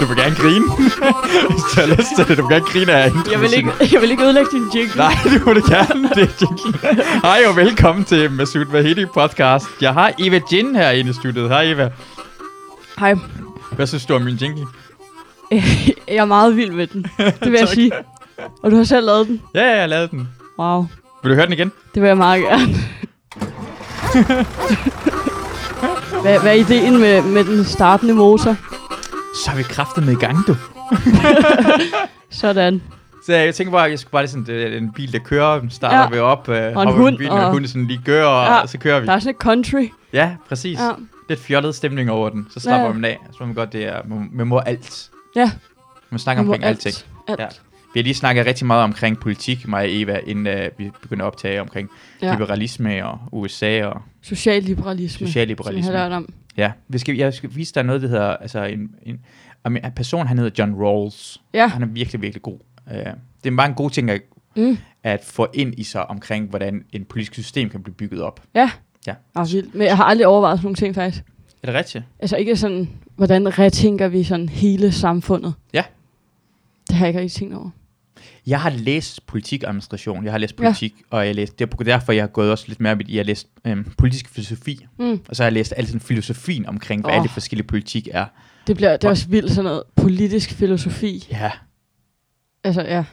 Du må gerne grine. Hvis du har lyst til det. Du må gerne grine af introen. Jeg vil ikke, jeg vil ikke ødelægge din jingle. Nej, det må du gerne. Det er jingle. Hej og velkommen til Masoud Vahedi podcast. Jeg har Eva Jin herinde i studiet. Hej Eva. Hej. Hvad synes du om min jingle? Jeg er meget vild med den. Det vil jeg Tak. sige. Og du har selv lavet den. Ja, ja, jeg lavede den. Wow. Vil du høre den igen? Det vil jeg meget gerne. hvad, hvad er ideen med, med den startende motor? Så er vi kraftet med i gang, du. Sådan. Så jeg tænker bare, at jeg skulle bare lige sådan, det er en bil, der kører, den starter Ja. vi op, øh, og hund, bilen, og, og- hunden sådan lige gør, og, Ja. og så kører vi. Der er sådan et country. Ja, præcis. Ja. Lidt fjollet stemning over den. Så slapper Ja. man af. Så må man godt, det er, man, man må alt. Ja. Man snakker Hvor omkring alt. alting. Alt. Ja. Ja. Vi har lige snakket rigtig meget omkring politik, mig og Eva, inden uh, vi begynder at optage omkring ja. Ja. Mm. liberalisme og USA og Social liberalisme. socialliberalisme. Som jeg har lært om. Ja, vi skal, jeg skal vise dig noget, der hedder, altså en, en, om en person, han hedder John Rawls. Ja. Han er virkelig, virkelig god. Uh, det er bare en god ting at, Mm. at få ind i sig omkring, hvordan en politisk system kan blive bygget op. Ah, vildt. Men jeg har aldrig overvejet sådan nogle ting, faktisk. Er det rigtigt? Altså ikke sådan, hvordan retænker vi sådan hele samfundet? Ja. Det har jeg ikke rigtig tænkt over. Jeg har læst politikadministration, jeg har læst politik, ja. og jeg læste, det er derfor, jeg har gået også lidt mere op i, jeg har læst øhm, politisk filosofi, Mm. og så har jeg læst al sådan filosofien omkring, hvad oh. Åh. alle de forskellige politik er. Det bliver det er også vildt sådan noget politisk filosofi. Ja, Altså ja,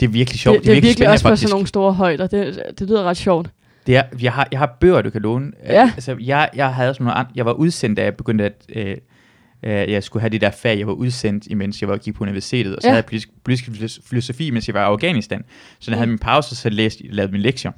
det er virkelig sjovt. det, det er virkelig også på faktisk. sådan nogle store højder. Det, det lyder ret sjovt. Det er, jeg, har, jeg har bøger, du kan låne. Ja. Altså, jeg, jeg, havde sådan noget, an- jeg var udsendt, da jeg begyndte at... Øh, øh, jeg skulle have det der fag, jeg var udsendt, imens jeg var gik på universitetet, og så ja. havde Ja. jeg politisk, politisk filos- filosofi, mens jeg var i Afghanistan. Så når jeg havde Mm. min pause, så læste, lavede min lektier.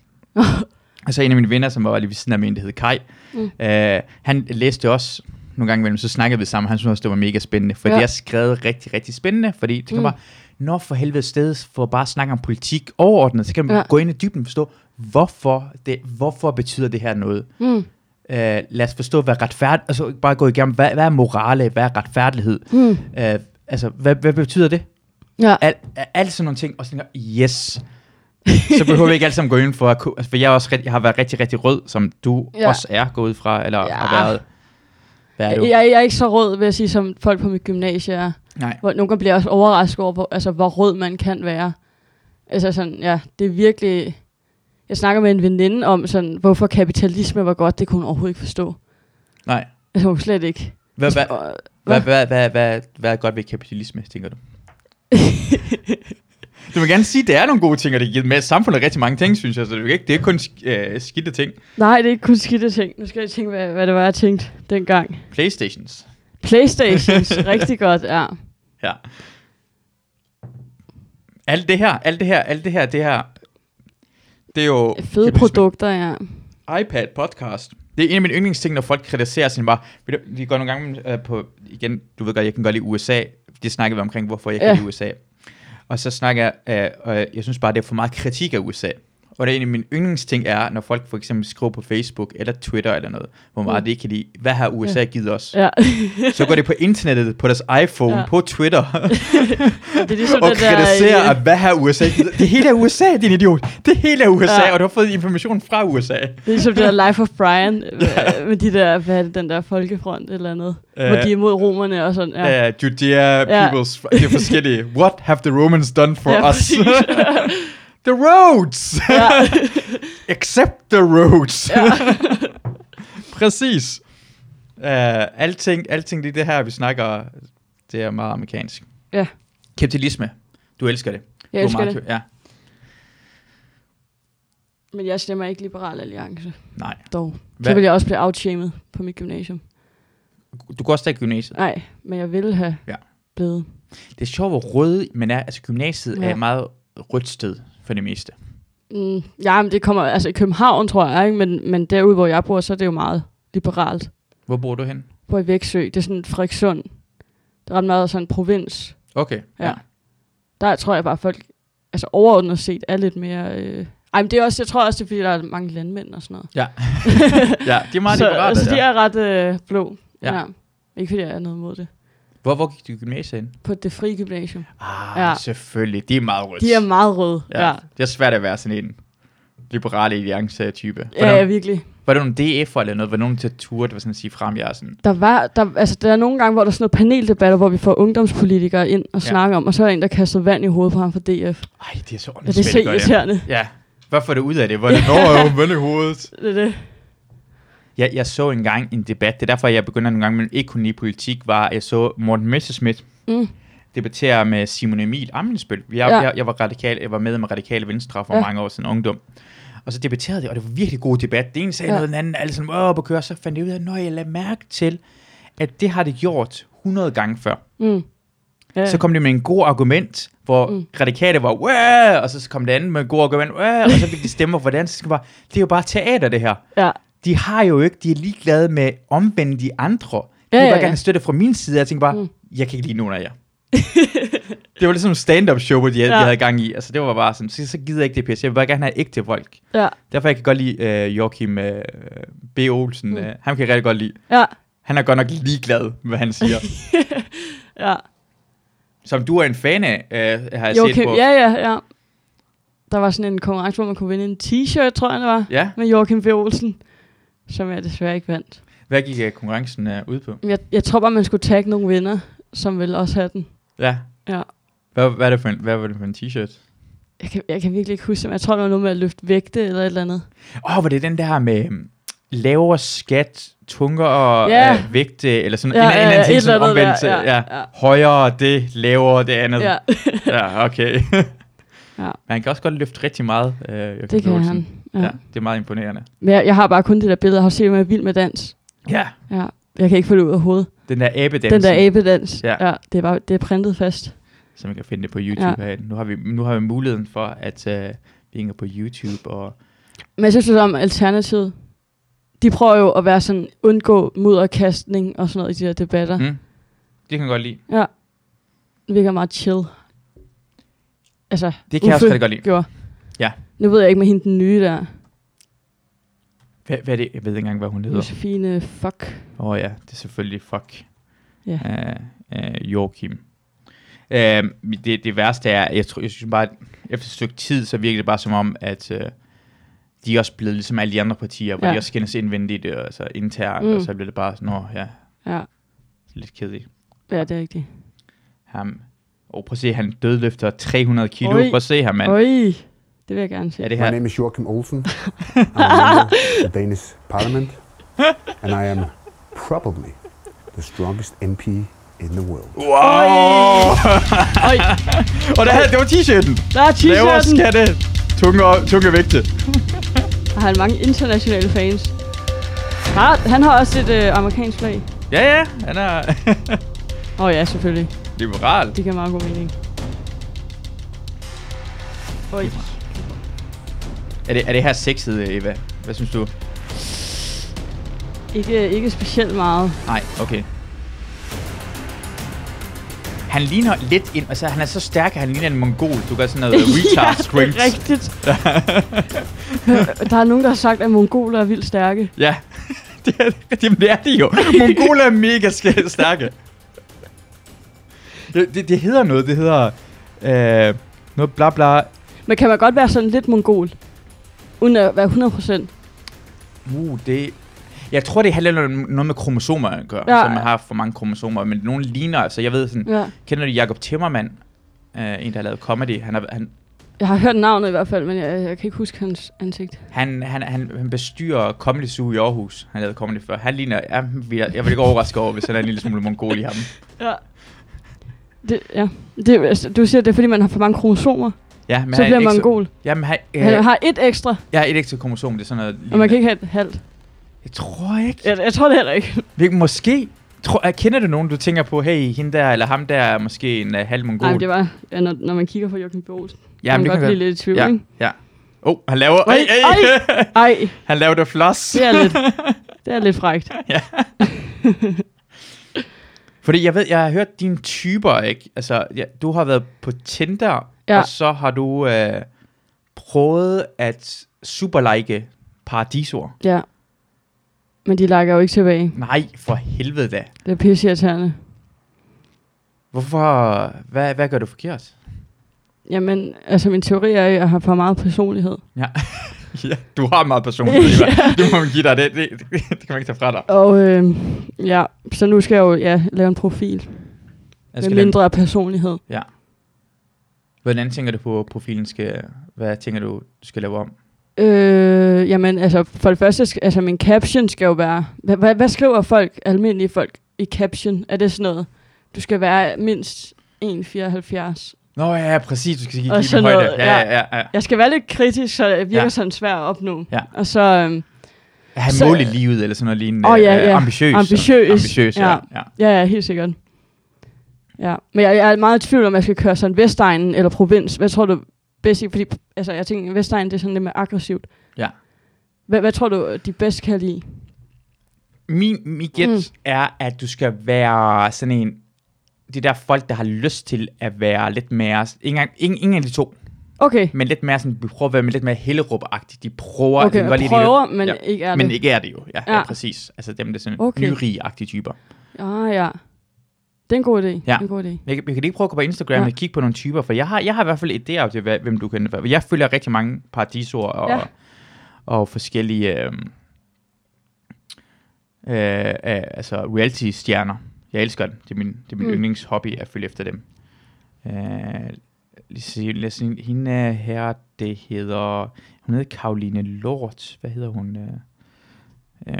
og så en af mine venner, som var lige ved siden af mig, en, der hed Kai, Mm. øh, han læste også nogle gange imellem, så snakkede vi sammen, han synes også, det var mega spændende, for ja. Ja. det er skrevet rigtig, rigtig spændende, fordi det kan Mm. bare, når for helvede sted for at bare snakke om politik overordnet, så kan man ja. Ja. gå ind i dybden og forstå, hvorfor, det, hvorfor betyder det her noget? Mm. Øh, lad os forstå, hvad retfærd... Altså bare gå igennem, hvad, hvad er morale, hvad er retfærdighed? Mm. Øh, altså, hvad, hvad betyder det? Ja. Al, al- alt sådan nogle ting, og så tænker jeg, yes, så behøver vi ikke alle sammen gå ind for at ku- altså, for jeg, er også, rigtig- jeg har været rigtig, rigtig rød, som du ja. Ja. også er gået ud fra, eller ja. Ja. har været. Hvad er du? Jeg, jeg er ikke så rød, vil jeg sige, som folk på mit gymnasie er. Nej. Hvor nogle gange bliver jeg også overrasket over, hvor, altså, hvor rød man kan være. Altså sådan, ja, det er virkelig... Jeg snakker med en veninde om, sådan, hvorfor kapitalisme var godt, det kunne hun overhovedet ikke forstå. Nej. Altså, hun slet ikke. Hvad, hvad, Og- Hvad, hvad, hvad, hvad, hvad er godt ved kapitalisme, tænker du? du må gerne sige, at det er nogle gode ting, og det giver med samfundet rigtig mange ting, synes jeg. Så det, er jo ikke, det er kun sk- øh, skidte ting. Nej, det er ikke kun skidte ting. Nu skal jeg tænke, hvad, hvad det var, jeg tænkte dengang. Playstations. Playstations, rigtig godt, ja. Ja. Alt det her, alt det her, alt det her, det her, det er jo... Fede kapitalisme. produkter, ja. iPad podcast. Det er en af mine yndlingsting, når folk kritiserer sin bare, ved du, vi går nogle gange øh, på, igen, du ved godt, jeg kan godt lide USA, det snakkede vi omkring, hvorfor jeg kan Ja. lide USA. Og så snakker jeg, øh, øh, jeg synes bare, det er for meget kritik af USA. Og det er en af mine yndlingsting er, når folk for eksempel skriver på Facebook eller Twitter eller noget, hvor meget Mm. det kan lide, hvad har USA givet os? ja. Så går det på internettet, på deres iPhone, ja. Ja. på Twitter, Det er ligesom og det der... kritiserer, øh, at hvad har USA givet Det hele er USA, din idiot. Det hele er USA, ja. Ja. og du har fået information fra USA. Det er ligesom det der Life of Brian, øh, med de der, hvad er det, den der folkefront eller andet, hvor Øh, de er imod romerne og sådan, ja. Ja. Uh, Judea, Ja. peoples, det er forskellige. What have the Romans done for Ja, us? præcis. the roads! ja. Accept the roads! Ja. præcis. Uh, alting, alting det, er det her, vi snakker, det er meget amerikansk. Ja. Kapitalisme. Du elsker det. Jeg du elsker det, Ja. men jeg stemmer ikke Liberal Alliance, Nej. dog. Så Hvad? vil jeg også blive afshamed på mit gymnasium. Du går også til gymnasiet. Nej, men jeg ville have Ja. blevet. Det er sjovt, hvor rød man er. Altså gymnasiet ja. Ja. er meget rødt sted for det meste. Mm, ja, men det kommer, altså i København, tror jeg, ikke? Men, men derude, hvor jeg bor, så er det jo meget liberalt. Hvor bor du hen? bor i Væksø. Det er sådan Frederikssund. Det er ret meget sådan en provins. Okay. Ja. Der tror jeg bare, at folk altså overordnet set er lidt mere... Øh... Ej, men det er også, jeg tror også, det er, fordi der er mange landmænd og sådan noget. Ja, ja de er meget så, liberale. altså, der. de er ret øh, blå. Ja. Ja. ja. Ikke fordi jeg er noget imod det. Hvor, hvor gik du i gymnasiet hen? På det frie gymnasium. Ah, ja. Ja. selvfølgelig. Det er meget rødt. De er meget røde. ja. Ja, Det er svært at være sådan en liberale alliance-type. ja, ja virkelig. Var det nogle DF'er eller noget? Var nogen til at ture, der var sådan at sige frem, jeg er sådan... Der, var, der, altså, der er nogle gange, hvor der er sådan noget paneldebatter, hvor vi får ungdomspolitikere ind og Ja. snakker om, og så er der en, der kaster vand i hovedet på ham fra DF. Ej, det er så Ja, det er åndssvagt. så irriterende. Ja. Hvad får det ud af det? Hvor er det når jeg er i hovedet? Det, er det. Jeg, jeg så engang en debat, det er derfor, jeg begynder nogle gange mellem ikke kunne lide politik, var, at jeg så Morten Messerschmidt Mm. debattere med Simon Emil Amensbøl. Jeg, Ja. ja. jeg, jeg, var radikal, jeg var med med Radikale Venstre for Ja. ja. mange år siden ungdom. Og så debatterede det, og det var virkelig god debat. Det ene sagde Ja. ja. noget, den anden alle sådan, åh, op og køre. Så fandt jeg ud af, når jeg lagde mærke til, at det har det gjort 100 gange før. Mm. Ja. Så kom det med en god argument, hvor Mm. mm. radikale var, Wah! og så kom det andet med en god argument, Wah! og så fik de stemmer for det andet. Så skal jeg bare, det er jo bare teater, det her. ja. De har jo ikke, de er ligeglade med at omvende de andre. De Ja, vil ja, bare ja. gerne have støtte fra min side. Jeg tænker bare, Mm. mm. jeg kan ikke lide nogen af jer. det var ligesom en stand-up show, hvor de, ja. Ja. de havde gang i. Altså det var bare sådan, så, så gider jeg ikke det pisse. Jeg vil bare gerne have ægte folk. Ja. Derfor jeg kan godt lide øh, Joachim øh, B. Olsen. Mm. Mm. Øh, ham kan jeg rigtig godt lide. Ja. Han er godt nok ligeglad med, hvad han siger. Ja. Som du er en fan af, øh, har jeg set Joachim, på. ja, ja, ja. Der var sådan en konkurrence, hvor man kunne vinde en t-shirt, tror jeg det var, ja. med Joachim B. Olsen, som jeg desværre ikke vandt. Hvad gik øh, konkurrencen øh, ud på? Men Jeg, jeg tror bare, man skulle tagge nogle vinder, som ville også have den. Ja. Ja. Hvad, hvad, er det for en, hvad var det for en t-shirt? Jeg kan, jeg kan virkelig ikke huske, men jeg tror, det var noget med at løfte vægte eller et eller andet. Åh, oh, var det den der med øhm, lavere skat, tungere Ja. ja. øh, vægte, eller sådan en, en eller anden ting, sådan omvendt. der, ja. altså- ja. Højere det, lavere det andet. ja. Ja, ja okay. Ja. ja. Men han kan også godt løfte rigtig meget, øh, Joachim det kan Olsen. han. Ja. Ja. Ja. ja. det er meget imponerende. Men jeg, jeg har bare kun det der billede, jeg har set mig vild med dans. Ja, Ja. Jeg kan ikke få det ud af hovedet. den der abedans, Den der abedans, Ja. ja. ja. det, er bare, det er printet fast. som man kan finde det på YouTube. Ja. Nu, har vi, nu har vi muligheden for, at øh, vi hænger på YouTube. Og, Men jeg synes det er om alternativet. De prøver jo at være sådan, undgå mudderkastning og sådan noget i de der debatter. Mm. mm, det kan jeg godt lide. Ja. Mm. Det virker meget chill. Altså, Det kan jeg også Uffe rigtig godt lide. Gjorde. Ja. Nu ved jeg ikke med hende den nye der. Hvad, hvad er det? Jeg ved ikke engang, hvad hun hedder. Josefine, fuck. Åh oh, ja, det er selvfølgelig fuck. Ja. Uh, uh, Joachim. Uh, det, det værste er, jeg, tror, jeg synes bare, at efter et stykke tid, så virker det bare som om, at uh, de er også blevet ligesom alle de andre partier, hvor Ja. ja. de også skændes indvendigt og altså internt, Mm. mm. og så bliver det bare sådan, åh ja, Ja. lidt kedeligt. ja, det er rigtigt. Ham. Og prøv at se, han dødløfter 300 kilo. Oj. Prøv at se ham, mand. Øj, det vil jeg gerne se. Er det My her? name is Joachim Olsen. I'm a member of the Danish Parliament, and I am probably the strongest MP in the world. Wow! Øj, og det, her, det var t-shirten. der er Lavere t-shirten. skatte. Tunge, tunge vægte. Har han mange internationale fans. Har, han har også et øh, amerikansk flag. Ja, ja. Han er Åh oh, ja, selvfølgelig. liberal. Det giver meget god mening. Øj. Er det, er det her sexet, Eva? Hvad synes du? Ikke, ikke specielt meget. Nej, okay. Han ligner lidt en... Altså, han er så stærk, at han ligner en mongol. Du gør sådan noget retard det er strength. rigtigt. der er nogen, der har sagt, at mongoler er vildt stærke. Ja, det er, det, jamen, det er de jo. Mongoler er mega sk- stærke. Det, det, det hedder noget. Det hedder... Øh, noget bla bla... Men kan man godt være sådan lidt mongol? Uden at være 100 procent. Uh, det... Jeg tror, det handler om noget med kromosomer at gøre. Ja. Ja. Så man har for mange kromosomer. Men nogen ligner... Altså, jeg ved sådan... Ja. Kender du Jakob Timmermann? Uh, en, der har lavet comedy. Han, er, han, Jeg har hørt navnet i hvert fald, men jeg, jeg kan ikke huske hans ansigt. han, han, han, han bestyrer Comedy Zoo i Aarhus. Han lavede comedy før. Han ligner... Ja, jeg, jeg vil ikke overraske over, hvis han er en lille smule mongol i ham. Ja. Det, ja. Det, er- altså, du siger, det er fordi, man har for mange kromosomer. Ja, men så han bliver er man ikke mongol. Så, jamen, han, øh, Han har et ekstra, jeg har et ekstra kromosom. Det er sådan noget... og lignende. man kan ikke have et halvt. Jeg tror ikke. Jeg, jeg tror det heller ikke. Ja. Måske... Tror, er- kender du nogen, du tænker på, hey, hende der eller ham der er måske en uh, halv mongol? Nej, men det var, ja, når, når man kigger på Joachim B. Olsen, ja, men kan man det godt kan blive lidt i tvivl, Ja, ikke? ja. Oh, han laver... Oj, Ej, ej. Ej, han laver det floss. det er lidt, det er lidt frægt. Fordi jeg ved, jeg har hørt dine typer, ikke? Altså, ja, du har været på Tinder, Ja. ja. og så har du øh, prøvet at superlike paradisor. Ja. Men de lakker jo ikke tilbage. Nej, for helvede da. Det er pisseirriterende. Hvorfor? Hvad, hvad gør du forkert? Jamen, altså min teori er, at jeg har for meget personlighed. Ja. ja, du har meget personlighed, Ivar. Det må man give dig. Det, det, det, det kan man ikke tage fra dig. Og øh, ja, så nu skal jeg jo ja, lave en profil Jeg med skal lave- mindre af personlighed. Hvordan tænker du på, at profilen skal... Hvad tænker du, du skal lave om? Øh, jamen, altså, for det første, skal- altså, min caption skal jo være... Hvad, hvad, hvad skriver folk, almindelige folk, i caption? Er det sådan noget, du skal være mindst 1,74? Nå ja, præcis. Du skal give give Og den sådan højde. noget, Ja, ja, ja. ja. Jeg skal være lidt kritisk, så jeg virker Ja. ja. sådan svær at opnå. Ja. Og så øhm, At have Så- mål i livet, eller sådan noget lignende. Åh, ja, Øh, ja. Ambitiøs. Ambitiøs, Ambitiøs, ja. ja. ja. Ja, ja, helt sikkert. Ja, men jeg, jeg er meget i tvivl om, jeg skal køre sådan Vestegnen eller provins. Hvad tror du bedst i? Fordi altså, jeg tænker, Vestegnen det er sådan lidt mere aggressivt. Ja. Hvad, hvad tror du, de bedst kan lide? Min, min gæt mm. Mm. er, at du skal være sådan en... Det der folk, der har lyst til at være lidt mere... Ingen, engang- ingen, ingen af de to, Okay, men lidt mere sådan... Vi prøver at være lidt mere hellerup -agtigt. De prøver... de okay, kan jeg godt lide, at de er prøver, men ja, ja. ikke er lidt, Men det. ikke er det jo. Ja, ja. ja Ja. præcis. Altså dem, der er sådan okay. Okay. nyrige-agtige typer. Ah, ja. Det er en god idé. Det er en god idé. Jeg, kan- vi kan lige prøve at gå på Instagram ja. Ja. og kigge på nogle typer, for jeg har, jeg har i hvert fald idéer om, til, hvad- hvem du kan være. Jeg følger rigtig mange paradisoer og, ja. Ja. og forskellige øh, øh, øh, altså reality-stjerner. Jeg elsker dem. Det er min, det er min mm. Mm. yndlingshobby at følge efter dem. Øh, lige se, lad os se, hende her, det hedder... Hun hedder Karoline Lort. Hvad hedder hun? Øh, øh,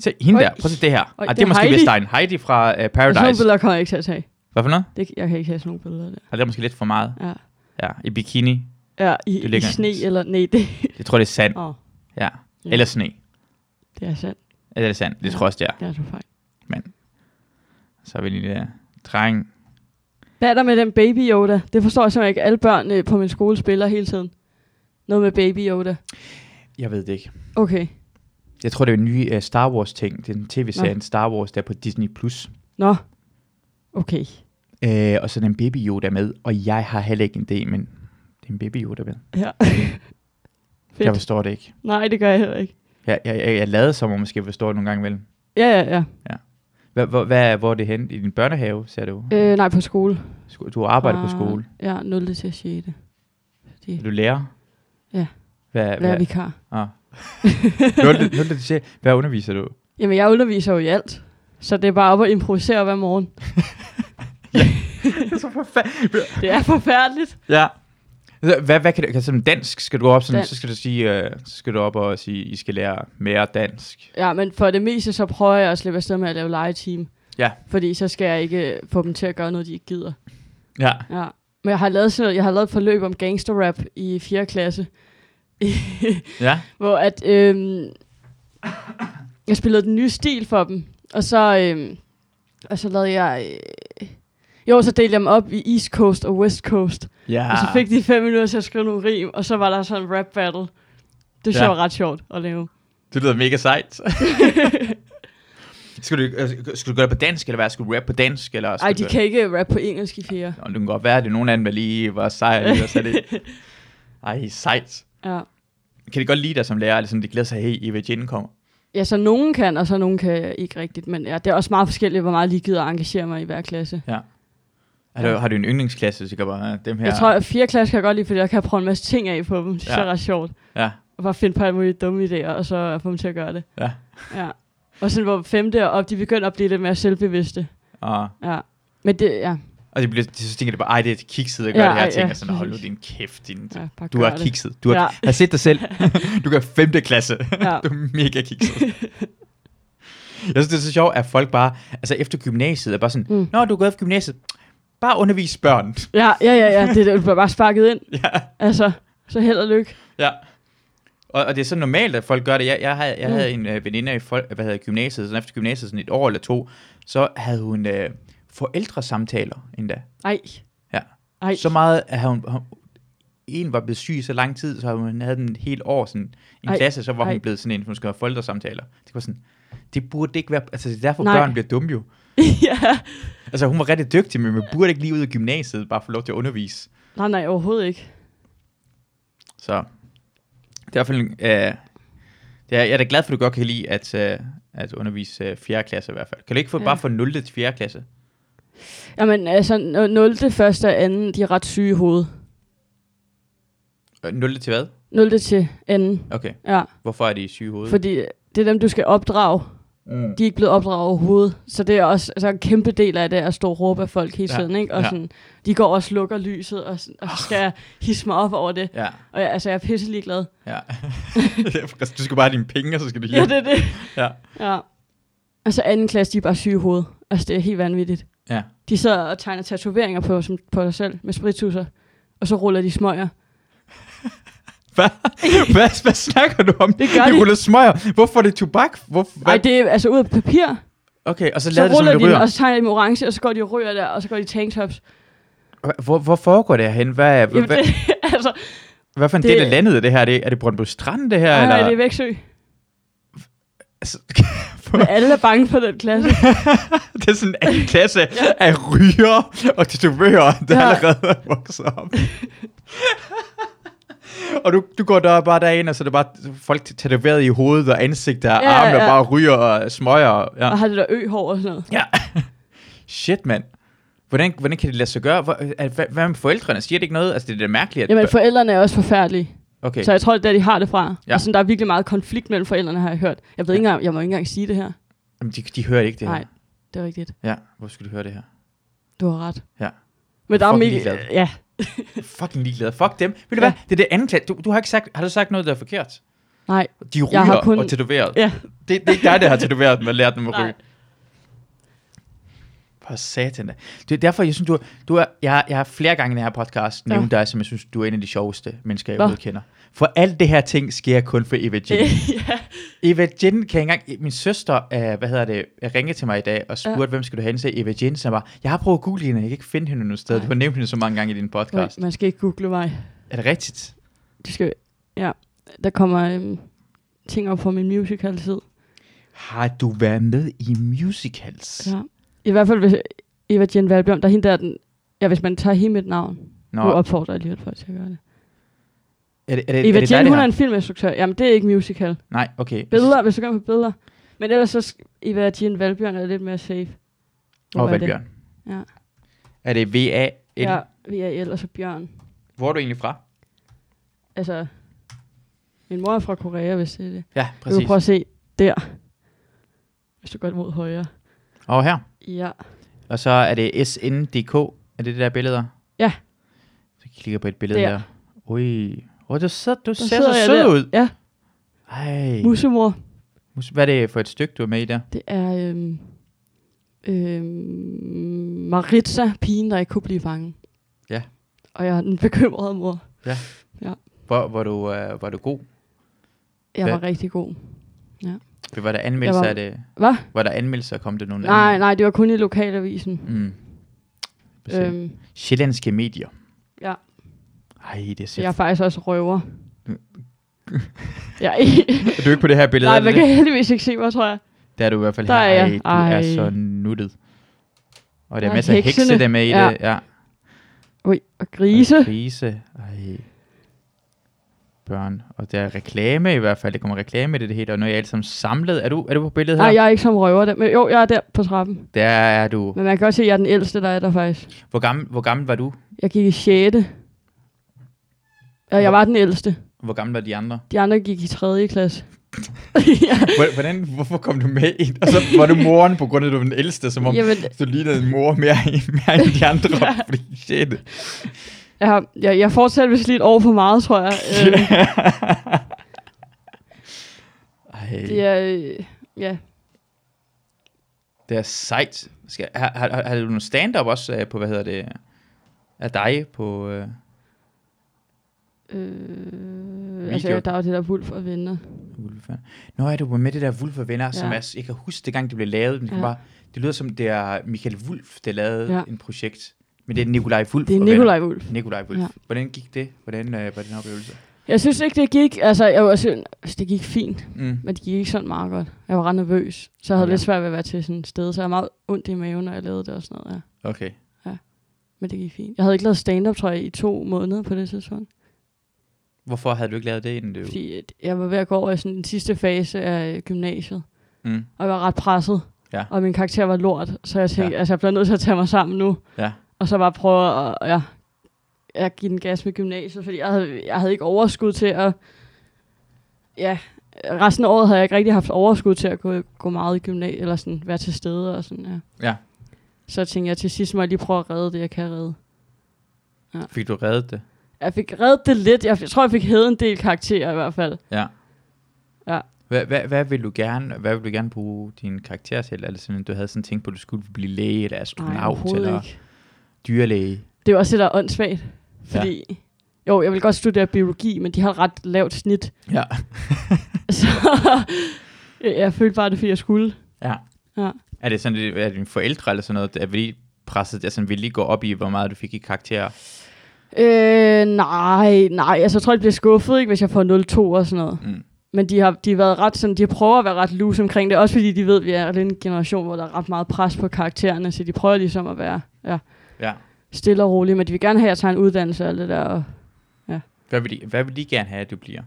se, hende Oj. der. Prøv at se det her. Oj, Oj, ah, det det er er måske Heidi. Vestegn. Heidi fra øh, Og sådan nogle Paradise. billeder kommer jeg ikke til at tage. Hvad for noget? Det, jeg kan ikke have sådan nogle billeder der. Og det er måske lidt for meget. Ja. Ja, i bikini. Ja, i, Det i ligger- sne eller... Nej, det, Jeg tror, det er sand. oh, Ja. Ja. Eller sne. det er sandt. Eller det er sand. Det tror jeg også, det er. Det er du fejl. Så er vi lige der. Dreng. Hvad er der med den baby Yoda? Det forstår jeg simpelthen ikke. Alle børn øh, på min skole spiller hele tiden. Noget med baby Yoda. Jeg ved det ikke. Okay. Jeg tror, det er en ny uh, Star Wars-ting. Det er en tv-serie, en Star Wars, der er på Disney+. Plus. Nå. Okay. Uh, og så er der en Baby Yoda med. Og jeg har heller ikke en idé, men det er en Baby Yoda med. Ja. Jeg Fedt. forstår det ikke. Nej, det gør jeg heller ikke. Jeg, jeg, jeg, jeg lader som om, jeg skal forstå det nogle gange imellem. Ja, ja, ja. Hva- hvor- Hvad, hvor er det hen? I din børnehave, sagde du? Øh, nej, på skole. Sko- Du arbejder på Fra- skole. Ja, 0. til 6. Fordi Er du lærer? Ja. Hvad, lærer hvad, vikar. Ah. Nul, nul, til sjette. Hvad underviser du? Jamen, jeg underviser jo i alt. Så det er bare op at improvisere hver morgen. Det er forfærdeligt. ja. Altså, Hvad, hvad kan du, kan som dansk skal du op, sådan, Dan- så skal du sige, øh, så skal du op og sige, I skal lære mere dansk. Ja, men for det meste, så prøver jeg at slippe afsted med at lave legeteam. Ja. Fordi så skal jeg ikke øh, få dem til at gøre noget, de ikke gider. Ja. Ja. Men jeg har lavet, sådan noget, jeg har lavet et forløb om gangsterrap i 4. klasse. Ja. hvor at, øhm, jeg spillede den nye stil for dem, og så, øhm, og så lavede jeg, øh, jo, så delte jeg dem op i East Coast og West Coast, Ja. og så fik de fem minutter til at skrive nogle rim, og så var der sådan en rap battle. Det synes Ja. jeg var ret sjovt at lave. Det lyder mega sejt. skal, du, øh, skal du gøre det på dansk, eller hvad? Skal du rap på dansk? Eller skal Ej, du de gøre- kan ikke rap på engelsk i fjerde. Nå, det kan godt være, at det er nogen af dem, der lige var sej, eller så er det. Ej, sejt. Ja. Kan de godt lide dig som lærer, eller sådan, de glæder sig, hey, Eva Jane kommer? ja, så nogen kan, og så nogen kan ikke rigtigt, men ja, det er også meget forskelligt, hvor meget de gider at engagere mig i hver klasse. Har du, Ja. har du en yndlingsklasse, så kan bare, "Ah, dem her. Jeg tror, at fire klasse kan jeg godt lide, fordi jeg kan prøve en masse ting af på dem. Det synes Ja. jeg er ret sjovt. Ja. Og bare finde på alle mulige dumme idéer, og så få dem til at gøre det. Ja. ja. Og sådan hvor femte og op, de begynder at blive lidt mere selvbevidste. Og, Ja. Men det, ja. og de, bliver, de så tænker de bare, ej, det er et kikset at gøre Ja, ja, det her ej, ting. ja, Og sådan, hold nu præcis. din kæft, din, ja bare du gør har det. kikset. Du har, Ja. har set dig selv. du gør 5. klasse. Ja. du er mega kikset. Jeg synes, det er så sjovt, at folk bare, altså efter gymnasiet, er bare sådan, Mm. Nå, du er gået efter gymnasiet. Bare undervis børn. Ja, ja, ja, ja. Det, det bliver bare sparket ind. ja, Altså, så held og lykke. ja. Og, og, det er så normalt, at folk gør det. Jeg, jeg, havde, jeg Mm. havde en øh, veninde i folk, hvad hedder, gymnasiet, sådan efter gymnasiet, sådan et år eller to, så havde hun øh, forældresamtaler endda. Ej. Ja. Ej. Så meget, at hun, hun, en var blevet syg i så lang tid, så hun havde den et helt år, sådan en Ej, klasse, så var hun ej. blevet sådan en, hun skulle have forældresamtaler. Det var sådan, det burde ikke være, altså det er derfor Nej. Nej. børn bliver dumme jo. ja. Altså hun var rigtig dygtig, men man burde ikke lige ud af gymnasiet, bare få lov til at undervise. Nej, nej, overhovedet ikke. Så det er i hvert fald, en, øh, det er, jeg er da glad for, at du godt kan lide at, øh, at undervise øh, 4. klasse i hvert fald. Kan du ikke få, Ja. bare få 0. til 4. klasse? Jamen, altså, 0. første og 2. de er ret syge i hovedet. Øh, 0. til hvad? 0. til anden. Okay, Ja, hvorfor er de syge i hovedet? fordi det er dem, du skal opdrage. Mm. De er ikke blevet opdraget overhovedet. Så det er også altså, en kæmpe del af det, at stå og råbe af folk hele Ja, tiden. Ikke? Og ja. sådan, de går og slukker lyset, og, sådan, og så skal jeg hisse mig op over det. Ja, Og jeg, altså, jeg er pisselig glad. ja. du skal bare have dine penge, og så skal du Ja, hjem. det er det. Ja. ja. Og så anden klasse, de er bare syge i hovedet. Altså, det er helt vanvittigt. Ja. De sidder og tegner tatoveringer på, som, på sig selv med spritusser. Og så ruller de smøger. Hvad? hvad? Hvad snakker du om? Det gør de. de. ruller smøger. Hvorfor er det tobak? Hvorfor, Nej, det er altså ud af papir. Okay, og så Så lader det, som ruller det de den, ryger. og så tegner de med orange, og så går de og ryger der, og så går de i tanktops. Hvor, hvor foregår det herhen? Hvad, er- Jamen, hvad, det, altså, hvad for en det- del af landet er det her? Er det, er det Brøndby Strand, det her? nej, nej, eller? det er Væksø. Altså, Men alle er bange for den klasse. det er sådan en klasse af ryger og tatovører, der ja. Ja. allerede er vokset op. og du, du går der bare derind, og så er det bare folk tatoveret i hovedet og ansigt og ja, Ja, arme, der ja. bare ryger og smøger. Ja. Og har det der ø-hår og sådan noget. Ja. Shit, mand. Hvordan, hvordan kan det lade sig gøre? Hvor, at, hvad, hvad med forældrene? Siger det ikke noget? Altså, det er da mærkeligt, at... Jamen, forældrene er også forfærdelige. okay. Så jeg tror, det er der, de har det fra. Ja. Ja. Og sådan, der er virkelig meget konflikt mellem forældrene, har jeg hørt. Jeg ved ikke engang, jeg må ikke engang sige det her. Jamen, de, de hører ikke det her. Nej, det er rigtigt. Ja, hvor skulle de høre det her? Du har ret. Ja. Men der er Fucking mega... ligeglad. Ja. Fucking ligeglade. Fuck dem. Ved du Ja. hvad? Det er det andet klart. Du, du har ikke sagt... Har du sagt noget, der er forkert? Nej. De ryger har kun- og tatoveret. Ja. Det, det er ikke dig, der har tatoveret dem og lært dem at Nej. ryge. For satan da. Det er derfor, jeg synes, du er, du er jeg, jeg har flere gange i den her podcast Nå. nævnt dig, som jeg synes, du er en af de sjoveste mennesker, jeg Nå. overhovedet kender. For alt det her ting sker kun for Eva Jean. ja. Eva Jin kan jeg engang... Min søster, øh, hvad hedder det, ringede til mig i dag og spurgte, ja. hvem skal du hen til? Eva Jin, så jeg bare, jeg har prøvet at google hende, jeg kan ikke finde hende nogen sted. Nej. Du har nævnt hende så mange gange i din Oj, podcast. man skal ikke google mig. Er det rigtigt? Du skal... Ja. Der kommer øhm, ting op på min musical tid. Har du været med i musicals? Ja. I hvert fald, hvis Eva Jen Valbjørn, der er hende der, er den... Ja, hvis man tager hele mit navn. Nå, Nå. Nu opfordrer jeg alligevel folk til at gøre det. er det, er det, Eva er det dig, Jen, det hun her? er en filminstruktør. Jamen, det er ikke musical. Nej, okay. Billeder, hvis du går ind på billeder. Men ellers så sk- Eva Jen Valbjørn er lidt mere safe. Hvor Og er det? Valbjørn. Ja. Er det VA? Ja, VAL og så Bjørn. Hvor er du egentlig fra? Altså, min mor er fra Korea, hvis det er det. Ja, Præcis. Du præcis. kan prøve at se der. Hvis du går mod højre. Og her. Ja. Og så er det SNDK. Er det det der billeder? Ja. Så klikker jeg på et billede der. Der. der. Ui. Åh, du, ser, du ser sidder så jeg sød der. ud. Ja. Ej. Musemor, Mus- Hvad er det for et stykke, du er med i der? det er øhm, øhm, Maritza, pigen, der ikke kunne blive fanget. Ja. Og jeg er den bekymrede mor. Hvor, hvor, du, øh, var du god? Jeg Hvad? var rigtig god. Var der anmeldelser var- af det? Hvad? Var der anmeldelser? Kom det nogen Nej, nej, det var kun i lokalavisen. Mm. Øhm. Øhm, Sjællandske medier. Ja. Ej, det så ser... jeg er Jeg... faktisk også røver. jeg er ikke, Mm. Er du ikke på det her billede? nej, er det man det? kan heldigvis ikke se mig, tror jeg. Der er du i hvert fald Der her. er Ej, jeg. du Ej. er Ej. så nuttet. Og der er Ej, masser af hekse, heksene. der er med i Ja. det. Ja. Ui, og grise. Og krise. Ej. Børn. Og der er reklame i hvert fald. Det kommer reklame i det, det hele. Og nu er jeg alt sammen samlet. Er du, er du på billedet her? Nej, jeg er ikke som røver. Der. Men jo, jeg er der på trappen. Der er du. Men man kan også se, at jeg er den ældste, der er der faktisk. Hvor gammel, hvor gammel var du? Jeg gik i 6. Og jeg var den ældste. Hvor gammel var de andre? De andre gik i 3. klasse. ja, Hvor- Hvordan, hvorfor kom du med ind? Og så var du moren på grund af, at du var den ældste, som om jamen, du lignede en mor mere, end- mere end de andre. Ja. Fordi shit. jeg, jeg, jeg fortsatte vist lidt over for meget, tror jeg. Øh, Ej, det er, øh, ja. det er sejt. Skal, har, har, har, har du nogle stand-up også øh, på, hvad hedder det, af dig på... Øh, Øh, altså, Video. jeg, der er jo det der vulf og venner. Wolf, ja. Nå ja, du var med det der Wolf og Venner, ja. som Ja. er, jeg kan huske, det gang det blev lavet. Den ja. Ja. bare, det lyder som, det er Michael Wolf, der lavede ja. Ja. en projekt. Men det er Nikolaj Wolf Det er og Nikolaj Wulff. Venner. Nikolaj Wolf. Ja. Ja. Hvordan gik det? Hvordan øh, var den oplevelse? Jeg synes ikke, det gik, altså, jeg var også, altså, det gik fint, Mm. men det gik ikke sådan meget godt. Jeg var ret nervøs, så jeg havde Okay. okay. lidt svært ved at være til sådan et sted, så jeg var meget ondt i maven, når jeg lavede det og sådan noget, ja. Okay. Men det gik fint. Jeg havde ikke lavet stand-up, tror jeg, i to måneder på det tidspunkt. Hvorfor havde du ikke lavet det inden det? Fordi at jeg var ved at gå over i sådan den sidste fase af øh, gymnasiet, Mm. og jeg var ret presset, Ja. og min karakter var lort, så jeg tænkte, Ja. ja. altså jeg bliver nødt til at tage mig sammen nu, Ja. og så bare prøve at, ja, at give den gas med gymnasiet, fordi jeg havde, jeg havde ikke overskud til at... Ja, resten af året havde jeg ikke rigtig haft overskud til at gå, gå meget i gymnasiet, eller sådan være til stede og sådan, ja. Ja. Så tænkte jeg, til sidst må jeg lige prøve at redde det, jeg kan redde. Fik du reddet det? Jeg fik reddet det lidt. Jeg, jeg tror, jeg fik hævet en del karakterer i hvert fald. Ja. Ja. Hvad, hvad, hvad, vil du gerne, hvad vil du gerne bruge din karakter til? Er det sådan, at du havde sådan tænkt på, at du skulle blive læge, eller astronaut, overhovedet eller ikke. dyrlæge? Det er også det, der er åndssvagt. Fordi, ja. jo, jeg vil godt studere biologi, men de har et ret lavt snit. Ja. Så jeg, jeg følte bare, det er, fordi jeg skulle. Er det sådan, at- er det dine forældre eller sådan noget, at vi presset, altså vi lige gå op i, hvor meget du fik i karakterer? Øh, nej, nej. Altså, jeg tror, jeg bliver skuffet, ikke, hvis jeg får 0-2 og sådan noget. Mm. Men de har, de har været ret sådan, de prøver at være ret loose omkring det. Også fordi de ved, at vi er lidt en generation, hvor der er ret meget pres på karaktererne. Så de prøver ligesom at være ja, Ja. stille og rolig. Men de vil gerne have, at jeg tager en uddannelse og alt det der. Og, Hvad vil, de, hvad vil de gerne have, at du bliver?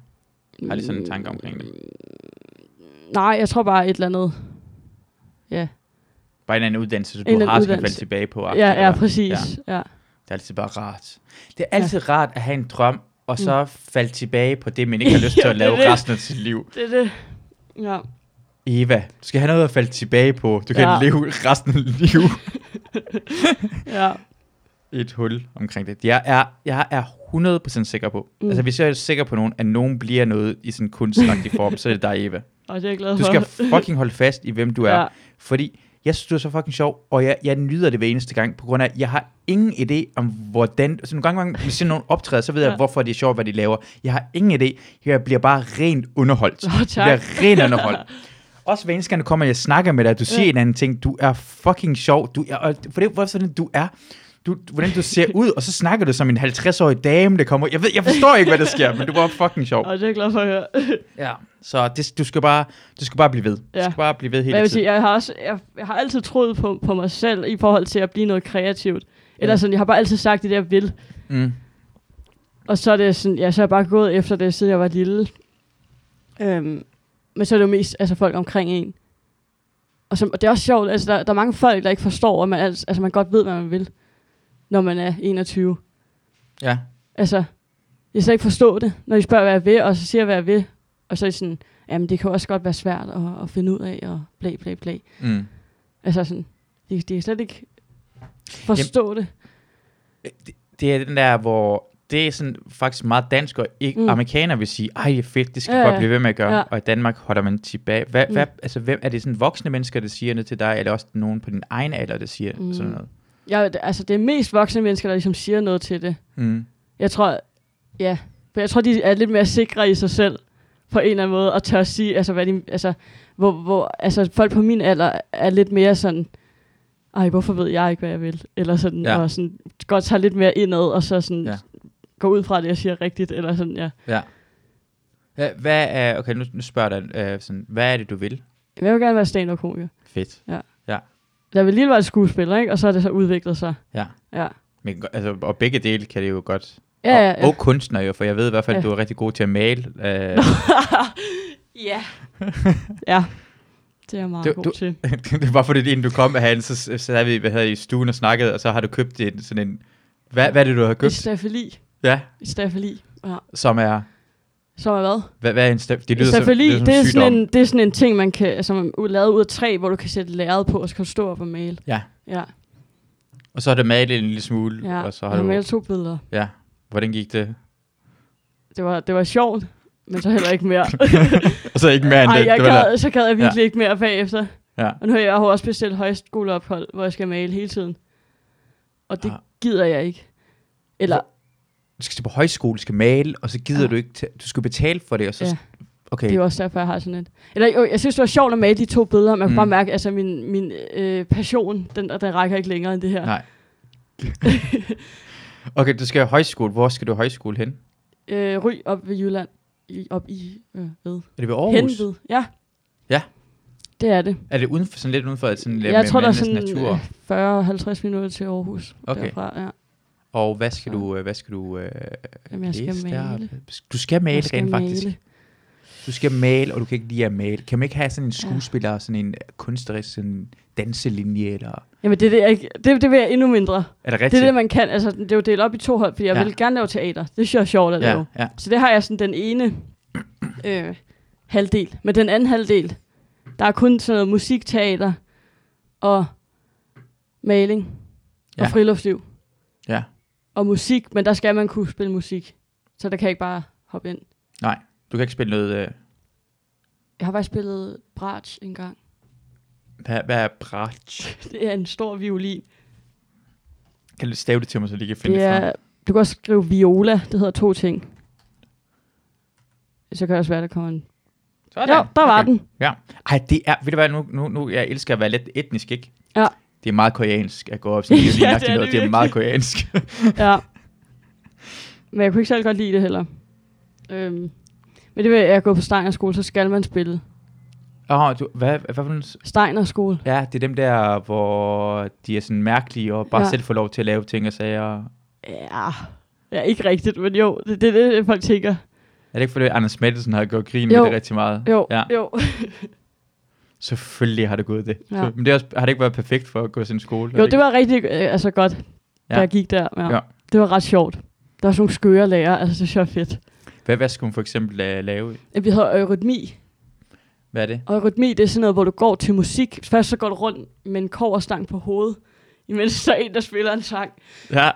Har de sådan en tanke omkring det? Nej, jeg tror bare et eller andet. Ja, Bare en eller anden uddannelse, så En du eller har anden skal falde uddannelse. tilbage på. ja, ja eller- præcis. Ja. Ja. Det er altid bare rart. Det er altid ja. rart at have en drøm, og så mm. falde tilbage på det, man ikke har lyst til Ja, at lave det er det. resten af sit liv. Det er det. Ja. Eva, du skal have noget at falde tilbage på. Du kan Ja. ja. leve resten af dit liv ja. i et hul omkring det. Jeg er, jeg er 100% sikker på. Mm. Mm. Altså, hvis jeg er sikker på nogen, at nogen bliver noget i sådan en kunstnagtig form, så er det dig, Eva. Og det er jeg glad for. Du skal fucking holde fast i, hvem du er. ja. Ja. Fordi jeg synes, du er så fucking sjov, og jeg, jeg nyder det hver eneste gang, på grund af, at jeg har ingen idé om, hvordan... Så nogle gange, gange hvis jeg nogen optræder, så ved jeg, Ja. ja. hvorfor det er sjovt, hvad de laver. Jeg har ingen idé. Jeg bliver bare rent underholdt. Nå, tak. Jeg bliver rent underholdt. Også hver eneste gang, du kommer, og jeg snakker med dig, du siger Ja. ja. en anden ting. Du er fucking sjov. Du er, og for det er hvorfor sådan, du er. Du, du- hvordan du ser ud, og så snakker du som en 50-årig dame, der kommer. Jeg, ved, jeg forstår ikke, hvad der sker, men du var fucking sjov. Og det er jeg glad for at høre. Ja. Så det, du, skal bare, du skal bare blive ved. Du Ja. skal bare blive ved Men jeg hele vil tiden. sige, jeg har, også, jeg, jeg har altid troet på, på mig selv i forhold til at blive noget kreativt. Eller Mm. sådan, jeg har bare altid sagt det, jeg vil. Mm. Og så er det sådan, ja, så er jeg bare gået efter det, siden jeg var lille. Øhm, men så er det jo mest altså, folk omkring en. Og, så, og det er også sjovt, altså der, der er mange folk, der ikke forstår, at man, altså, altså, man godt ved, hvad man vil, når man er 21. Ja. Altså, jeg kan ikke forstå det, når de spørger, hvad jeg vil, og så siger jeg, hvad jeg vil. Og så er de sådan, jamen det kan også godt være svært at, at finde ud af, og bla bla bla. Mm. Altså sådan, de, de kan slet ikke forstå Jamen. det. Det er den der, hvor det er sådan faktisk meget dansk, og ikke Mm. mm. amerikaner vil sige, ej, det er fedt, det skal Ja, ja, ja. bare blive ved med at gøre. Ja. Ja. Og i Danmark holder man tilbage. Hvad, Mm. mm. hvad, altså, hvem, er det sådan voksne mennesker, der siger noget til dig, eller også nogen på din egen alder, der siger Mm. mm. sådan noget? Jeg, altså det er mest voksne mennesker, der ligesom siger noget til det. Mm. Jeg tror, ja, for jeg tror, de er lidt mere sikre i sig selv på en eller anden måde, og tør sige, altså, hvad de, altså, hvor, hvor, altså folk på min alder er lidt mere sådan, ej, hvorfor ved jeg ikke, hvad jeg vil? Eller sådan, ja. Ja. og sådan, godt tager lidt mere indad, og så sådan, ja. Ja. går ud fra det, jeg siger rigtigt, eller sådan, ja. Ja. Hvad, hvad er, okay, nu, nu spørger jeg dig, øh, sådan, hvad er det, du vil? Men jeg vil gerne være stand-up-komiker. Fedt. Der vil lige være et skuespiller, ikke? Og så er det så udviklet sig. Ja. Ja, Men, go- altså, og begge dele kan det jo godt. ja, ja. Og, og kunstner jo, for jeg ved i hvert fald, Ja. at du er rigtig god til at male. Øh, ja. ja. Det er jeg meget Du- du, god du- til. det var fordi, inden du kom herhen, så, så sad vi hvad hedder, det, i stuen og snakkede, og så har du købt en, sådan en... Hvad, hvad er det, du har Et købt? stafeli. Ja, Et stafeli. Ja. som er... Som er hvad? Hvad, hvad er en staf? Det lyder som, Stafeli, lyder som det, er en sygdom. sådan en, det er sådan en ting, man kan, altså, man er lavet ud af træ, hvor du kan sætte lærred på, og så kan du stå op og male. Ja. Ja, Og så har du malet en lille smule, ja. og så jeg har har du... malet to billeder. Ja, hvordan gik det? Det var, det var sjovt, men så heller ikke mere. Og så ikke mere end Nej, det. jeg det gad, så gad jeg virkelig ja. ikke mere bagefter. Ja. Og nu har jeg jo også bestilt højskoleophold, hvor jeg skal male hele tiden. Og det Ah. der. gider jeg ikke. Eller, Du skal til på højskole, du skal male, og så gider Ja. du ikke... ta- du skal betale for det, og så... Ja. Okay, Det er jo også derfor, jeg har sådan et. Eller jo, jeg synes, det var sjovt at male de to billeder, men jeg kunne Mm. bare mærke, altså min, min øh, passion, den, den rækker ikke længere end det her. nej. okay, du skal i højskole. Hvor skal du i højskole hen? Øh, ry op ved Jylland. I, op i, øh, ved. Er det ved Aarhus? Henved. Ja. Ja. Det er det. Er det uden for, sådan lidt uden for sådan lidt jeg med, tror, der er med sådan næsten natur? øh, 40-50 minutter til Aarhus. Okay. Derfra, ja. Og hvad skal Så. du, øh, hvad skal du øh, Jamen, jeg skal læse der? male. Du skal male Jeg skal rent faktisk. male. du skal male, og du kan ikke lide at male. Kan man ikke have sådan en skuespiller, ja. sådan en kunstnerisk sådan danselinje, eller... Jamen, det, er det, jeg, ikke- det, det vil jeg endnu mindre. Er det Det rigtigt? er det, man kan. Altså, det er jo delt op i to hold, fordi jeg Ja. ja. vil gerne lave teater. Det synes jeg er sjovt at lave. ja, ja. Så det har jeg sådan den ene øh, halvdel. Men den anden halvdel, der er kun sådan noget musikteater og maling ja. Ja. og friluftsliv Ja. og musik. Men der skal man kunne spille musik, så der kan jeg ikke bare hoppe ind. Du kan ikke spille noget... Øh, Jeg har faktisk spillet bratsch en gang. hvad, hvad er bratsch? Det er en stor violin. Kan du stave det til mig, så de kan finde Det det frem? er, du kan også skrive viola. Det hedder to ting. Så kan det også være, der kommer en... Jo, Sådan. der var den. Ja. Ej, det er... Ved du hvad, nu, nu, nu jeg elsker at være lidt etnisk, ikke? Ja. Det er meget koreansk at gå op sådan Ja, ja, det, er det er det, noget. det det er virkelig. meget koreansk. Ja. Men jeg kunne ikke selv godt lide det heller. Øhm. Men det vil jeg gå på Steinerskole, så skal man spille. Åh, du, hvad, hvad, hvad for en... Steinerskole. Ja, det er dem der, hvor de er sådan mærkelige og bare ja. Ja. selv får lov til at lave ting og sager. Ja. ja, ikke rigtigt, men jo, det er det, det, folk tænker. Er det ikke fordi, Anders Mattelsen har gjort grin med Jo. Øh. det rigtig meget? Jo, Ja, ja. jo. selvfølgelig har det gået det. Ja. Så, men det er også, har det ikke været perfekt for at gå til en skole? Jo, det var rigtig øh, altså godt, da Ja. jeg gik der. Ja. Ja. ja. Det var ret sjovt. Der var sådan nogle skøre lærer, altså det var fedt. Hvad, hvad skulle hun for eksempel uh, lave? Øh, Vi havde ørytmi, Hvad er det? og ørytmi det er sådan noget, hvor du går til musik. Først så går du rundt med en koverstang på hovedet, imens der er en, der spiller en sang. Ja.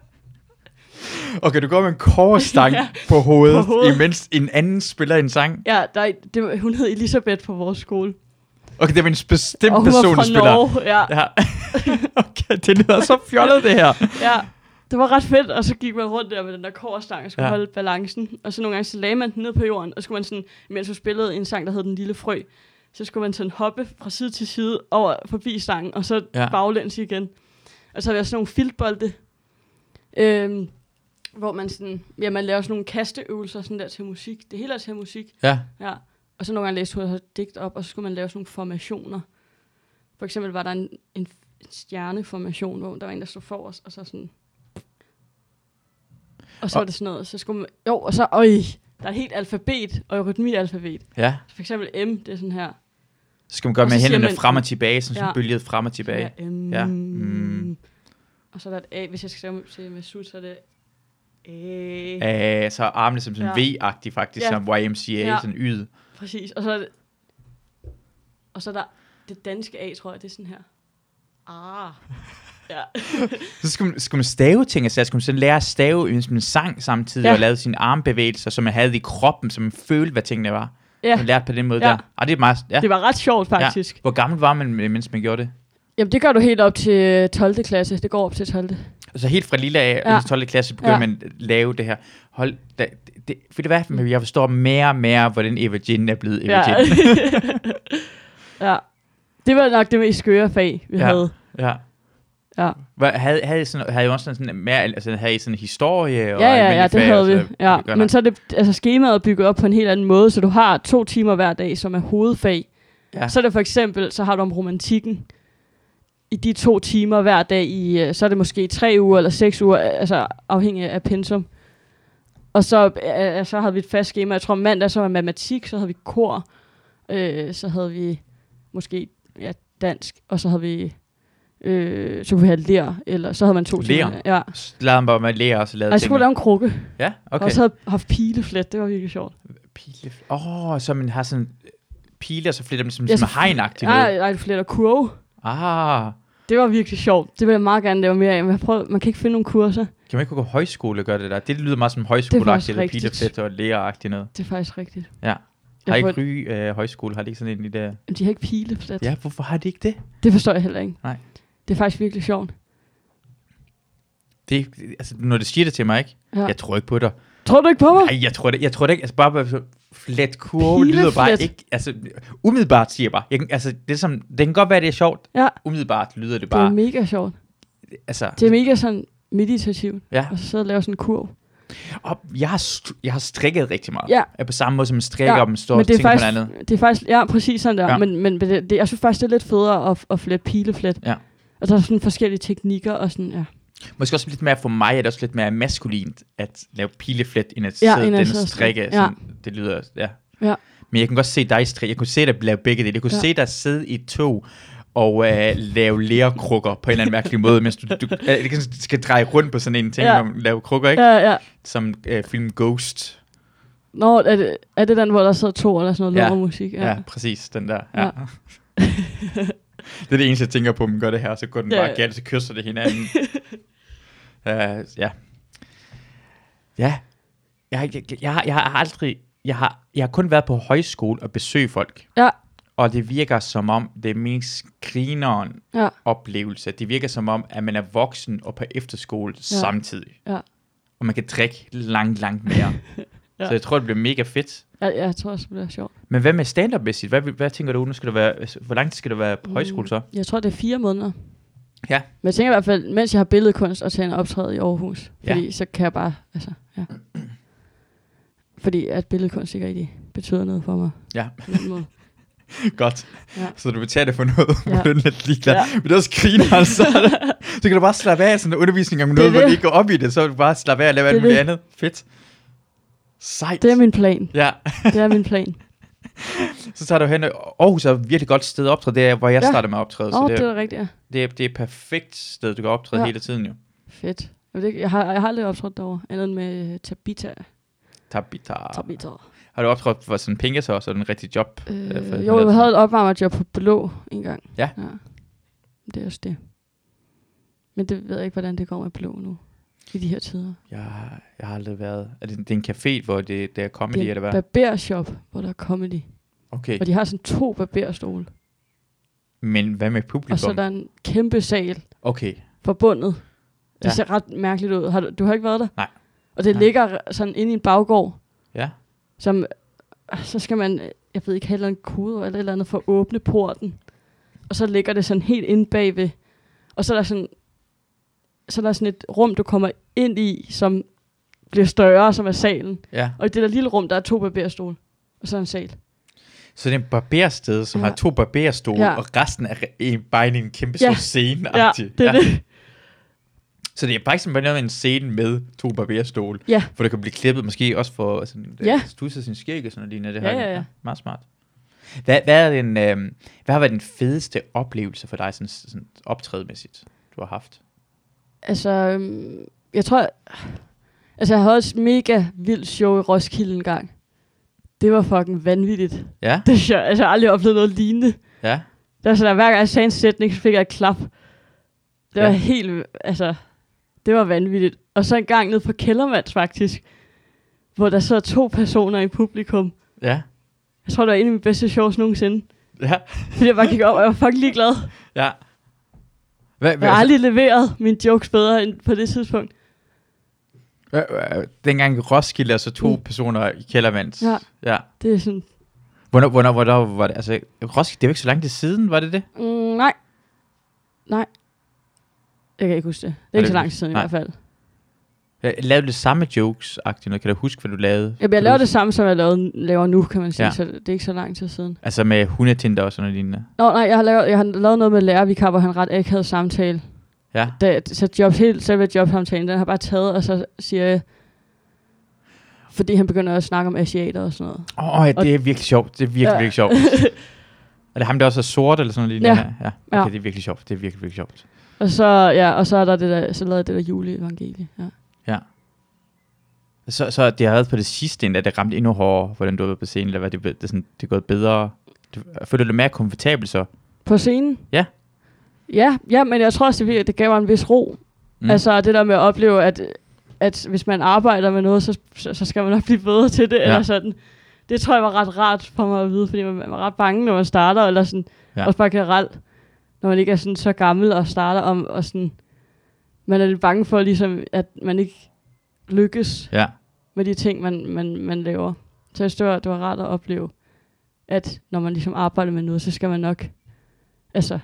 okay, du går med en kårstang ja. Ja. på, hovedet, På hovedet. imens en anden spiller en sang. Ja, der, er en- det, var- hun hed Elisabeth på vores skole. Okay, det var en bestemt og hun var person, der fra spiller. Norge, ja, Ja. okay, det lyder så fjollet, det her. ja. Det var ret fedt, og så gik man rundt der med den der kårstang og skulle Ja. ja. holde balancen. Og så nogle gange, så lagde man den ned på jorden, og så skulle man sådan, mens hun spillede en sang, der hed Den Lille Frø, så skulle man sådan hoppe fra side til side over forbi stangen, og så Ja. ja. baglæns igen. Og så havde jeg sådan nogle filtbolde, øhm, hvor man sådan, ja, man laver sådan nogle kasteøvelser sådan der til musik. Det hele er til musik. Ja. Ja, og så nogle gange læste hun så digt op, og så skulle man lave sådan nogle formationer. For eksempel var der en, en, en stjerneformation, hvor der var en, der stod forrest, og så sådan... Og så Og- var det sådan noget, så skulle man... Jo, og så... Øj, der er et helt alfabet, og rytmialfabet. Ja. For eksempel M, det er sådan her. Så skal man gøre Og med så siger hænderne man- frem og tilbage, sådan, sådan Ja. bølget frem og tilbage. Ja, M. Ja, mm. Og så er der et A, hvis jeg skal skrive til med sut, så er det... A. Æh, så er armene som sådan Ja. V-agtig faktisk, Ja. som YMCA, Ja. sådan yd. Præcis, og så er det... Og så er der det danske A, tror jeg, det er sådan her. Ah. Ja. Så skulle man, skulle man stave ting, altså skulle man sådan lære at stave, mens man sang samtidig, ja. Ja. og lavede sine armbevægelser, som man havde i kroppen, så man følte, hvad tingene var. ja. Man lærte på den måde Ja. der. Og det er meget, ja. Det var ret sjovt, faktisk. Ja. Ja. Hvor gammel var man, øh, mens man gjorde det? Jamen, det gør du helt op til 12. klasse. Det går op til 12. Altså helt fra lille af, ja. Ja. 12. klasse, begyndte ja. Ja. man at lave det her. Hold da, det, det, ved du hvad, Marie, jeg forstår mere og mere, hvordan Eva Jean er blevet Eva Mm. Ja. ja. Jean. ja. Det var nok det mest skøre fag, vi Ja. ja. havde. Ja. Ja. Hvad, havde, havde, I sådan, havde I også sådan, sådan mere, altså havde I sådan historie? Og Ja, ja, ja, almindelige det fag, havde altså, vi. Ja. gør Men nok. så er det, altså, skemaet er bygget op på en helt anden måde, så du har to timer hver dag, som er hovedfag. Ja. Ja. Så er det for eksempel, så har du om romantikken i de to timer hver dag, i, øh, så er det måske tre uger eller seks uger, øh, altså afhængig af pensum. Og så, øh, øh, så havde vi et fast schema. Jeg tror mandag, så var matematik, så havde vi kor, øh, så havde vi måske ja, dansk, og så havde vi øh, så kunne vi have lær, eller så havde man to Ler? timer. Ja. Så lavede man bare med lære og så lavede Og jeg skulle lave en krukke. Ja, Okay. okay. Og så havde jeg haft pileflet, det var virkelig sjovt. Pile. Åh, oh, så man har sådan pile, og så flitter man ligesom som, Ja, som så- hegnagtigt Nej, ud. nej, flet og kurve. Ah, Det var virkelig sjovt. Det vil jeg meget gerne lave mere af, men jeg prøver, man kan ikke finde nogen kurser. kan man ikke gå på højskole og gøre det der? Det lyder meget som højskoleagtigt, eller rigtigt. pileflet og læreragtigt noget. Det er faktisk rigtigt. Ja. Jeg Har har ikke Ry øh, Højskole, har det ikke sådan en lille... De har ikke pileflet. Ja, hvorfor har de ikke det? Det forstår jeg heller ikke. Nej. Det er faktisk virkelig sjovt. det er- altså, når det siger det til mig, ikke? Ja. Jeg tror ikke på dig. Tror du ikke på mig? Nej, jeg tror det, jeg tror det ikke. Altså, bare, bare flat kurve lyder bare Pileflet. ikke... Altså, umiddelbart siger jeg bare. Jeg, kan- altså, det, er som, det kan godt være, det er sjovt. Ja. Umiddelbart lyder det Det bare. er mega sjovt. altså, Det er mega sådan meditativt. Ja. Og så sidde og lave sådan en kurv. og jeg, har st- jeg har strikket rigtig meget. Ja. Jeg er på samme måde, som man strikker, Ja, ja. og man står men og det er, tænker faktisk, på noget andet. det er faktisk, ja, præcis sådan der. Ja. Ja. Men, men det, det, jeg synes faktisk, det er lidt federe at, at flette pileflet. Ja. Og der er sådan forskellige teknikker og sådan, ja. Måske også lidt mere for mig, er det også lidt mere maskulint at lave pileflet, end at Ja, sidde end at den sidde og strikke. strikke, Sådan, Det lyder, ja. Ja. Men jeg kunne godt se dig strikke. Jeg kunne se dig lave begge dele. Jeg kunne Ja. se dig sidde i et tog og øh, lave lærkrukker på en eller anden mærkelig måde, mens du, du øh, det kan sådan- skal dreje rundt på sådan en ting, Ja. ja. når man laver krukker, ikke? Ja. Ja, ja. Som øh, film Ghost. Nå, er det, er det den, hvor der sidder to eller sådan Ja. noget ja. musik? Ja. ja, præcis, den der. Ja. Ja. det er det eneste, jeg tænker på, man gør det her, så går den Ja. bare galt, så kysser det hinanden. uh, ja. Ja. Jeg, jeg, jeg, har- jeg har aldrig... Jeg har, jeg har kun været på højskole og besøge folk. Ja. Og det virker som om, det er mest grineren Ja. oplevelse. Det virker som om, at man er voksen og på efterskole ja. samtidig. Ja. Og man kan drikke langt, langt mere. ja. Ja. Så jeg tror, det bliver mega fedt. Jeg, jeg tror også, det bliver sjovt. Men hvad med stand-up-mæssigt? Hvad, hvad tænker du, nu skal du være, hvor lang tid skal du være på Mm. højskole så? Jeg tror, det er fire måneder. Ja. Men jeg tænker i hvert fald, mens jeg har billedkunst og tager en optræde i Aarhus, Ja. fordi så kan jeg bare, altså, ja. Fordi at billedkunst ikke rigtig betyder noget for mig. Ja. På den måde. Godt. Ja. Ja. Så du betaler for noget, ja. hvor Ja. du er lidt ligeglad. Ja. Ja. Men det er også griner, altså. så kan du bare slappe af sådan en undervisning om noget, det. hvor du ikke går op i det. Så vil du bare slappe af og lave Det alt er muligt det. andet. Fedt. Sejt. Det er min plan. Ja, Det er min plan. så tager du hen. Aarhus er et virkelig godt sted at optræde. Det er, hvor jeg ja. Ja. startede med at optræde. Åh, Så oh, det, det er, er rigtigt, ja. det, er, det er et perfekt sted, du kan optræde ja. Ja. hele tiden jo. Fedt. Jeg, ved ikke, jeg, har, jeg har aldrig optrådt derovre, andet end med øh, Tabita. Tabita. Tabita. Har du optrådt for sådan penge så også? Er det en rigtig job? Ja, for- Øh, jo, jeg havde et opvarmerjob på Blå en gang. Ja. ja. Det er også det. Men det ved jeg ikke, hvordan det går med Blå nu, i de her tider. Jeg, har- jeg har aldrig været... Er det, det er en café, hvor det, det er comedy, det eller er hvad? en barbershop, hvor der er comedy. Okay, Og de har sådan to barberstole. men hvad med Og så er publikum? der en kæmpe sal Okay, forbundet. Det Ja. ja. ser ret mærkeligt ud. Har du, du har ikke været der? Nej. Og det Nej. Nej. ligger sådan inde i en baggård, ja. som... Så skal man, jeg ved ikke, have en eller anden kode eller et eller andet for at åbne porten. Og så ligger det sådan helt inde bagved. Og så er der sådan, så er der sådan et rum, du kommer ind i, som bliver større, som er salen. Ja, Og i det der lille rum, der er to barberstole. Og så er en sal. så det er en barbersted, som ja. Ja. har to barberstole, ja. Ja. og resten er re- en, bare en kæmpe stor ja. Ja. scene. Ja, det er det. Så det er faktisk bare noget med en scene med to barberstole, Ja. hvor det kan blive klippet måske også for sådan, Ja. ja. studset sin skæg og sådan noget lignende. Det Ja, her. ja, ja. Meget smart. Hvad, hvad, er den, øh, hvad har været den fedeste oplevelse for dig, sådan, sådan optrædemæssigt, du har haft? Altså, øhm, jeg tror... Altså, jeg havde også et mega vildt show i Roskilde en gang. Det var fucking vanvittigt. Ja, Det, synes jeg, altså, jeg har aldrig oplevet noget lignende. ja. Der, så der, hver gang jeg sagde en sætning, så fik jeg et klap. Det var Ja. ja. helt... Altså, det var vanvittigt. Og så en gang ned på Kældermands, faktisk. Hvor der sad to personer i publikum. Ja, Jeg tror, det var en af mine bedste shows nogensinde. ja, Fordi jeg bare gik op, og jeg var fucking ligeglad. ja. Hvad, Jeg har aldrig leveret mine jokes bedre end på det tidspunkt. Øh, øh, dengang Roskilde, altså to mm. Mm. personer i Kældermands. Ja. ja. Det er sådan... Hvornår, hvornår, hvornår var det? Altså, Roskilde, det er jo ikke så lang tid siden, var det det? Mm, nej. Nej. Jeg kan ikke huske det. Det er ikke det så lang ikke- tid siden i nej. hvert fald. Jeg lavede det samme jokes agtigt noget. Kan du huske, hvad du lavede? Jeg, jeg Kan laver du det samme, som jeg lavede, laver nu, kan man sige. Ja. Ja. Så det er ikke så lang tid siden. huske- Altså med hundetinder og sådan noget lignende. Nå, nej, jeg har lavet, jeg har lavet noget med lærervikar, hvor han ret ikke havde samtale. Ja. Da, så job, helt selve jobsamtalen, den har bare taget, og så siger jeg, fordi han begynder at snakke om asiater og sådan noget. Åh, oh, ja, Og- det er virkelig sjovt. Det er virkelig, ja. Ja. virkelig sjovt. Er det ham, der også er sort eller sådan noget lignende? Ja. ja. Ja. Okay, det er virkelig sjovt. Det er virkelig, virkelig sjovt. Og så, ja, og så er der det der, så lavede jeg det der juleevangelie. Ja. Så, så det har været på det sidste, end at det ramte endnu hårdere, hvordan du var på scenen, eller hvad det, det, er sådan, det er gået bedre. Du, føler du dig mere komfortabel så? På scenen? Ja. Ja, ja men jeg tror også, det, vir- det gav mig en vis ro. Mm. Mm. Altså det der med at opleve, at, at hvis man arbejder med noget, så, så, så skal man nok blive bedre til det, Ja. ja. eller sådan. Det tror jeg var ret rart for mig at vide, fordi man, man var ret bange, når man starter, eller sådan, Ja. ja. også bare generelt, når man ikke er sådan så gammel og starter om, og sådan, man er lidt bange for ligesom, at man ikke lykkes Ja. med de ting, man, man, man laver. Så jeg synes, det var, det var rart at opleve, at når man ligesom arbejder med noget, så skal man nok, altså,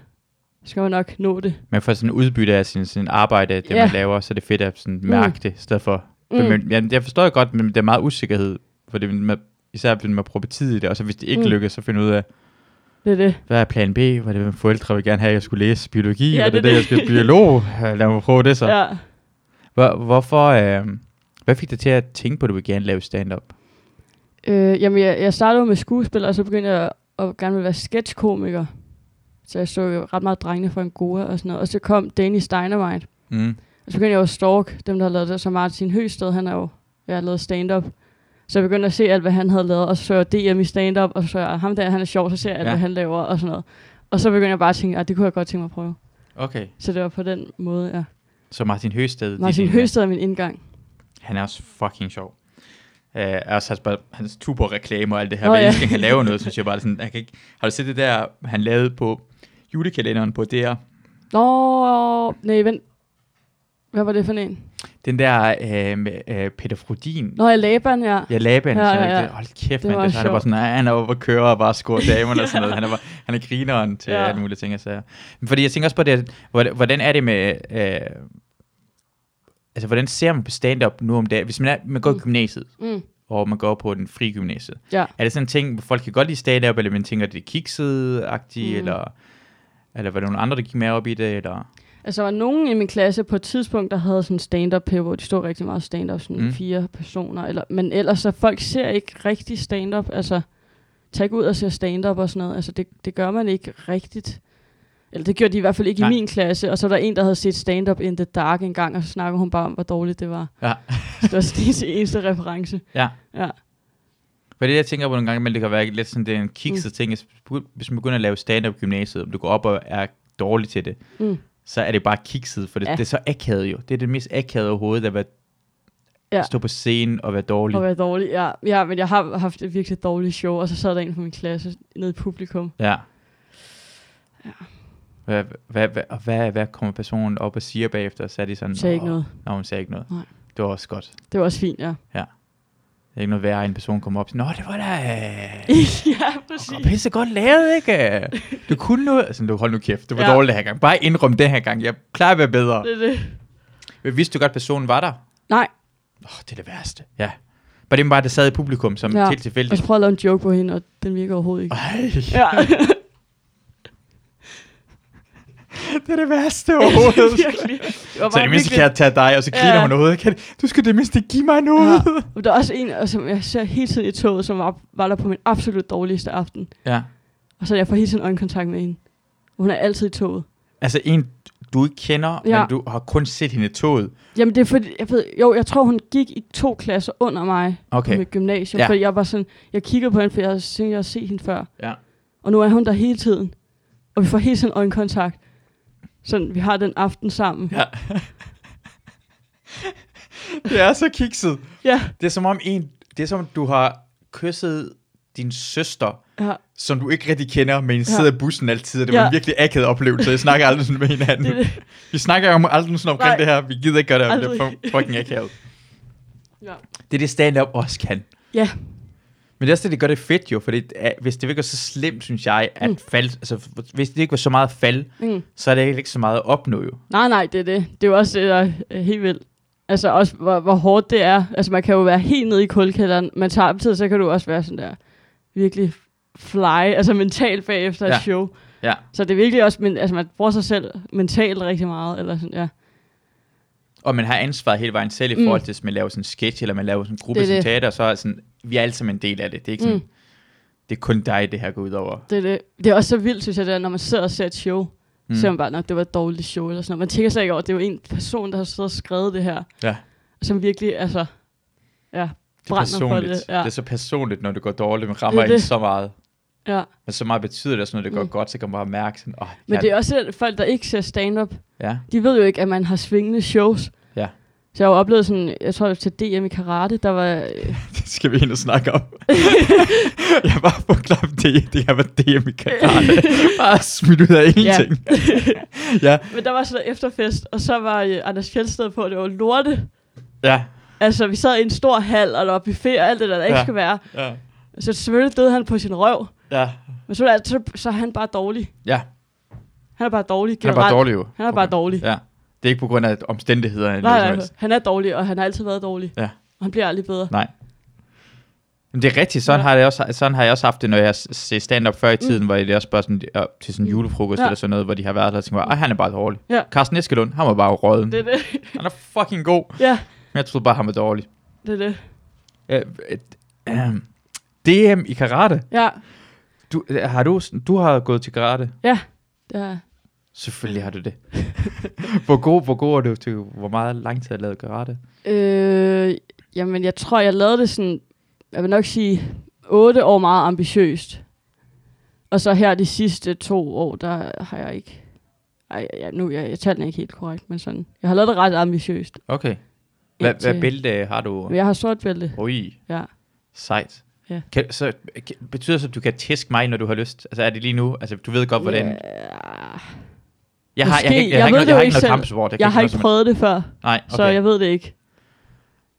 skal man nok nå det. Man får sådan udbytte af sin, sin arbejde, det Ja. Mm. man laver, så er det fedt at sådan mærke det, i stedet for... Mm. Men, jamen, jeg forstår jeg godt, men der er meget usikkerhed, for det, man, især fordi man prøver tid i det, og så hvis det ikke mm. Mm. lykkes, så finder man ud af, Det er det. Hvad er plan B? Var det, mine forældre ville gerne have, at jeg skulle læse biologi? Ja, Ja, var det, det er det, det, jeg det. skulle biolog? Lad mig prøve det så. Ja. Ja. Hvor, hvorfor, øh, hvad fik dig til at tænke på, at du ville gerne lave stand-up? Øh, jamen, jeg, jeg startede jo med skuespil, og så begyndte jeg at, at gerne ville være sketchkomiker. Så jeg så jo ret meget drengene fra Angora og sådan noget. Og så kom Danish Dynamite. Mm. Og så begyndte jeg jo at stalk, dem der har lavet det. Så Martin Høsted, han er jo, jeg har lavet stand-up. Så jeg begyndte at se alt, hvad han havde lavet, og så så jeg DM i stand-up, og så så jeg ham der, han er sjov, så ser jeg alt, Ja. ja. hvad han laver og sådan noget. Og så begyndte jeg bare at tænke, at det kunne jeg godt tænke mig at prøve. Okay. Så det var på den måde, ja. Så Martin Høsted. ligesom Martin din- Høsted er min indgang. Han er også fucking sjov. Uh, altså hans, hans Tuborg-reklamer og alt det her. Nå, Hver ja. eneste gang han laver noget, synes jeg bare sådan, jeg kan ikke, har du set det der, han lavede på julekalenderen på DR? Nå, nej, vent. Hvad var det for en? Den der øh, med øh, Peter Frudin. Nå, jeg Laban, ja. Ja, Laban, Ja, ja, ja, ja, ja. ja. Hold kæft, Det man, var det, så er det bare sjovt. sådan, nej, han er oppe og kører og bare scorer damerne og sådan noget. Han er, bare, han er grineren til ja. Ja. alle mulige ting og sager. Men Fordi jeg tænker også på det, at, hvordan- hvordan er det med, øh, altså hvordan ser man på stand-up nu om dagen? Hvis man, er, man går i Mm. gymnasiet, Mm. og man går på den frie gymnasiet. Ja. Er det sådan en ting, hvor folk kan godt lide stand-up, eller man tænker, det er kikset-agtigt, mm. Mm. eller, eller var det nogle andre, der gik mere op i det? Eller? Altså, der var nogen i min klasse på et tidspunkt, der havde sådan stand-up her, hvor de stod rigtig meget stand-up, sådan Mm. mm. fire personer. Eller, men ellers, så folk ser ikke rigtig stand-up. Altså, tag ikke ud og se stand-up og sådan noget. Altså, det, det gør man ikke rigtigt. Eller det gjorde de i hvert fald ikke Nej. Nej. i min klasse. Og så var der en, der havde set stand-up in the dark en gang, og så snakkede hun bare om, hvor dårligt det var. Ja. Så det var sådan ens eneste reference. Ja. Ja. For det, jeg tænker på nogle gange, men det kan være lidt sådan, det er en kikset mm. ting. Hvis du- hvis man begynder at lave stand-up i gymnasiet, om du går op og er dårlig til det, Mm. så er det bare kikset, for det, ja. Ja. det er så akavet jo. Det er det mest akavede overhovedet, at være, ja. Ja. stå på scenen og være dårlig. Og være dårlig. Ja, ja, men jeg har haft et virkelig dårligt show, og så sad der en fra min klasse nede i publikum. Ja. Hvad, hvad, hvad, og hvad, hvad kommer personen op og siger bagefter? Så er de sådan, Sagde ikke "Nå, noget. Nå, hun sagde ikke noget. Nej. Det var også godt. Det Det var også fint, ja. er ikke noget værre, at en person kommer op og siger, Nå, det var da... ja, Og præcis. pisse godt lavet, ikke? Du kunne noget. Altså, du, hold nu kæft, det var ja. Ja. dårligt den her gang. Bare indrøm den her gang. Jeg plejer at være bedre. Det er det. Men vidste du godt, at personen var der? Nej. Åh, oh, det er det værste. Ja. Bare det er bare, der sad i publikum, som ja. Ja. helt Og så tilfældigt. prøvede jeg at lave en joke på hende, og den virker overhovedet ikke. Ej, Ja. det er det værste overhovedet. virkelig. Det så var i bare det mindste virkelig- kan jeg tage dig, og så griner ja. Ja. hun overhovedet. Kan, du skal det mindste give mig noget. Ja. Men der er også en, og som jeg ser hele tiden i toget, som var, var der på min absolut dårligste aften. Ja. ja. Og så jeg får hele tiden øjenkontakt med hende. Hun er altid i toget. Altså en, du ikke kender, ja. Ja. men du har kun set hende i toget. Jamen det er fordi, jeg ved, jo, jeg tror hun gik i to klasser under mig okay. på Okay. mit gymnasium. Ja. Ja. Fordi jeg var sådan, jeg kiggede på hende, for jeg havde tænkt, jeg havde set hende før. Ja. Og nu er hun der hele tiden. Og vi får hele tiden øjenkontakt. Sådan, vi har den aften sammen. Ja. det er så kikset. Ja. Det er som om en, det er som om du har kysset din søster, ja. som du ikke rigtig kender, men I sidder i bussen altid, og det var Ja. en virkelig akavet oplevelse. Jeg snakker aldrig sådan med hinanden. Det er det. Vi snakker om aldrig sådan omkring Nej. det her. Vi gider ikke gøre det, det er Aldrig. fu- fucking akavet. Ja. Det er det, stand-up også kan. Ja. Men det er også det, det gør det fedt jo, fordi det er- hvis det ikke var så slemt, synes jeg, at mm. Mm. fald, altså, hvis det ikke var så meget fald, Mm. så er det ikke så meget at opnå jo. Nej, nej, det er det. Det er jo også det, der er øh, helt vildt. Altså også, hvor, hvor hårdt det er. Altså man kan jo være helt nede i kulkælderen, men samtidig så kan du også være sådan der virkelig fly, altså mentalt bagefter ja. Ja. et show. Ja. Så det er virkelig også, men, altså man bruger sig selv mentalt rigtig meget, eller sådan, ja. Og man har ansvaret hele vejen selv i Mm. forhold til, hvis man laver sådan en sketch, eller man laver sådan en gruppe Det er som det. teater, så er sådan, vi er alle sammen en del af det. Det er ikke sådan, mm. Mm. det er kun dig, det her går ud over. Det er, det. det er også så vildt, synes jeg, det er, når man sidder og ser et show, mm. så er man bare, at det var et dårligt show, eller sådan noget. Man tænker sig ikke over, at det er jo en person, der har siddet og skrevet det her, Ja. som virkelig, altså, ja, det er brænder for personligt. det. Ja. det er så personligt, når det går dårligt. Man rammer Det er ind det. så meget. ja. Men så meget betyder det også, når det går mm. Mm. godt, så kan man bare mærke sådan, åh, oh, Men ja, det er også at folk, der ikke ser stand-up, ja, de ved jo ikke, at man har svingende shows. Ja. Så jeg har jo oplevet sådan, jeg tror til DM i karate, der var... øh, det skal vi ind og snakke om. jeg var på klap det, det her var DM i karate. bare smidt ud af ingenting. Ja, ja. Men der var sådan en efterfest, og så var øh, Anders Fjeldsted på, og det var lorte. ja. Altså, vi sad i en stor hal, og der var buffet og alt det, der, der ja. Ja. ikke skal være. ja. Så selvfølgelig døde han på sin røv. ja. Men så, er det- så, så er han bare dårlig. Ja. Han er bare dårlig Han er generelt. bare dårlig jo. Han er bare dårlig. Ja. Det er ikke på grund af omstændighederne. eller Nej, altså, noget som nej, helst. han er dårlig, og han har altid været dårlig. Ja. Og han bliver aldrig bedre. Nej. Men det er rigtigt, sådan, Ja. ja. har jeg også, sådan har jeg også haft det, når jeg s- ser stand-up før i tiden, mm. hvor det også bare sådan, øh, til sådan en Mm. julefrokost Ja. ja. eller sådan noget, hvor de har været der og tænkt, mig, "Ej, han er bare dårlig. Ja. Carsten Eskelund, han var bare rødden. Det er det. Han er fucking god, Ja, men jeg troede bare, han var dårlig. det er det. Øh, øh, øh, DM i karate. Ja, Du, øh, har du, sådan- du har gået til karate. det er, Selvfølgelig har du det. hvor, god, hvor god er du til, hvor meget lang tid har du lavet karate? øh, jamen, jeg tror, jeg lavede det sådan, jeg vil nok sige, otte år meget ambitiøst. Og så her de sidste to år, der har jeg ikke... Ej, ja, nu jeg, jeg tallene ikke helt korrekt, men sådan. Jeg har lavet det ret ambitiøst. Okay. Hvad, indtil- hvad bælte har du? Men Jeg har sort bælte. Ui, Ja. sejt. Ja. Kan, så, kan, betyder det, så, at du kan tæske mig, når du har lyst? Altså er det lige nu? Altså du ved godt, hvordan... Yeah. Ja, Jeg har, jeg, Måske. kan ikke- jeg, Jeg har ikke ved noget- det jeg jo har ikke ikke noget selv. kampsport. jeg har noget ikke som- prøvet det før, okay. Nej, okay. så jeg ved det ikke.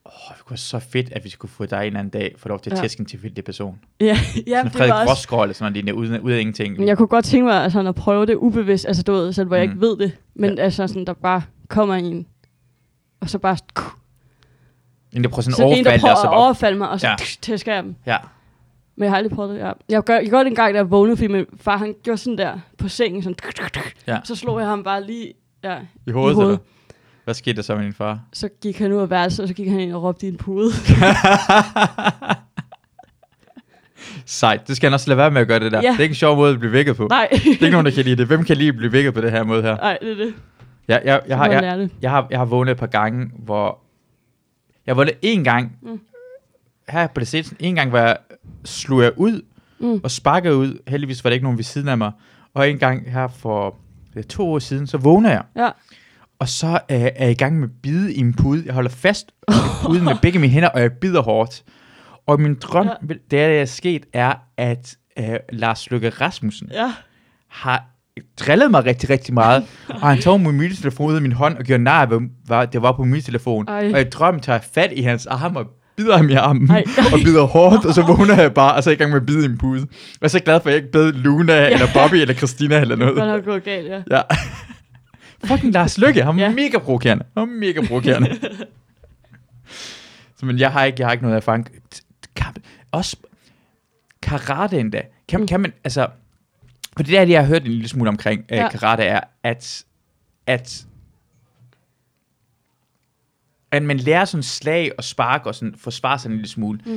Åh, det kunne være så fedt, at vi skulle få dig en eller anden dag, for lov til at Ja. tæske en tilfældig person. Ja, Sådan Frederik Rosgaard eller sådan noget lignende, uden, uden af ingenting. Men jeg kunne godt tænke mig altså, at prøve det ubevidst, altså du ved, selv hvor jeg Mm. ikke ved det, men Ja. altså sådan, der bare kommer en, og så bare En, der prøver sådan så en, der overfald, prøver og så at bare... overfalde mig, og så Ja. ja. tæsker jeg dem. Ja. Men jeg har aldrig prøvet det, ja. Jeg gør, jeg gør det en gang, da jeg vågnede, fordi min far, han gjorde sådan der på sengen, sådan, Ja. så slog jeg ham bare lige, ja. I hovedet, I hovedet. eller? Hvad skete der så med din far? Så gik han ud af værelset, og så gik han ind og råbte i en pude. Sejt. Det skal han også lade være med at gøre det der. Ja. Det er ikke en sjov måde at blive vækket på. Nej. Det er ikke nogen, der kan lide det. Hvem kan lige blive vækket på det her måde her? Nej, det er det. Jeg, jeg, jeg, Jeg har, har, jeg, lære det. jeg, har, jeg har vågnet et par gange, hvor... Jeg vågnede en gang, Mm. mm. her på det seneste, en gang, hvor jeg slog jeg ud Mm. og sparkede ud. Heldigvis var der ikke nogen ved siden af mig. Og en gang her for øh, to år siden, så vågner jeg. Ja. Og så øh, er jeg i gang med at bide i en pude. Jeg holder fast ud med begge mine hænder, og jeg bider hårdt. Og min drøm, Ja. ja. det er, der er sket, er, at øh, Lars Løkke Rasmussen Ja. har drillet mig rigtig, rigtig meget. og han tog min mobiltelefon ud af min hånd og gjorde nar, af, hvad var- det var på min mobiltelefon. Ej. Og i drømmen tager jeg fat i hans arm og bider ham i armen. Ej. og bider hårdt, og så vågner jeg bare, og så er jeg i gang med at bide i en pude. Og så er jeg glad for, at jeg ikke bed Luna, eller Bobby, eller Christina, eller Det noget. har gået galt, ja. Ja. Fucking Lars Lykke, han var Ja. mega provokerende. Han var mega provokerende. så, men jeg har ikke, jeg har ikke noget erfaring. T- Kamp. Også karate endda. Kan, Mm. kan man, altså... For det der, jeg har hørt en lille smule omkring ja. Ja. øh, karate, er, at, at at man lærer sådan slag og spark og sådan forsvare sig en lille smule. Mm.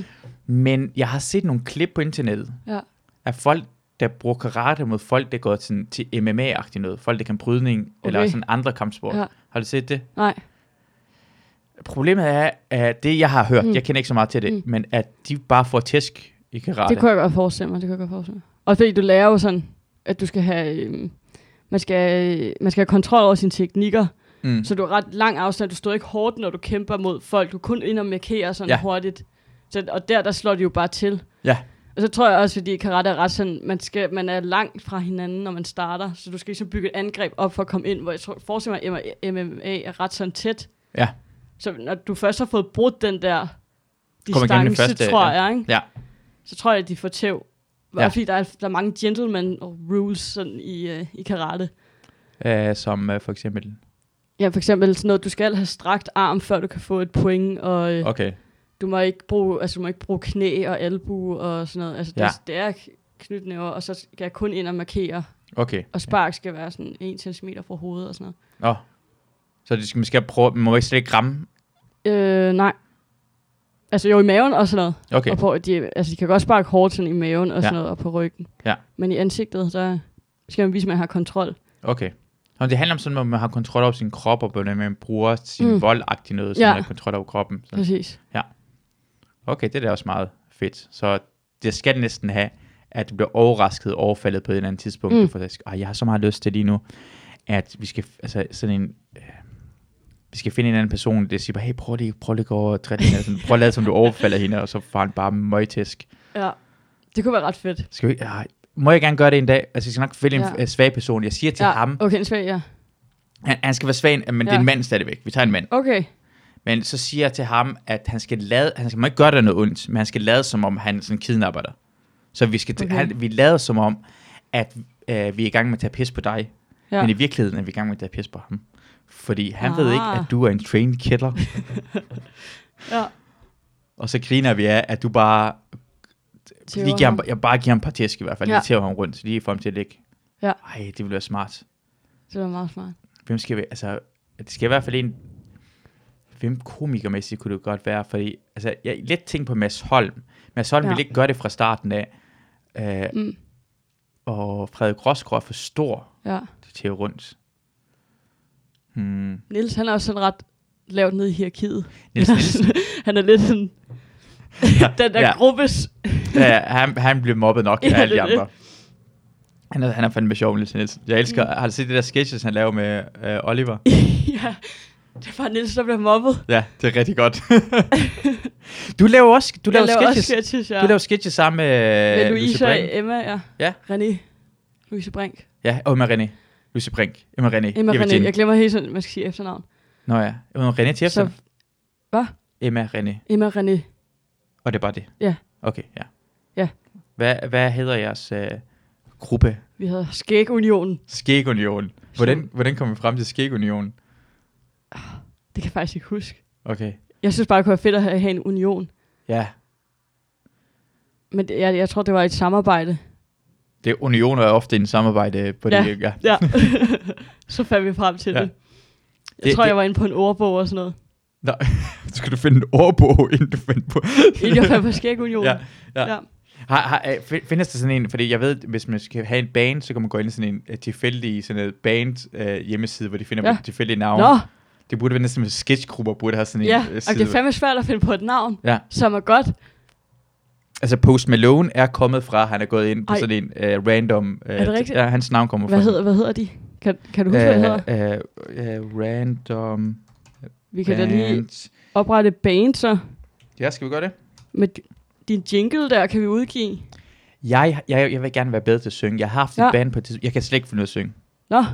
Mm. Men jeg har set nogle klip på internettet, Ja. af folk, der bruger karate mod folk, der går sådan til MMA-agtigt noget. Folk, der kan brydning, okay. eller Okay. sådan andre kampsport. Ja. Ja. Har du set det? Nej. Problemet er, at det, jeg har hørt, Mm. mm. jeg kender ikke så meget til det, Mm. mm. men at de bare får tæsk i karate. Det kunne jeg godt forestille mig, det kunne jeg godt forestille mig. Og fordi du lærer jo sådan, at du skal have, øhm, man, skal, øh, man skal have kontrol over sine teknikker, mm. så du er ret lang afstand, du står ikke hårdt, når du kæmper mod folk, du er kun ind og markerer sådan ja. Ja. hurtigt. Så, og der, der slår de jo bare til. Ja. Og så tror jeg også, fordi karate er ret sådan, man, skal, man er langt fra hinanden, når man starter, så du skal ligesom bygge et angreb op for at komme ind, hvor jeg tror, forestiller mig, at MMA er ret sådan tæt. Ja. Så når du først har fået brudt den der Kom igennem det distance, første, tror ja. jeg, ikke? Ja. så tror jeg, at de får tæv. Ja. Ja. Fordi der er, der er mange gentleman rules sådan i, øh, i karate. Æh, som uh, for eksempel... Ja, for eksempel sådan noget, du skal have strakt arm, før du kan få et point, og øh, Okay. du, må ikke bruge, altså, du må ikke bruge knæ og albu og sådan noget. Altså, ja. Ja. det, er- det er knytnæver, og så skal jeg kun ind og markere, Okay. og spark skal være sådan 1 cm fra hovedet og sådan Nå. Så det skal, man skal prøve... Man må ikke slet ikke ramme. noget. Øh, nej. Altså jo i maven og sådan noget. Okay. Og på, de, altså, de kan godt sparke hårdt sådan i maven og sådan Ja. noget, og på ryggen. Ja. Men i ansigtet, der skal man vise, at man har kontrol. Okay. Nå, det handler om sådan, at man har kontrol over sin krop, og hvordan man bruger sin Mm. mm. voldagtige noget, så Ja. ja. man har kontrol over kroppen. Så. Præcis. Okay, det er da også meget fedt. Så det skal næsten have, at du bliver overrasket og overfaldet på et eller andet tidspunkt. Mm. Mm. For at, Ej, jeg har så meget lyst til lige nu, at vi skal, f- altså sådan en, øh, vi skal finde en anden person, der siger bare, hey, prøv lige, prøv lige at gå over og trætte hende. Sådan, prøv at lade, som du overfalder hende, og så får han bare møgtæsk. Ja, det kunne være ret fedt. Skal vi, ej, må jeg gerne gøre det en dag? Altså, jeg skal nok finde Ja. en øh, svag person. Jeg siger til ja. ja. ham, Okay, en svag, ja. han, han skal være svag, men det er Ja. en mand stadigvæk. Vi tager en mand. Okay, Men så siger jeg til ham, at han skal lade, han skal må ikke gøre dig noget ondt, men han skal lade som om, han sådan kidnapper dig. Så vi, skal, Okay. okay. han, vi lader som om, at øh, vi er i gang med at tage pis på dig, ja. ja. men i virkeligheden er vi i gang med at tage pis på ham. Fordi han ah. ved ikke, Ah. at du er en trained killer. ja. Og så griner vi af, at du bare Lige giver ham, jeg bare giver ham et par tæsk i hvert fald. Ja. Ja. Lige tæver ham rundt, lige får ham til at ligge. Ja. Ej, det ville være smart. Det var meget smart. Hvem skal vi, altså, det skal i hvert fald en, hvem komikermæssigt kunne det godt være, fordi, altså, jeg let tænkt på Mads Holm. Mads Holm ja. Ja. ville ikke gøre det fra starten af, øh, Mm, og Frederik Rosgaard er for stor ja. til Theo Rundt. Hmm. Niels, han er også sådan ret lavt nede i hierarkiet. Niels Nielsen. han er lidt sådan... den der Ja. ja. gruppes... ja, han, han blev mobbet nok af Ja, alle de det er det. andre. Han er, han er fandme sjov, Nielsen Nielsen. Jeg elsker, mm. har du set det der sketches, han laver med øh, Oliver? ja, det var Niels, der blev mobbet. Ja, det er rigtig godt. du laver også, du Jeg laver, laver også sketches. sketches, ja. Du laver sketches sammen med, med med Louise Brink. og Emma, ja. Ja. René. Louise Brink. Ja, og med René. Lucy Brink. Emma René. Emma Emma René. René. Jeg glemmer hele tiden, man skal sige efternavn. Nå ja, Emma René til efter. Så- Hvad? Emma René. Emma René. Og det er bare det? Ja. Okay, ja. Ja. Hvad, hvad hedder jeres øh, gruppe? Vi hedder Skægunionen. Skægunionen. Hvordan, hvordan kom vi frem til Skægunionen? Det kan jeg faktisk ikke huske. Okay, Jeg synes bare, det kunne være fedt at have have en union. ja. Men det, jeg, jeg tror, det var et samarbejde. Det unioner er ofte en samarbejde på Ja. det. Ja. Ja. så fandt vi frem til Ja. ja. det. Jeg Det- det, tror, det- det. jeg var inde på en ordbog og sådan noget. Så skal du finde en ordbog, inden du finder på. Inden jeg fandt på Skægunionen. Ja, ja. Har, har, øh, fin- findes der sådan en, fordi jeg ved, hvis man skal have en band, så kan man gå ind i sådan en øh, tilfældig sådan en band øh, hjemmeside, hvor de finder Ja. ja. tilfældige navne. Nå, Det burde være næsten med sketchgrupper, burde have sådan en ja. øh, Og side. det er fandme svært at finde på et navn, Ja. som er godt. Altså Post Malone er kommet fra, han er gået ind på Ej. Ej. sådan en øh, random... Øh, Er det rigtigt? Ja, hans navn kommer Hvad fra... hedder, hvad hedder de? Kan, kan du huske, hvad det hedder? hedder? Øh, øh, random... Vi kan da lige Band. oprette band, så Ja, skal vi gøre det? med din jingle der kan vi udgive. Jeg, jeg, jeg vil gerne være bedre til at synge. Jeg har haft ja. Ja. et band på et tidspunkt. Jeg kan slet ikke finde ud af at synge. Nå,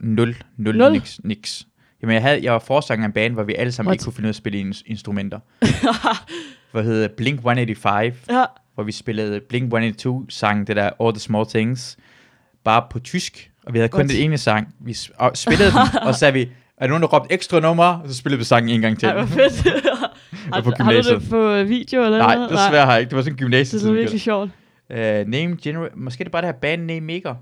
Nul. Nul. Nul. Nul? Niks. Niks. Jamen, jeg, havde, jeg var forsanger af en band, hvor vi alle sammen What? ikke kunne finde ud af at spille ins- instrumenter. Hvad hedder Blink-185. ja. hvor vi spillede Blink-182 sang, det der All the Small Things, bare på tysk, og vi havde kun What? den ene sang. Vi s- og spillede den, og så sagde vi, er der nogen, der råbte ekstra numre? Og så spillede vi sangen en gang til. Ej, hvor fedt. har, på har du gymnasiet. det på øh, video eller Nej, noget? desværre har jeg ikke. Det var sådan en Det er gymnasietid. så virkelig sjovt. Uh, name General. Måske det er bare det her band Name Maker.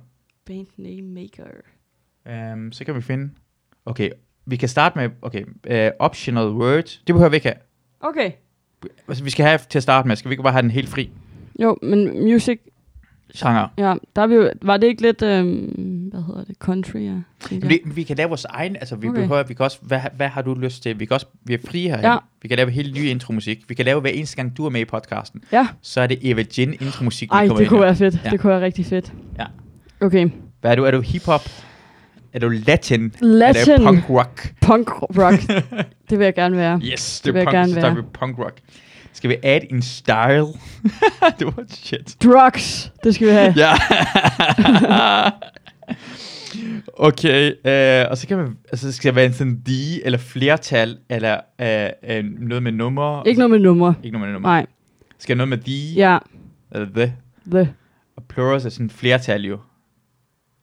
Band name maker. Um, så kan vi finde. Okay, vi kan starte med, okay, uh, optional word. Det behøver vi ikke have. Okay. Altså, vi skal have til at starte med. Skal vi ikke bare have den helt fri? Jo, men music, Genre. ja, der er vi jo, var det ikke lidt, øhm, hvad hedder det, country, ja? tænker jeg. Vi, vi kan lave vores egen, altså vi okay. Okay. behøver, vi kan også, hvad, hvad har du lyst til? Vi kan også, vi er frie herhen. Ja. Ja. Vi kan lave helt ny intromusik. Vi kan lave hver eneste gang, du er med i podcasten. Ja. Så er det Eva Jin intromusik, vi Ej, kommer det ind kunne med. være fedt. Ja. Det kunne være rigtig fedt. Ja. Okay. Hvad er du? Er du hiphop? Er du latin? Er Latin. du punk rock? Punk rock. det vil jeg gerne være. Yes, det, det Det vil er jeg punk, gerne så starter vi være. punk rock. Skal vi add en style? det var shit. Drugs, det skal vi have. Ja. okay, øh, og så kan man, altså skal det være en sådan de, eller flertal, eller øh, øh, noget med nummer. Ikke noget med numre. Ikke noget med nummer. Nej. Skal noget med de, Ja. eller the, The. og plurals er sådan flertal jo.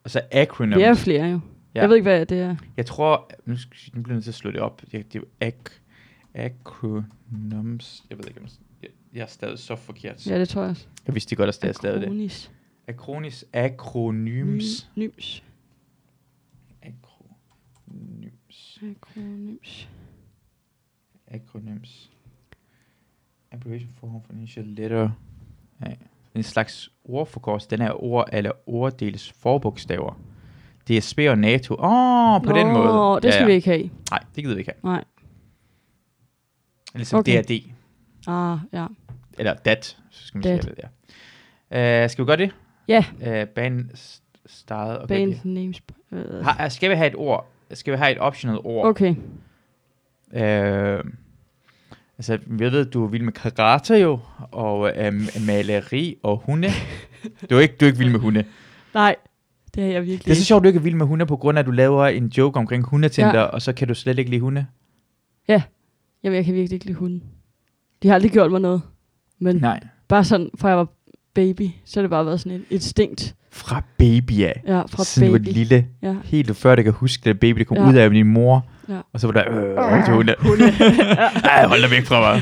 Og så acronym. Det er flere jo. Ja. Jeg ved ikke, hvad det er. Jeg tror, nu, skal, nu bliver jeg nødt til at slå det op. Jeg, det er jo ac, acronyms. Jeg ved ikke, om jeg, jeg er stadig så forkert. Ja, det tror jeg også. Jeg vidste godt, at jeg stadig det. Akronis. Akronis, akronyms. Ny- Nyms. Akronyms. Akronyms. Acronyms. Abbreviation form for initial letter. Ja. En slags ordforkors. Den er ord eller orddels forbogstaver. DSB og NATO. Åh, oh, på den måde. det skal vi ikke have. Nej, det gider vi ikke have. Nej. Ligesom okay. Okay. DRD. Ah, ja. Eller DAT, så skal man Dat. sige det der. Uh, skal vi gøre det? Ja. Uh, band s- style. Okay. Band vi- names. øh, Har, skal vi have et ord? Skal vi have et optional ord? Okay. Øh, altså, jeg ved, du er vild med karate jo, og øh, maleri og hunde. Du er, ikke, du er ikke vild med hunde. Nej, det er jeg virkelig Det er så ikke. sjovt, du ikke er vild med hunde, på grund af, at du laver en joke omkring hundetinder, ja. Ja. og så kan du slet ikke lide hunde. Jamen, jeg kan virkelig ikke lide hunden. De har aldrig gjort mig noget. Men Nej. Nej. bare sådan, fra jeg var baby, så har det bare været sådan et instinkt Fra baby af. ja, fra Siden du var baby. lille. Ja, Helt før, du kan huske, det baby, det kom ja. Ja. ud af din mor. Ja. Og så var der, øh, til hunde. hunde. Ej, hold dig væk fra mig.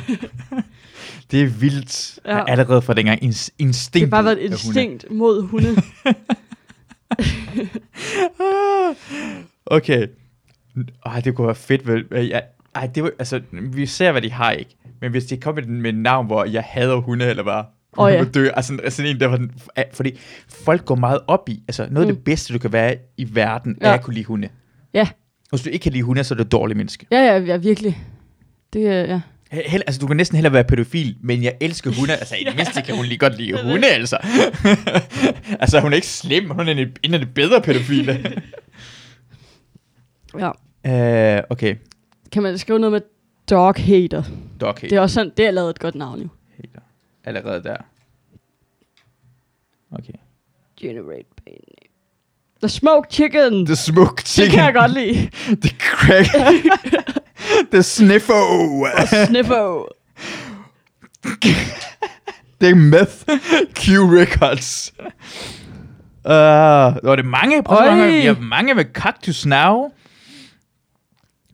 Det er vildt. Ja. Ja. Allerede fra dengang ins- instinkt. Det har bare været et instinkt mod hunde. Okay. Ej, det kunne være fedt, vel? Jeg, ej, det var, altså, vi ser, hvad de har, ikke? Men hvis de kom med, med et navn, hvor jeg hader hunde, eller bare, Åh, oh, ja. ja. dø, altså sådan- sådan en, der var den, af- fordi folk går meget op i, altså noget af det bedste, du kan være i verden, ja. Mm. Ja. er at kunne lide hunde. Ja. Hvis du ikke kan lide hunde, så er du et dårligt menneske. Ja, ja, ja, virkelig. Det, er- ja. He- Hell, altså, du kan næsten hellere være pædofil, men jeg elsker hunde. Altså, i det mindste kan hun lige godt lide hunde, altså. altså, hun er ikke slem, hun er en, en af de bedre pædofile. ja. uh, okay, Kan man skrive noget med dog hater? dog hater. Det er også sådan, det er lavet et godt navn jo. hater. Allerede der. Okay. Generate by name. The smoked chicken. The smoke chicken. Det kan jeg godt lide. The crack. The sniffo. Sniffo. The meth. Q records. Uh, var det er mange? Prøv at Oj. høre, vi har mange med Cactus Now.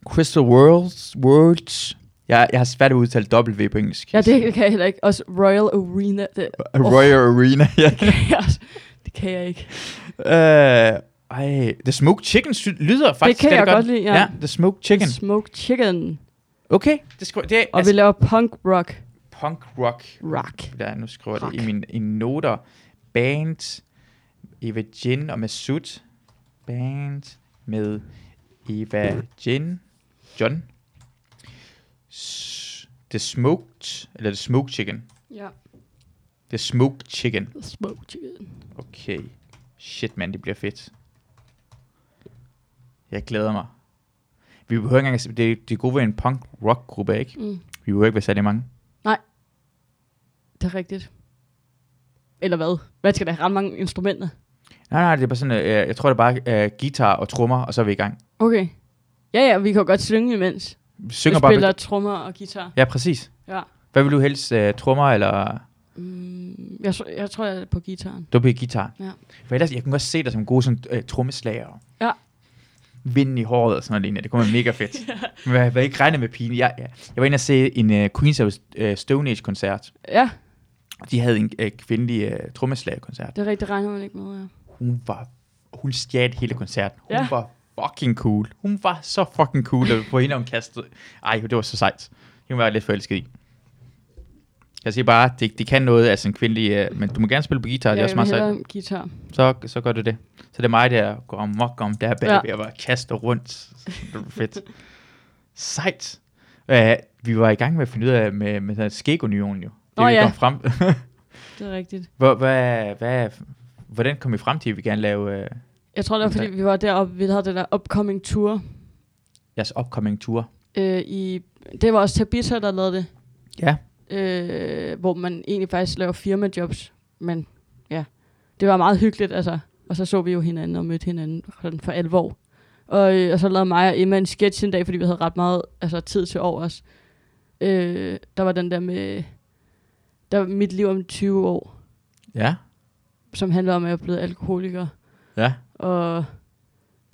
Crystal Worlds. Worlds. Jeg, jeg har svært ved at udtale W på engelsk. Ja, det kan jeg heller ikke. Også Royal Arena. Det, Royal Arena. Ja. det, kan jeg også. det kan jeg ikke. Uh, ej, The Smoked Chicken sy- lyder faktisk kan rigtig jeg godt lide, ja. ja. The Smoked Chicken. Smoked chicken. Okay, det, skriver, det er Og altså, vi laver punk rock. punk rock. Rock. Der, nu skriver jeg det Rock. i mine i noter. Band, Eva Jin og Masud. Band med Eva Jin, John. S- The Smoked, eller The Smoked Chicken. Ja. The Smoked Chicken. Smoked chicken. Okay. Shit, mand, det bliver fedt. Jeg glæder mig. Vi behøver ikke engang... Det, det er gode ved en punk-rock-gruppe, er, ikke? Mm. Vi behøver ikke være særlig mange. Det er rigtigt. Eller hvad? Hvad skal der have ret mange instrumenter? Nej, nej, det er bare sådan... Øh, jeg tror, det er bare øh, guitar og trommer, og så er vi i gang. Okay. Ja, ja, vi kan jo godt synge imens. Vi Vi synger bare... spiller trommer og guitar. Ja, præcis. Ja. Hvad vil du helst? Øh, trommer eller... Mm, jeg, tror- jeg tror, jeg er på gitaren. Du er guitar. Ja. For ellers, jeg kunne godt se dig som gode sådan, øh, trommeslager. Ja. Vinden i håret og sådan noget lignende. Det kunne være mega fedt. Men jeg havde ikke regnet med pigen. Jeg, jeg, jeg var inde og se en øh, Queen's of øh, Stone Age-koncert. Ja, De havde en øh, kvindelig øh, trommeslagerkoncert. det er rigtigt, det regner man ikke med. Ja. Hun var, hun stjal hele koncerten. Hun Ja. ja. var fucking cool. Hun var så fucking cool, da vi på hende omkastet. Ej, det var så sejt. Hun var jeg lidt forelsket i. Jeg siger bare, det, det kan noget, altså en kvindelig, øh, men du må gerne spille på guitar, det er også meget sejt. sejt. guitar. Så, så gør du det. Så det er mig, der går amok om der bag, Ja. ja. jeg bare kaster rundt. Det var fedt. Sejt. Uh, vi var i gang med at finde ud af med, med, med skægunionen jo. Det Nå vi ja. kom frem. Det er rigtigt. Hvor, hvad, hvad, hvordan kom vi frem til, at vi gerne lave øh, Jeg tror, det var, fordi vi var deroppe, vi havde den der upcoming tour. jeres upcoming tour? Øh, i, det var også Tabitha, der lavede det. Ja. Øh, hvor man egentlig faktisk laver firmajobs. Men ja, det var meget hyggeligt, altså. Og så så vi jo hinanden og mødte hinanden sådan for alvor. Og, øh, og så lavede mig og Emma en sketch en dag, fordi vi havde ret meget altså, tid til overs. Øh, der var den der med, der var mit liv om 20 år, Ja. som handler om, at jeg er blevet alkoholiker. Ja. og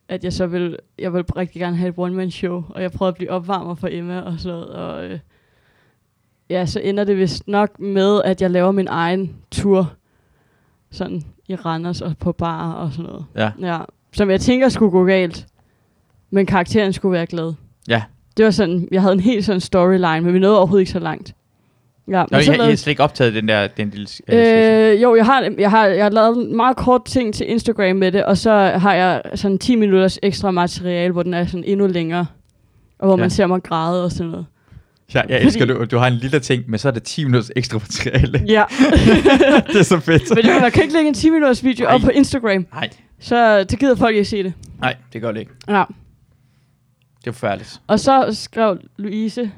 at jeg så ville, jeg ville rigtig gerne have et one-man-show, og jeg prøvede at blive opvarmer for Emma og sådan noget, og øh, ja, så ender det vist nok med, at jeg laver min egen tur, sådan i Randers og på bar og sådan noget. Ja. Ja, som jeg tænker skulle gå galt, men karakteren skulle være glad. Ja. Det var sådan, jeg havde en helt sådan storyline, men vi nåede overhovedet ikke så langt. Ja, Nå, men så jeg, jeg lavede har slet ikke optaget den der den lille... Øh, Øh, jo, jeg har, jeg, har, jeg har lavet en meget kort ting til Instagram med det, og så har jeg sådan 10 minutters ekstra materiale, hvor den er sådan endnu længere, og hvor ja. Ja. man ser mig græde og sådan noget. jeg, jeg elsker, du, du har en lille ting, men så er det 10 minutters ekstra materiale. Ja, det er så fedt. men det, man kan ikke lægge en 10 minutters video op Ej. på Instagram, Nej, så det gider folk ikke se det. nej, det gør det ikke. Ja. Det er forfærdeligt. Og så skrev Louise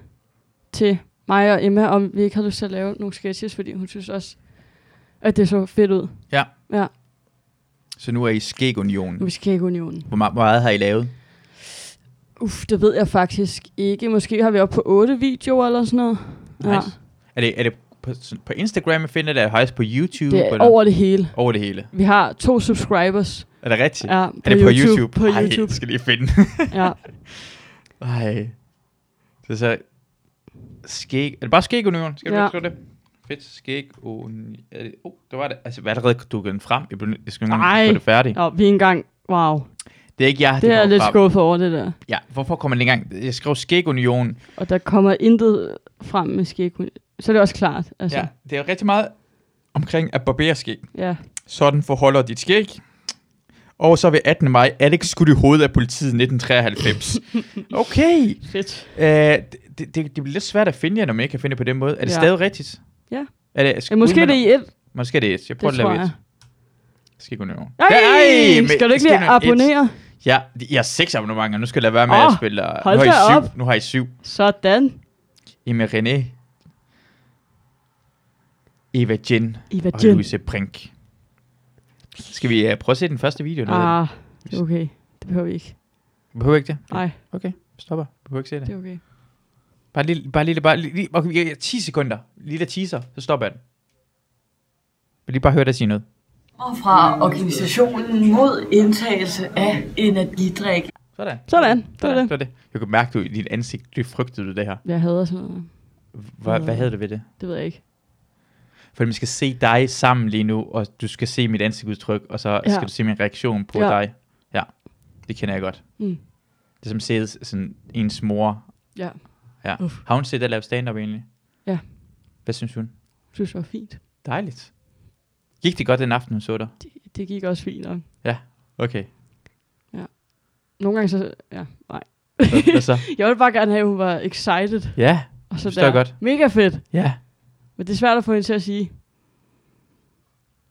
til mig og Emma, om vi ikke havde lyst til at lave nogle sketches, fordi hun synes også, at det så fedt ud. Ja. Ja, Så nu er I skægunionen. nu skal ikke unionen. Hvor meget, hvor meget har I lavet? Uff, det ved jeg faktisk ikke. Måske har vi oppe på otte videoer eller sådan noget. Ja. Nice. Er det, er det på, sådan- på Instagram, I finder det? Er det højst på YouTube? Det på er over det hele. over det hele. Vi har to subscribers. Er det rigtigt? Ja, er det på YouTube? På Ej, YouTube. det skal jeg lige finde. ja. Ej. Det er så... Skæg... Er det bare skægunionen? Skal du Ja. ja. skrive det? Fedt skæg. Oh, oh, der var det. Altså, hvad allerede dukket den frem. Jeg, blev, jeg skal ikke Ej. engang få det færdigt. Nå, vi er engang... Wow. Det er ikke jeg, Det der er kom lidt frem. skuffet over det der. Ja, hvorfor kommer den ikke engang? Jeg skrev skægunionen. Og der kommer intet frem med skæg. Så er det også klart. Altså, Ja, det er rigtig meget omkring at barbere skæg. ja. Sådan forholder dit skæg. Og så ved 18. maj, Alex skudt i hovedet af politiet 1993. Okay. Fedt. Øh, det, det, det bliver lidt svært at finde jer, når man ikke kan finde det på den måde. Er det Ja. ja. stadig rigtigt? Ja. Er det, Ja, måske er det udmelder- i et. Måske er det et. Jeg prøver Det at tror lave jeg. et. Skal gå over. Ej, skal du ikke lige abonnere? Ja, jeg har seks abonnementer. Nu skal jeg lade være med, at Åh, jeg spiller. hold nu har I da syv. op. Nu har I syv. Sådan. Emma René. Eva Jen. Eva Og Jen. Louise Brink. Skal vi uh, prøve at se den første video? Ah. Ah, det er okay. Det behøver vi ikke. Behøver ikke det? Nej, Okay, stopper. Behøver ikke se det det. er okay. Bare lille, bare lille, bare lille, okay, vi giver 10 sekunder. Lille teaser, så stopper jeg den. Vil lige bare høre dig sige noget? Og fra organisationen mod indtagelse af energidrik. Sådan. Sådan, det var det. var det. Jeg kunne mærke, du i dit ansigt, du frygtede du det her. Jeg hader sådan noget. Hva, Mm. Hvad havde det ved det? Det ved jeg ikke. For man skal se dig sammen lige nu, og du skal se mit ansigtsudtryk, og så ja. skal du se min reaktion på Ja. ja. dig. Ja, det kender jeg godt. Mm. Det er som at se sådan ens mor. Ja, Ja. Uf. Har hun set dig lave stand-up egentlig? Ja. Hvad synes hun? jeg synes det var fint. Dejligt. Gik det godt den aften, hun så dig? Det, det gik også fint. Og Okay, nogle gange så... Ja, nej. så, hvad så? Jeg ville bare gerne have, at hun var excited. Ja, Og så forstår der. jeg godt. Mega fedt. ja. Men det er svært at få hende til at sige.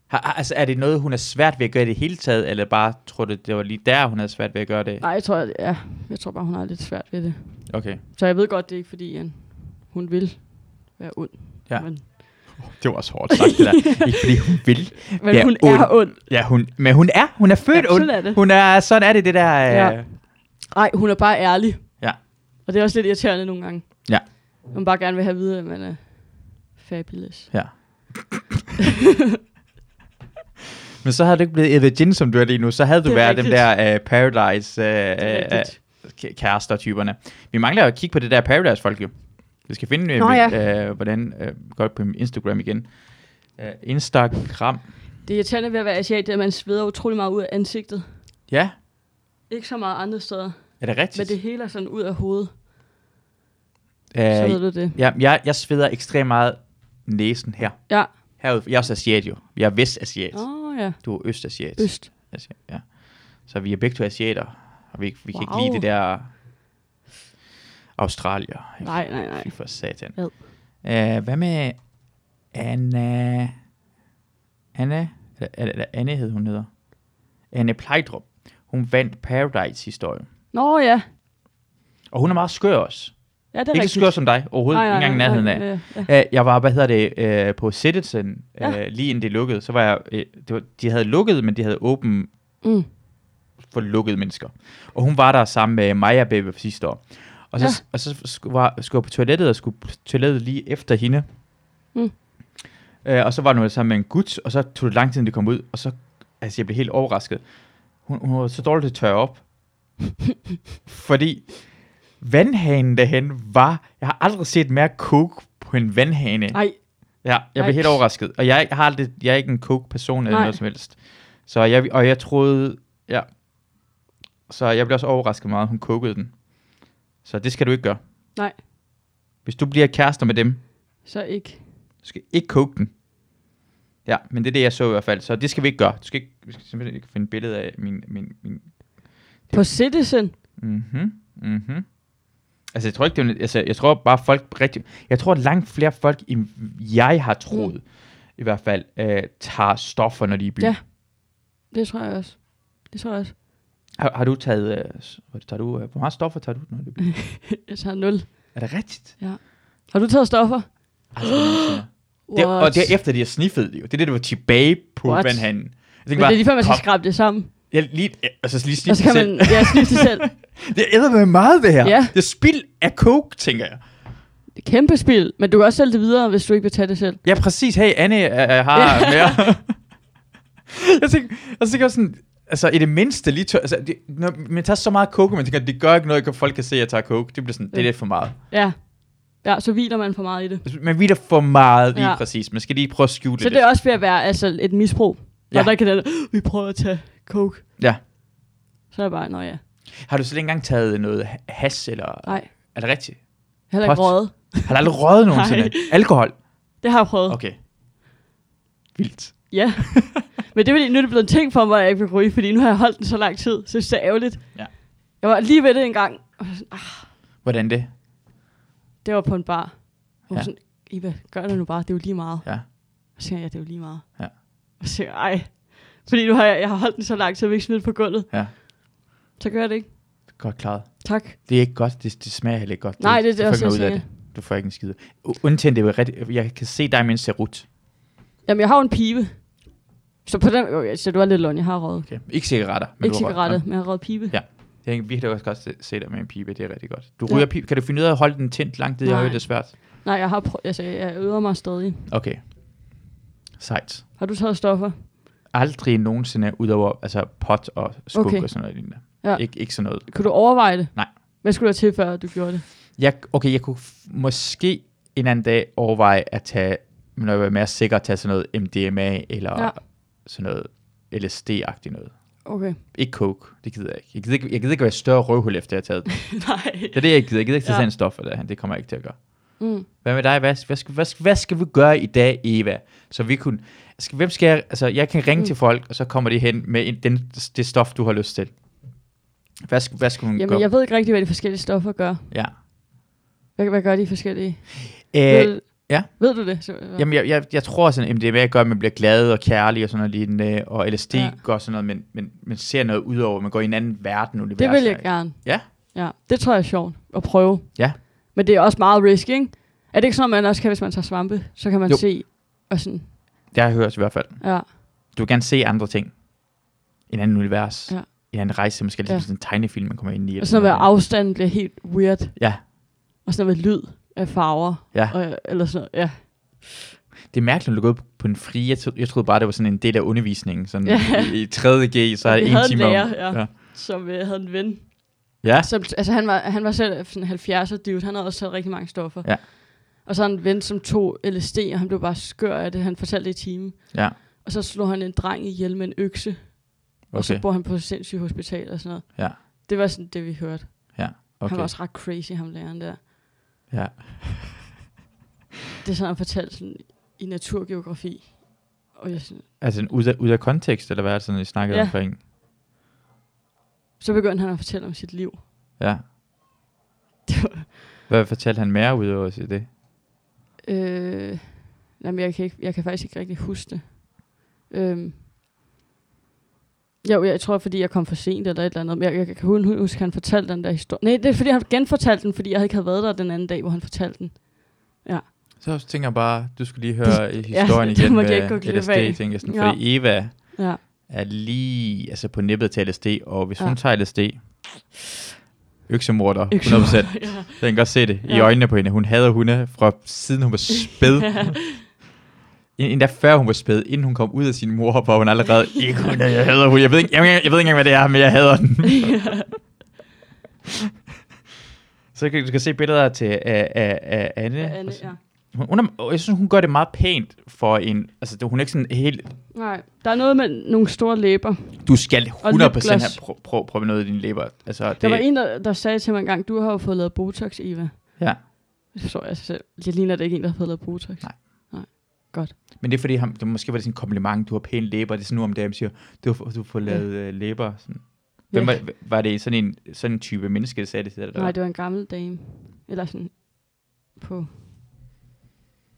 Har, har- altså, er det noget, hun er svært ved at gøre i det hele taget, eller bare tror du, det var lige der, hun havde svært ved at gøre det? Nej, jeg tror, at, ja, jeg tror bare, hun har lidt svært ved det. Okay. Så jeg ved godt, det er ikke fordi, han, hun vil være ond. Ja. Men, Det var også hårdt sagt, det der. Ikke fordi hun vil. men Ja, hun ond. er ond. Ja, hun, men hun er. Hun er født Ja, ond. sådan er det. Hun er, sådan er det, det der... Øh, Ja. Nej, hun er bare ærlig. Ja. Og det er også lidt irriterende nogle gange. Ja. Man bare gerne vil have at vide, at man er fabulous. ja. men så havde du ikke blevet Eva Jin, som du er lige nu. Så havde du Det er været dem rigtigt. der øh, Paradise øh, øh, rigtigt. k- kærester-typerne. Vi mangler at kigge på det der Paradise-folk jo. Vi skal finde, øh, Nå, Nå, ja. øh, hvordan... Øh, godt på Instagram igen. Øh, Instagram. Det irriterende ved at være asiat, det er, at man sveder utrolig meget ud af ansigtet. Ja, Ikke så meget andre steder, er det rigtigt? men det hele er sådan ud af hovedet. Øh, Så ved du det. Ja, jeg, jeg sveder ekstremt meget næsen her. Ja. Herude. Jeg er også asiat jo. Jeg er vestasiat. Åh oh, ja, Du er østasiat. øst. Asiat, ja. Så vi er begge to asiater. Og vi, vi kan Wow. ikke lide det der australier. Nej, nej, nej. Fy For satan. Ad. Uh, hvad med Anna... Anna? Eller, eller, eller Anne hed hun hedder. Anne Plejdrup. Hun vandt Paradise-historie. Nå ja, Og hun er meget skør også. ja det er Ikke så rigtigt. skør som dig overhovedet. Ikke engang i nærheden af. ja, ja. Øh, Jeg var, hvad hedder det, øh, på Citizen, Ja. ja. lige inden det lukkede. Så var jeg, øh, det var, de havde lukket, men de havde åben Mm. for lukkede mennesker. Og hun var der sammen med Maja Baby for sidste år. Og så, ja. og så skulle, var, skulle jeg på toilettet, og skulle på toilettet lige efter hende. Mm. Øh, og så var hun sammen med en gut, og så tog det lang tid, inden det kom ud. Og så, altså jeg blev helt overrasket. Hun, hun var så dårlig til at tørre op. fordi vandhanen derhen var, jeg har aldrig set mere coke på en vandhane. Ej, Ja, jeg blev Ej. helt overrasket. Og jeg har aldrig, jeg er ikke en coke-person eller Nej. noget som helst. Så jeg, og jeg troede, ja. Så jeg blev også overrasket meget, hun kokede den. Så det skal du ikke gøre. Nej. Hvis du bliver kærester med dem, så ikke. du skal ikke koke den. Ja, men det er det, jeg så i hvert fald. Så det skal vi ikke gøre. Du skal ikke, vi skal simpelthen ikke finde billede af min... min, min På Citizen? mhm, mhm. Altså, jeg tror ikke, det er, en- altså, jeg tror bare folk rigtig... Jeg tror, at langt flere folk, end jeg har troet, mm. i hvert fald, øh, tager stoffer, når de er i byen. Ja. Det tror jeg også. Det tror jeg også. Har, har du taget... Øh, s- hvad tager du, øh, hvor meget stoffer tager du, når du er i byen? Jeg tager 0. Er det rigtigt? Har du taget stoffer? Altså, det, What? og det er efter, de har sniffet det jo. Det er det, der var tilbage på What? vandhanden. Jeg tænkte Men det er lige før, man skal "Kom, skrabe det sammen. jeg lige, altså, lige Og så sniffe kan selv. man ja, sniffe det selv. Det æder med meget, det her. Ja. Det er spild af coke, tænker jeg. Det er kæmpe spil, men du kan også sælge det videre, hvis du ikke vil tage det selv. Ja, præcis. Hey, Anne øh, øh, har mere. jeg tænker, og så tænker jeg sådan, altså i det mindste lige tør, altså, det, når man tager så meget coke, man tænker, det gør ikke noget, at folk kan se, at jeg tager coke. Det bliver sådan, det er lidt for meget. Ja, Ja, så hviler man for meget i det. Man vider for meget lige ja. Ja. præcis. Man skal lige prøve at skjule Så det er også ved at være altså, et misbrug. Når Ja. ja. der kan det, vi prøver at tage coke. Ja. Så er det bare, nå ja. Har du slet ikke engang taget noget ha- hash, eller Nej, er det rigtigt? heller ikke Pot. røget. Har du aldrig røget nogensinde? Nej. Alkohol? Det har jeg prøvet. Okay. Okay. Vildt. Ja. Men det er fordi, nu er det blevet en ting for mig, at jeg ikke vil ryge, fordi nu har jeg holdt den så lang tid. Så synes det er ærgerligt. Ja. Jeg var lige ved det en gang. og jeg var sådan, "Ah, Hvordan det? Det var på en bar. Hun Ja. ja. sådan, Iva, gør det nu bare, det er jo lige meget. Ja. Og så siger jeg, ja, det er jo lige meget. Ja. Og så siger jeg, ej. Fordi nu har jeg, jeg har holdt den så langt, så jeg vil ikke smide den på gulvet. Ja. Så gør jeg det ikke. Godt klaret. Tak. Det er ikke godt. Det, det smager heller ikke godt. Nej, det er du får også, ikke noget jeg ud af det. Du får ikke en skid. U- Undtagen det er jo rigtig... Jeg kan se dig med en serut. Jamen, jeg har jo en pibe. Så på den, jo, jeg siger, du er lidt løn, jeg har røget. Okay. Ikke cigaretter. Men Ikke du har røget- cigaretter, men jeg har røget pibe. Ja. Jeg kan virkelig også godt se- se dig med en pibe. Det er rigtig godt. Du Ja. ryger ja. pibe. Kan du finde ud af at holde den tændt langt? Det er Nej. jo lidt svært. Nej, jeg har prøvet, altså, jeg øver mig stadig. Okay. Sejt. Har du taget stoffer? Aldrig nogensinde udover altså pot og skub okay. Okay. og sådan noget lignende. Ja. Ikke, ikke sådan noget. Kunne du overveje det? Nej. Hvad skulle der til, før du gjorde det? Jeg, okay, jeg kunne f- måske en anden dag overveje at tage, når jeg var mere sikker, at tage sådan noget MDMA eller ja. Ja. sådan noget LSD-agtigt noget. Okay. Ikke coke, det gider jeg ikke. Jeg gider ikke, jeg gider ikke være et større røvhul efter, jeg har taget den. Nej. Det er det, jeg ikke gider. Jeg gider ikke tage Ja. sådan en stof for det. Det kommer jeg ikke til at gøre. Mm. Hvad med dig? Hvad, hvad, skal, hvad, skal, hvad skal vi gøre i dag, Eva? Så vi kunne... Skal, hvem skal jeg... Altså, jeg kan ringe mm. Mm. til folk, og så kommer de hen med en, den, det stof, du har lyst til. Hvad, skal- hvad skal hun Jamen, gøre? jeg ved ikke rigtig, hvad de forskellige stoffer gør. Ja. Hvad, hvad gør de forskellige? Øh, ved, ja. Ved du det? Så, eller? Jamen, jeg, jeg, jeg tror sådan, MDMA gør, at man bliver glad og kærlig og sådan noget lignende, og LSD ja. Ja. gør sådan noget, men, men man ser noget ud over, man går i en anden verden, univers. det vil jeg gerne. altså- Ja. ja. Det tror jeg er sjovt at prøve. Ja. Men det er også meget risk, ikke? Er det ikke sådan, at man også kan, hvis man tager svampe, så kan man Jo. jo. se og sådan, Det har jeg hørt i hvert fald. ja. Du vil gerne se andre ting. En anden univers. Ja. En anden rejse, måske ligesom Ja. sådan en tegnefilm, man kommer ind i. eller Og sådan noget med, at noget. afstanden bliver helt weird. Ja. Og sådan noget med lyd af farver. Ja. Og, eller sådan noget. Ja. Det er mærkeligt, når du går ud på en fri. Jeg, tro- jeg troede bare, det var sådan en del af undervisningen. Sådan Ja. i, i 3.G, så er Vi det en havde en time om- lærer, ja. ja. Som øh, havde en ven. ja. Som, altså han var, han var selv sådan 70'er dude. Han havde også taget rigtig mange stoffer. Ja. Og så havde en ven, som tog LSD, og han blev bare skør af det. Han fortalte det i timen. Ja. Og så slog han en dreng ihjel med en økse. Okay. Og Okay. så bor han på et sindssygt hospital og sådan noget. Ja. Det var sådan det, vi hørte. Okay. Han var okay. også ret crazy, ham læreren der. Ja. Det er sådan, han fortalte sådan, i naturgeografi. Og jeg sådan, Altså en ud af, ud af kontekst, eller hvad er det sådan, I snakkede Ja. omkring? så begyndte han at fortælle om sit liv. Ja. Det var, Hvad fortalte han mere ud over sig det? øh, jamen, jeg kan, ikke, jeg kan faktisk ikke rigtig huske det. Øhm, jo, jeg tror, fordi jeg kom for sent eller et eller andet. Men jeg, jeg kan hun huske, at han fortalte den der historie. Nej, det er fordi, han genfortalte den, fordi jeg ikke havde været der den anden dag, hvor han fortalte den. Så tænker jeg bare, du skulle lige høre historien historien ja, det igen igen måtte jeg med ikke gå med glip LSD, af. LSD, tænker jeg sådan. Ja. Ja. Fordi Eva Ja. er lige altså på nippet til LSD, og hvis ja. Ja. hun tager LSD, øksemorder, 100%. ja. Jeg kan godt se det ja. i Ja. øjnene på hende. Hun hader hunde fra siden hun var spæd. End- Endda før hun var spæd, inden hun kom ud af sin mor, var hun allerede, ikke hunde, jeg hader hunde. Jeg ved, ikke, jeg, ved ikke, jeg ved ikke engang, hvad det er, men jeg hader den. Så kan, du kan se billeder til af, af, af Anne. Anne, ja. Hun, hun er, og jeg synes, hun gør det meget pænt for en... Altså, det- hun er ikke sådan helt... Nej, der er noget med nogle store læber. Du skal 100% have lipgloss. prøve prøv, prøv noget i dine læber. Altså, det, Der var en, der, der sagde til mig engang, du har jo fået lavet Botox, Eva. Ja. Det forstår jeg selv. Jeg ligner da ikke en, der har fået lavet Botox. Nej. Men det er fordi, han, det, måske var det sådan en kompliment, du har pæne læber. Det er sådan nu om dagen, man siger, du har, du har fået Ja. lavet øh, læber. Sådan. Hvem Ja. var, var det sådan en, sådan en type menneske, der sagde det til dig? Nej, det var en gammel dame. Eller sådan på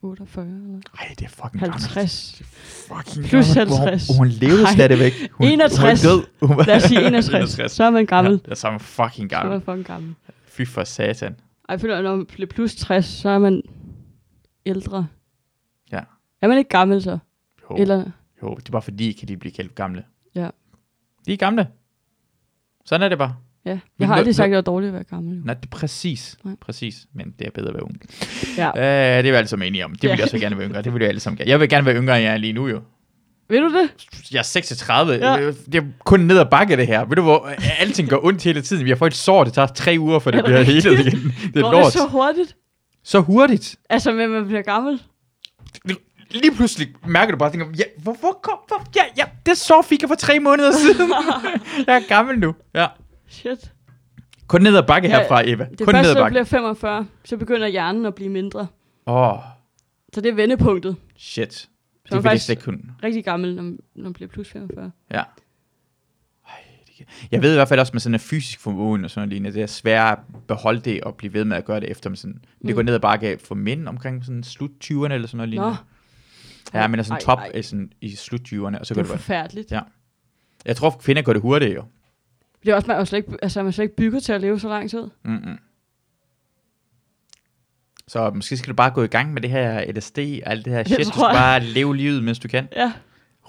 48 eller Ej, det er fucking gammelt. 50. Fucking Plus gammelt. Hvor- 50. Hun, hun levede Ej. stadigvæk. Hun, Hun er 61. død. Hun var- Lad os sige 61. Så er man gammel. Ja, det er samme fucking Så er man gammel. fucking gammel. Fy for satan. Ej, jeg føler, når man bliver plus 60, så er man ældre. Ja. Oh. Er man ikke gammel så? Jo, Eller... Eller, jo, det er bare fordi, kan de blive kaldt gamle. Ja. De er gamle. Sådan er det bare. ja. Men Jeg har nu- aldrig nu- sagt, at det var dårligt at være gammel. jo. Nej, det er præcis. Nej. Præcis. Men det er bedre at være ung. Ja. Ja. Øh, det er vi alle sammen enige om. Det vil Ja. jeg også gerne være yngre. Det vil jeg alle sammen gerne. Jeg vil gerne være yngre, end jeg er lige nu jo. Ved du det? Jeg er 36. Ja. Ja. Det er kun ned ad bakke, det her. Ved du, hvor øh, alting går ondt hele tiden. Vi har fået et sår, det tager tre uger, for det Er det bliver rigtigt? helet igen. Det er Går lort. det så hurtigt? så hurtigt. Altså, men man bliver gammel. Lige pludselig mærker du bare, tænker, ja, hvorfor kom, hvor, ja, ja, det så fik jeg for tre måneder siden. jeg er gammel nu. Ja. Shit. Kun ned ad bakke Ja, herfra, Eva. Det Kun ned første, ad der bakke. bliver 45, så begynder hjernen at blive mindre. Åh, oh, Så det er vendepunktet. shit. Det man er fordi, jeg faktisk- slet ikke kunne. Rigtig gammel, når, når man bliver plus 45. Ja. Ej, det kan- Jeg ved i hvert fald også med sådan en fysisk formåen og sådan noget lignende, det er svært at beholde det og blive ved med at gøre det efter, men sådan, mm. det går Mm. ned ad bakke af for mænd omkring sådan slut 20'erne eller sådan noget Nå, lignende. Ja, men er sådan Ej, top ej. er sådan, i slut 20'erne, og så det går er det jo godt. forfærdeligt. Ja. Jeg tror, kvinder gør det hurtigt jo. Det er også, man er jo slet ikke, altså, man er slet ikke bygget til at leve så lang tid. Mm-mm. Så måske skal du bare gå i gang med det her LSD og alt det her Det shit. Du skal tror jeg. bare leve livet, mens du kan. Ja.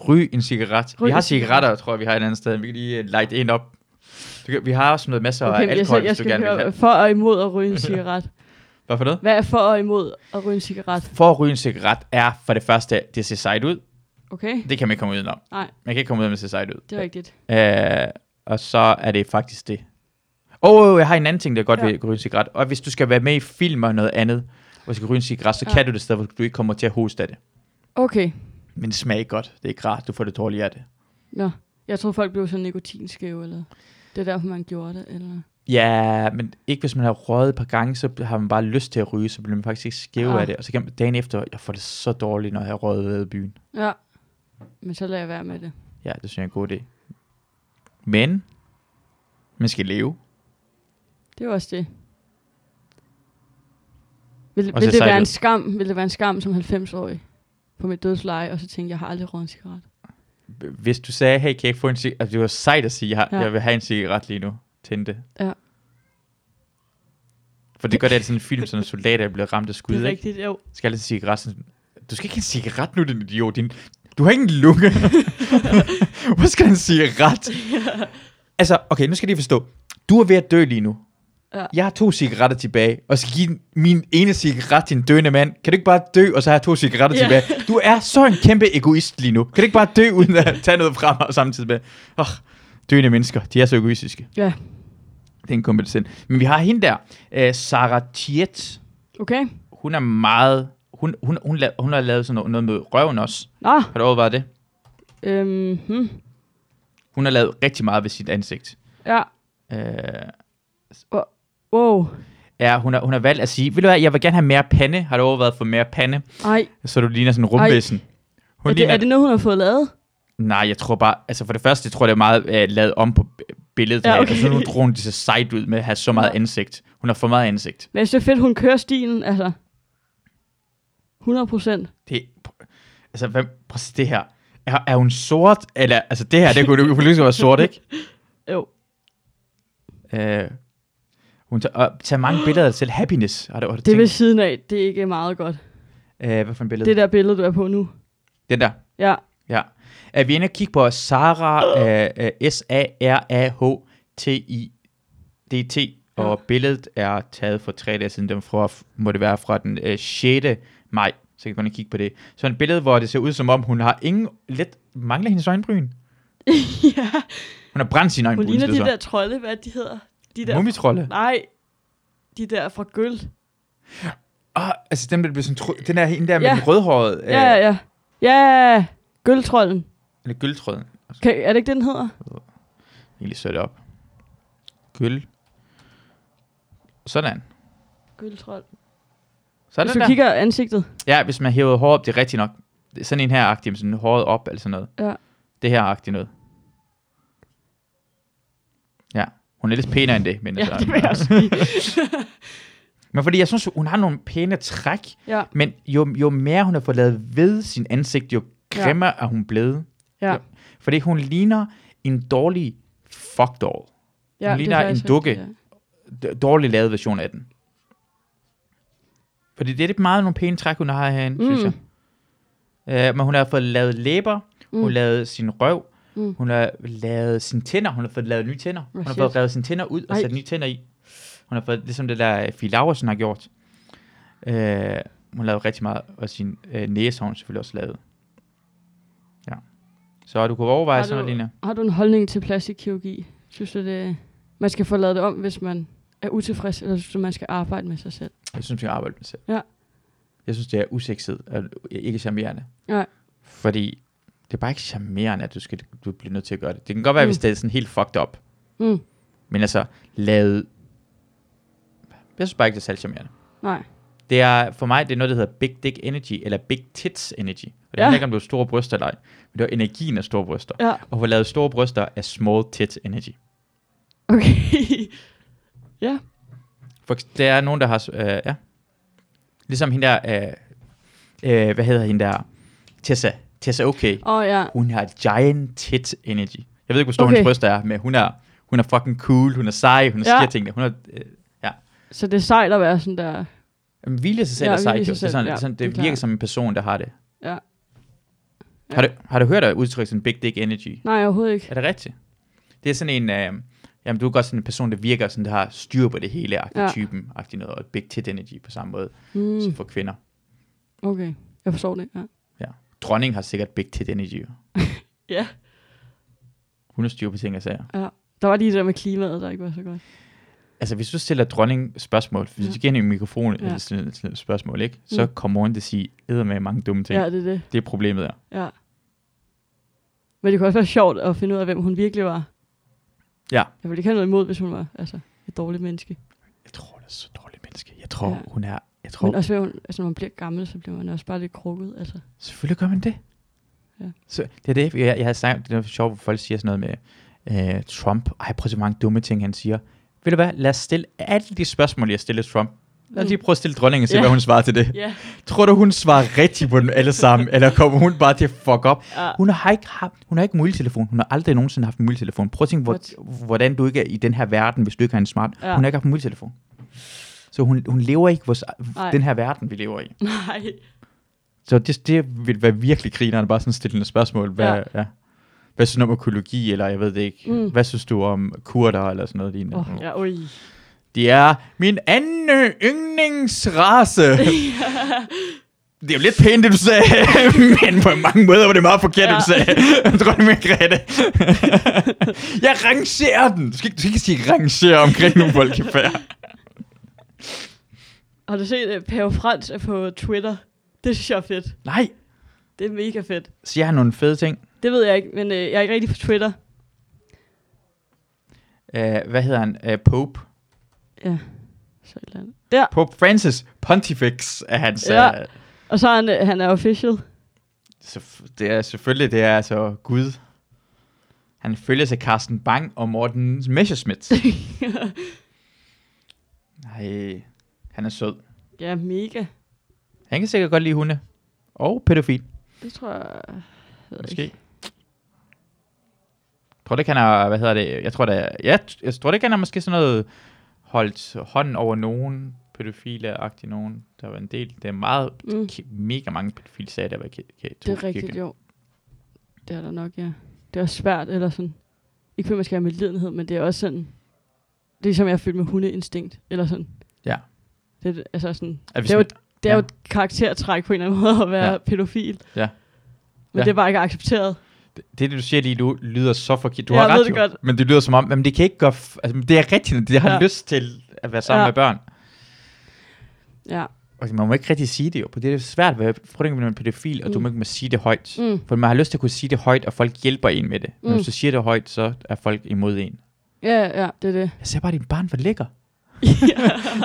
Ryg en cigaret. Ryg vi en har cigaret. cigaretter, tror jeg, vi har et andet sted. Vi kan lige øh, light en op. Du kan- Vi har også noget masser af Okay, men jeg, alkohol, skal, jeg hvis du skal gerne vil høre have. for og imod at ryge en cigaret. Hvad for noget? Hvad er for og imod at ryge en cigaret? For at ryge en cigaret er for det første, det ser sejt ud. Okay? Det kan man ikke komme udenom. Nej, Man kan ikke komme udenom, at det ser sejt ud. det er rigtigt. Øh, og så er det faktisk det. Åh, oh, oh, jeg har en anden ting, der godt ja. Ja. ved at ryge en cigaret. Og hvis du skal være med i film og noget andet, hvor du skal ryge en cigaret, så Ja. ja. kan du det stadig, hvor du ikke kommer til at hoste af det. Okay. Men det smager ikke godt. Det er ikke rart. Du får det dårligt af det. Nå, jeg tror folk blev så nikotinskæve, eller det er derfor, man gjorde det, eller... Ja, men ikke hvis man har røget et par gange, så har man bare lyst til at ryge, så bliver man faktisk ikke skæv Ah. af det. Og så kan man dagen efter, jeg får det så dårligt, når jeg har røget ved i byen. Ja, men så lader jeg være med det. Ja, det synes jeg er en god idé. Men, man skal leve. Det er jo også det. Vil, Og se vil det sejt være en ud. skam, vil det være en skam som 90-årig på mit dødsleje, og så tænke, jeg har aldrig røget en cigaret? Hvis du sagde, hey, kan jeg ikke få en cigaret? Altså, det var sejt at sige, jeg, har, Ja. ja. jeg vil have en cigaret lige nu. Tændte. Ja. For det gør det altid i en film, sådan en soldat, der bliver ramt af skud, ikke? rigtigt, jo. Skal altid en cigaret sådan, du skal ikke have en cigaret nu, din idiot. Din, du har ingen lunge. Hvor skal en cigaret? Altså, okay, nu skal de forstå. Du er ved at dø lige nu. Ja. Jeg har to cigaretter tilbage, og skal give min ene cigaret til en døende mand. Kan du ikke bare dø, og så har jeg to cigaretter Ja. tilbage? Du er så en kæmpe egoist lige nu. Kan du ikke bare dø, uden at tage noget fra mig samtidig med? Oh, døende mennesker, de er så egoistiske. Ja, Det er en kompetent. Men vi har hende der, øh, Sarah Tiet okay. hun er meget... Hun, hun, hun, la- hun har lavet sådan noget, noget med røven også. Nå, Har du overvejet det? øhm, hmm, Hun har lavet rigtig meget ved sit ansigt. ja, Øh, wow. ja, hun har, hun har valgt at sige, ved du hvad, jeg vil gerne have mere pande. Har du overvejet for mere pande? Ej, Så du ligner sådan en rumvæsen. Hun er det, er det noget, hun har fået lavet? Nej, jeg tror bare... Altså for det første, jeg tror det er meget øh, lavet om på b- billedet. Ja, Ja, okay. okay. Altså, nu tror hun, det ser sejt ud med at have så meget ansigt. Hun har for meget ansigt. Men jeg synes, det er fedt, hun kører stilen, altså. 100 procent. Det, altså, hvad, prøv at se det her. Er, er hun sort? Eller, altså det her, det kunne det kunne lige så godt være sort, ikke? Jo. Øh, hun tager, og tager mange billeder af sig selv. Happiness. Har du, har du Det er ved tænkt, siden af, det er ikke meget godt. øh, hvad for en billede? Det der billede, du er på nu. Den der. Ja, Ja. Er vi inde og kigge på Sara, øh, øh, S-A-R-A-H-T-I-D-T, og billedet er taget for tre dage siden, den fra, må det være fra den øh, 6. maj, så kan man kigge på det. Så en billede, hvor det ser ud som om, hun har ingen, lidt, mangler hendes øjenbryn. ja. Hun har brændt sin hun øjenbryn, ligner siger de du der trolde, hvad de hedder. De så. der, Mumitrolde. nej, de der fra guld. Ah, altså den der blev sådan, tro- den der, hende der med Ja. den rødhårede, øh, Ja, ja, ja. Ja, gøltrolden. eller gyldtråden. Altså, Kan, er det ikke det, den hedder? egentlig sætte op. Gyld. Sådan. Gøltrold. Sådan Hvis du der. kigger ansigtet. Ja, hvis man hæver håret op, det er rigtigt nok. Det er Sådan en her agtig, sådan håret op eller sådan noget. Ja. Det her agtigt noget. Ja, hun er lidt pænere end det, men, Ja, altså, det vil jeg også sige. men fordi jeg synes, hun har nogle pæne træk, Ja, men jo, jo mere hun har fået lavet ved sin ansigt, jo Ja. grimmere ja. er hun blevet. ja. Ja. Fordi hun ligner en dårlig fuckdoll. Hun ja det er ligner en faktisk dukke. rigtigt, ja. d- dårlig lavet version af den. Fordi det er lidt meget nogle pæne træk, hun har herinde, mm. synes Mm. jeg. Uh, men hun har fået lavet læber, mm. hun har Mm. lavet sin røv, Mm. mm. hun har lavet sine tænder, hun har fået lavet nye tænder. hun har shit. fået revet sine tænder ud og Ej. sat nye tænder i. Hun har fået, ligesom det der Fie Laursen har gjort. Uh, hun har lavet rigtig meget, og sin uh, næse har hun selvfølgelig også lavet. Ja. Så du kunne overveje Har sådan noget, du- Lina. Har du en holdning til plastikkirurgi? Synes du, det, man skal få lavet det om, hvis man er utilfreds, eller synes du, man skal arbejde med sig selv? Jeg synes, jeg arbejder med det selv. Ja. Jeg synes, det er usekset og ikke charmerende. Nej. Fordi det er bare ikke charmerende, at du, skal, du bliver nødt til at gøre det. Det kan godt være, mm. hvis det er sådan helt fucked up. Mm. Men altså, lavet... Jeg synes bare ikke, det er særlig charmerende. Nej. Det er, for mig, det er noget, der hedder Big Dick Energy, eller Big Tits Energy. Og det Ja. handler ikke om, du har store bryster eller ej, men det er energien af store bryster. Ja, Og hvor lavet store bryster er Small Tits Energy. okay. ja, For, eks- der er nogen, der har... Øh, ja. Ligesom hende der... Øh, øh, hvad hedder hende der? Tessa. Tessa Okay. og ja. Hun har giant tit energy. Jeg ved ikke, hvor stor okay. Okay. hendes bryster er, men hun er, hun er fucking cool. Hun er sej. Hun er Ja. ja. sker tingene. Hun er... Øh, Så det er sejt at være sådan der. jamen, hvile i sig selv Ja, ja, er sej. hvile i jo. Det, sig er selv, sådan, ja, ja, sådan, det, det er det klart. virker som en person, der har det. Ja. Har, du, har du hørt at udtrykke sådan big dick energy? Nej, overhovedet ikke. Er det rigtigt? Det er sådan en... Øh, jamen, du er godt sådan en person, der virker sådan, der har styr på det hele. Agtig Ja. ja. typen. Agtig noget. Og big tit energy på samme måde mm. Mm, som for kvinder. okay, jeg forstår det. Ja. Dronning har sikkert big tit energy. ja. Hun har styr på ting og sager. Der var lige det der med klimaet, der ikke var så godt. Altså, hvis du stiller dronning spørgsmål, hvis Ja. ja. du giver hende en mikrofon Ja. ja. eller sådan et- sådan et spørgsmål, ikke? så Mm. kommer hun til at sige, æder med mange dumme ting. Ja, Ja. det er det. Det er problemet der. Ja. Men det kunne også være sjovt at finde ud af, hvem hun virkelig var. Ja. Jeg ville ikke have noget imod, hvis hun var altså, et dårligt menneske. Jeg tror, det er så dårligt menneske. Jeg tror, Ja. ja. hun er... Jeg tror, Men også, hvad hun, altså, når man bliver gammel, så bliver man også bare lidt krukket. Altså. Selvfølgelig gør man det. Ja. Ja. Så det er det, jeg, jeg har snakket, det er noget sjovt, hvor folk siger sådan noget med øh, Trump. Ej, prøv at se, hvor mange dumme ting han siger. Ved du hvad, lad os stille alle de spørgsmål, jeg stillede Trump. Lad os lige prøve at stille dronningen og se, Mm. Ja. ja. hvad hun svarer til det. Ja. Tror du, hun svarer rigtigt på dem alle sammen, eller kommer hun bare til at fuck op? Ja. Hun har ikke, haft, hun har ikke mobiltelefon. Hun har aldrig nogensinde haft en mobiltelefon. Prøv at tænke, hvor, hvordan du ikke er i den her verden, hvis du ikke har en smart. Ja. Ja. Hun har ikke haft en mobiltelefon. Så hun, hun lever ikke vores, Nej. den her verden, vi lever i. Nej. Så det, det vil være virkelig grineren, bare sådan stille nogle spørgsmål. Hvad, Ja. ja. Ja. Hvad synes du om økologi, eller jeg ved det ikke. Mm. Mm. Hvad synes du om kurder, eller sådan noget lignende. Oh, ja, ui. Det er min anden yndlingsrace. Det er jo lidt pænt, det du sagde, men på mange måder var det meget forkert, ja. det du Ja. sagde. Dronning Margrethe. Jeg rangerer den. Du skal ikke, du skal ikke sige rangere omkring nogle folk i færd. Har du set, at Pave Frans er på Twitter? Det synes jeg er fedt. Nej, Det er mega fedt. siger han nogle fede ting. Det ved jeg ikke, men øh, jeg er ikke rigtig på Twitter. Uh, hvad hedder han? Uh, Pope. Så et eller andet. Der. Pope Francis Pontifex er hans... Ja. Ja. Og så er han, øh, han er official. det er selvfølgelig, det er altså Gud. Han følges af Carsten Bang og Morten Messerschmidt. Nej, han er sød. ja, mega. Han kan sikkert godt lide hunde. Og pædofil, Det tror jeg... jeg ved måske. Ikke. Jeg tror det kan er, hvad hedder det, jeg tror det ja, jeg tror det kan er måske sådan noget, holdt hånden over nogen, pædofile-agtig nogen. Der var en del, det er meget, Mm. mm. mega mange pædofile sager, der var i ki- ki- Det er rigtigt, kirken. jo. Det er der nok, ja. Det er også svært, eller sådan. Ikke fordi man skal have medlidenhed, men det er også sådan... Det er ligesom, jeg er fyldt med hundeinstinkt, eller sådan. Ja. Det er, altså sådan, Er vi det er, jo, sådan- et- det er jo ja. et karaktertræk på en eller anden måde at være ja. Ja. pædofil. Ja. Men Ja. det er bare ikke accepteret. Det, det, du siger lige nu, lyder så forkert. Du Ja, har jeg ved ret, det jo, godt. men det lyder som om, jamen, det kan ikke gøre, f- altså, det er rigtigt, de har Ja. ja. lyst til at være sammen Ja. ja. med børn. Ja. Og man må ikke rigtig sige det jo, for det er svært at være frygtelig med en pædofil, og mm. du Mm. må ikke må sige det højt. Mm. For man har lyst til at kunne sige det højt, og folk hjælper en med det. Men Mm. hvis du siger det højt, så er folk imod en. Ja, ja, det er det. Jeg sagde bare, at din barn var lækker.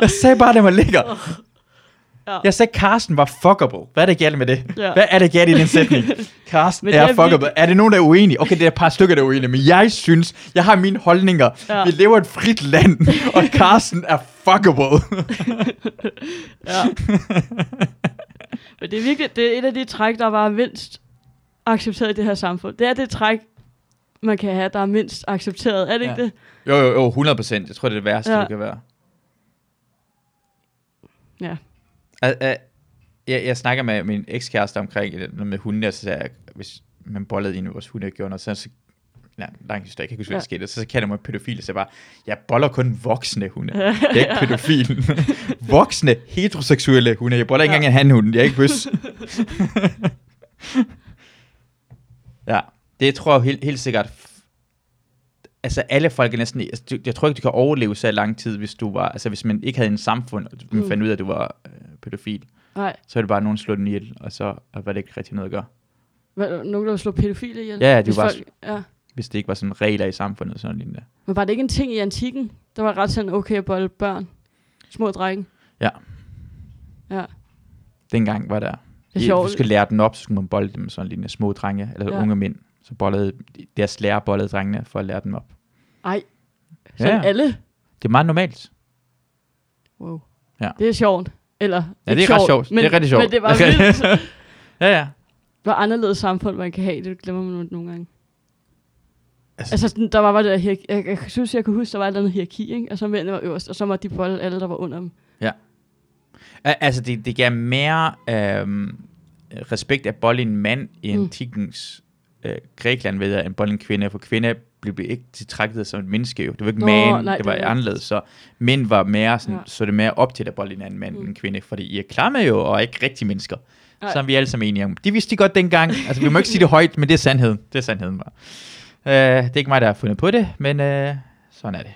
jeg sagde bare, at den var lækker. Ja. Jeg sagde, at Carsten var fuckable. Hvad er det galt med det? Ja. Hvad er det galt i den sætning? Carsten Men er, det er er fuckable. Er det nogen, der er uenige? Okay, det er et par stykker, der er uenige, men jeg synes, jeg har mine holdninger. Ja. Ja. Vi lever i et frit land, og Carsten er fuckable. Ja. Men det er virkelig, det er et af de træk, der var mindst accepteret i det her samfund. Det er det træk, man kan have, der er mindst accepteret. Er det ja. Ja. ikke det? jo, jo, jo, 100 procent. Jeg tror, det er det værste, Ja. ja. det kan være. Ja. Al- al- Jeg, jeg snakker med min ekskæreste omkring øh, noget med hunde, og så sagde jeg, hvis man bollede en af vores hunde og gjorde noget, så, så nej, lang historie, jeg kan ikke huske, hvad der skete, så, så kalder man mig pædofil, så jeg bare, jeg boller kun voksne hunde, jeg er ikke pædofil. voksne, heteroseksuelle hunde, jeg boller ikke Ja. engang en handhund, jeg er ikke bøs. ja, det tror jeg helt, helt sikkert, altså alle folk er næsten, altså, du- jeg tror ikke, du kan overleve så lang tid, hvis du var, altså hvis man ikke havde en samfund, og man Mm. fandt ud af, at du var øh, pædofil, Nej, så er det bare nogen slået den ihjel, og så var det ikke rigtig noget at gøre. hvad, nogen der vil slå pædofile ihjel? Ja, ja, de Hvis var- ja. Hvis det ikke var sådan regler i samfundet, sådan lignende. Men var det ikke en ting i antikken? Der var ret sådan, okay at bolle børn. Små drenge. Dengang var der, Det er Ja, du sjovt. skal lære den op, så skulle man bolde dem sådan lignende små drenge, eller Ja. unge mænd. Så bollede, deres lærer bollede drengene for at lære dem op. Ej. Sådan Ja, ja. alle? det er meget normalt. Wow. Ja. Det er sjovt. Eller, Ja, det ikke er ret sjovt. Men, det er rigtig sjovt. Men det var Okay. vildt. ja, ja. Hvor anderledes samfund man kan have, det glemmer man nogle gange. Altså- Altså, altså sådan, der var bare det der hierarki. Jeg, jeg, synes, jeg kunne huske, der var et eller andet hierarki, ikke? Og så mændene var øverst, og så var de bolde alle, der var under dem. Al- Altså, det, det gav mere øhm, respekt at bolle en mand i Mm. antikkens øh, Grækenland, ved jeg, end bolle en kvinde. For kvinder blev ikke betragtet som et menneske, jo. Det var ikke Nå, man, nej, det det var er rigtigt. anderledes. Så mænd var mere sådan, Ja. så det mere op til at bolle en anden mand Mm. end en kvinde, fordi I er klamme jo, og er ikke rigtige mennesker. Nej. Så er vi alle sammen enige om. Det vidste de godt dengang. Altså, vi må ikke sige det højt, men det er sandheden. Det er sandheden bare. Øh, det er ikke mig, der har fundet på det, men øh, sådan er det.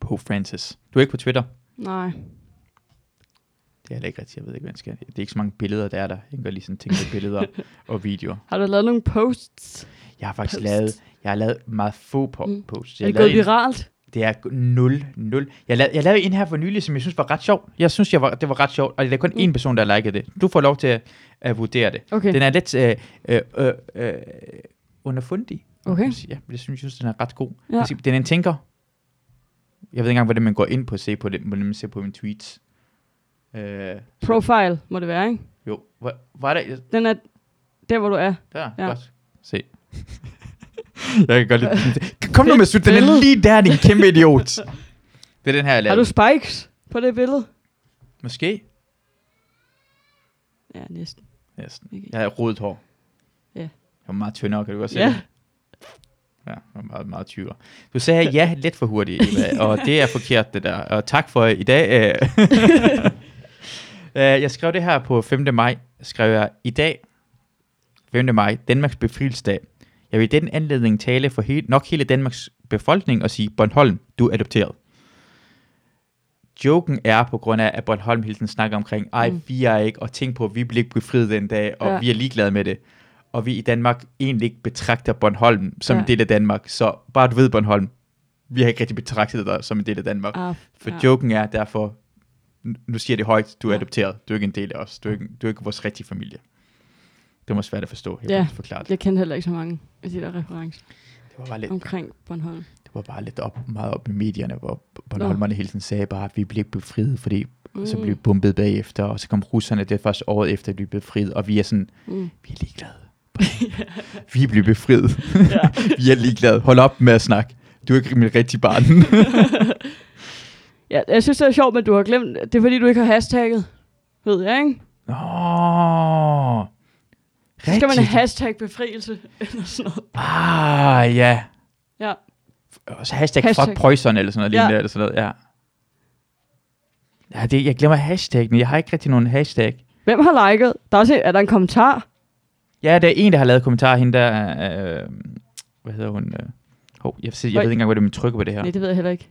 Pope Francis. Du er ikke på Twitter? Nej. Det er heller ikke rigtigt, jeg ved ikke, hvad jeg skal. Det er ikke så mange billeder, der er der. Jeg kan godt lige sådan tænke på billeder og videoer. Har du lavet nogle posts? Jeg har faktisk Post. lavet, jeg har lavet meget få på Mm. posts. Er Jeg det har gået lavet en, viralt? det er 0, 0. Jeg lavede, jeg lavede en her for nylig, som jeg synes var ret sjov. Jeg synes, jeg var, det var ret sjovt, og der er kun Mm. én person, der har liket det. Du får lov til at, at vurdere det. Okay. Den er lidt øh, øh, øh, øh, underfundig. Okay. Ja, jeg synes, jeg synes, den er ret god. Ja. Ja. Den er en tænker. Jeg ved ikke engang, hvordan man går ind på at se på det, hvordan man ser på mine tweets. Øh, Profile må det være, ikke? jo, var, var der, Den er der, hvor du er. Der, ja. Ja. godt. Se. jeg kan godt lide Kom nu med sut, den er billede. lige der, din kæmpe idiot. Det er den her, jeg Har du lavede. spikes på det billede? Måske. Ja, næsten. Næsten. Ikke? Jeg har rodet hår. Ja. Jeg var meget tyndere, kan du godt se Ja. det? Ja, jeg var meget, meget tykkere. Du sagde ja lidt for hurtigt, Eva, og det er forkert, det der. Og tak for i dag. øh. Øh, jeg skrev det her på 5. maj. Skrev jeg, i dag, 5. maj, Danmarks befrielsesdag. Jeg vil i den anledning tale for he- nok hele Danmarks befolkning og sige, Bornholm, du er adopteret. Joken er på grund af, at Bornholm hele tiden snakker omkring, ej, Mm. vi er ikke, og tænk på, at vi bliver ikke befriet den dag, og Ja. vi er ligeglade med det. Og vi i Danmark egentlig ikke betragter Bornholm som Ja. en del af Danmark. Så bare du ved, Bornholm, vi har ikke rigtig betragtet dig som en del af Danmark. Ah, For ja. ja. joken er derfor, nu- nu siger jeg det højt, du er Ja. ja. adopteret, du er ikke en del af os, du er ikke, du er ikke vores rigtige familie. Det må svært at forstå, jeg Ja. ja. forklare det. Jeg kender heller ikke så mange af de der referencer Det var bare lidt, omkring Bornholm. det var bare lidt op, meget op i medierne, hvor Bornholmerne hele tiden sagde bare, at vi blev ikke befriet, fordi mm. så blev vi bombet bagefter, og så kom russerne, det er først året efter, at vi blev befriet, og vi er sådan, Mm. vi er ligeglade. vi blev befriet. vi er ligeglade. Hold op med at snakke. Du er ikke mit rigtige barn. Ja, jeg synes, det er sjovt, men du har glemt... Det er, fordi du ikke har hashtagget, ved jeg, ikke? Nå, Så skal man rigtigt. hashtag befrielse, eller sådan noget. Ah, ja. Ja. Og så hashtag, hashtag. Hashtag. fuck Preussen eller sådan noget, Ja. ja. eller sådan noget, ja. Ja, det, jeg glemmer hashtaggen. Jeg har ikke rigtig nogen hashtag. Hvem har liket? Der er, også, en- er der en kommentar? Ja, der er en, der har lavet kommentar, hende der, øh, hvad hedder hun? Øh, hov, jeg, jeg, jeg ved Oj. ikke engang, hvor det er, man trykker på det her. Ja. Nej, det ved jeg heller ikke.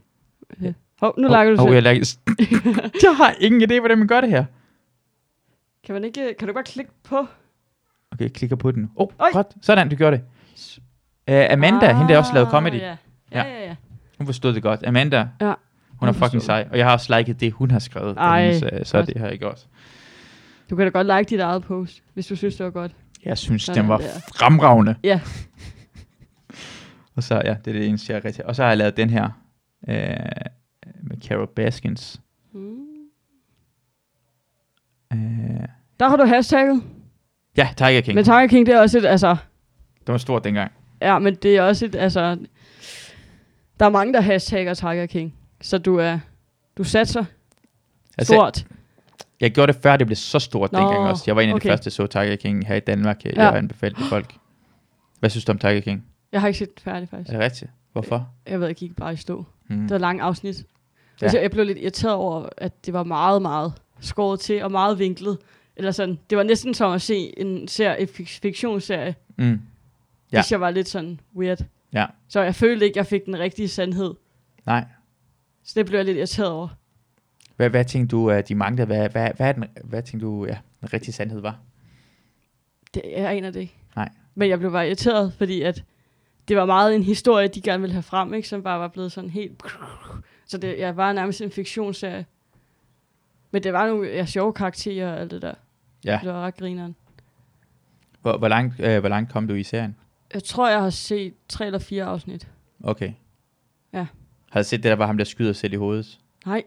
Ja. Hov, nu liker du hov, selv. jeg, lager, jeg har ingen idé, hvordan man gør det her. Kan, man ikke, kan du bare klikke på? Okay, jeg klikker på den. Åh, oh, Oj. godt. Sådan, du gjorde det. Uh, Amanda, ah, hende der også lavede comedy. Ja, ja, ja. ja. Hun forstod det godt. Amanda, Ja, hun er hun forstod fucking det. sej. Og jeg har også liket det, hun har skrevet. på Ej, hendes, øh, så godt. det har jeg gjort. Du kan da godt like dit eget post, hvis du synes, det var godt. Jeg synes, Sådan den var der. fremragende. Ja. og så, ja, det er det eneste, jeg er rigtig. Og så har jeg lavet den her øh, med Carol Baskins. Mm. Øh, Der har du hashtagget. ja, Tiger King. Men Tiger King, det er også et, altså... Den var stor dengang. Ja, men det er også et, altså... Der er mange, der hashtagger Tiger King. Så du er... Du satser Altså, stort. Jeg gjorde det før, det blev så stort Nå, dengang også. Jeg var en af okay. de første, der så Tiger King her i Danmark. Jeg, Ja. ja. jeg anbefalede folk. Hvad synes du om Tiger King? Jeg har ikke set den færdig, Er faktisk. det rigtigt? Hvorfor? Jeg ved, jeg gik bare i stå. Hmm. Det var lange afsnit. Ja. Ja. Altså, jeg blev lidt irriteret over, at det var meget, meget skåret til og meget vinklet. Eller sådan. Det var næsten som at se en serie, en fik- fiktionsserie, Mm. ja. hvis jeg var lidt sådan weird. Ja. Så jeg følte ikke, jeg fik den rigtige sandhed. Nej. Så det blev jeg lidt irriteret over. Hvad, hvad tænkte du, at de manglede? Hvad, hvad, hvad, er den, hvad tænkte du, ja, den rigtige sandhed var? Det, jeg aner det ikke. Nej. Men jeg blev bare irriteret, fordi at det var meget en historie, de gerne ville have frem, ikke? som bare var blevet sådan helt... Så det jeg var nærmest en fiktionsserie. Men det var nogle ja, sjove karakterer og alt det der. Ja. Det var ret grineren. Hvor, hvor, langt, øh, hvor langt kom du i serien? Jeg tror, jeg har set tre eller fire afsnit. Okay. Ja. Har du set det, der var ham, der skyder selv i hovedet? Nej.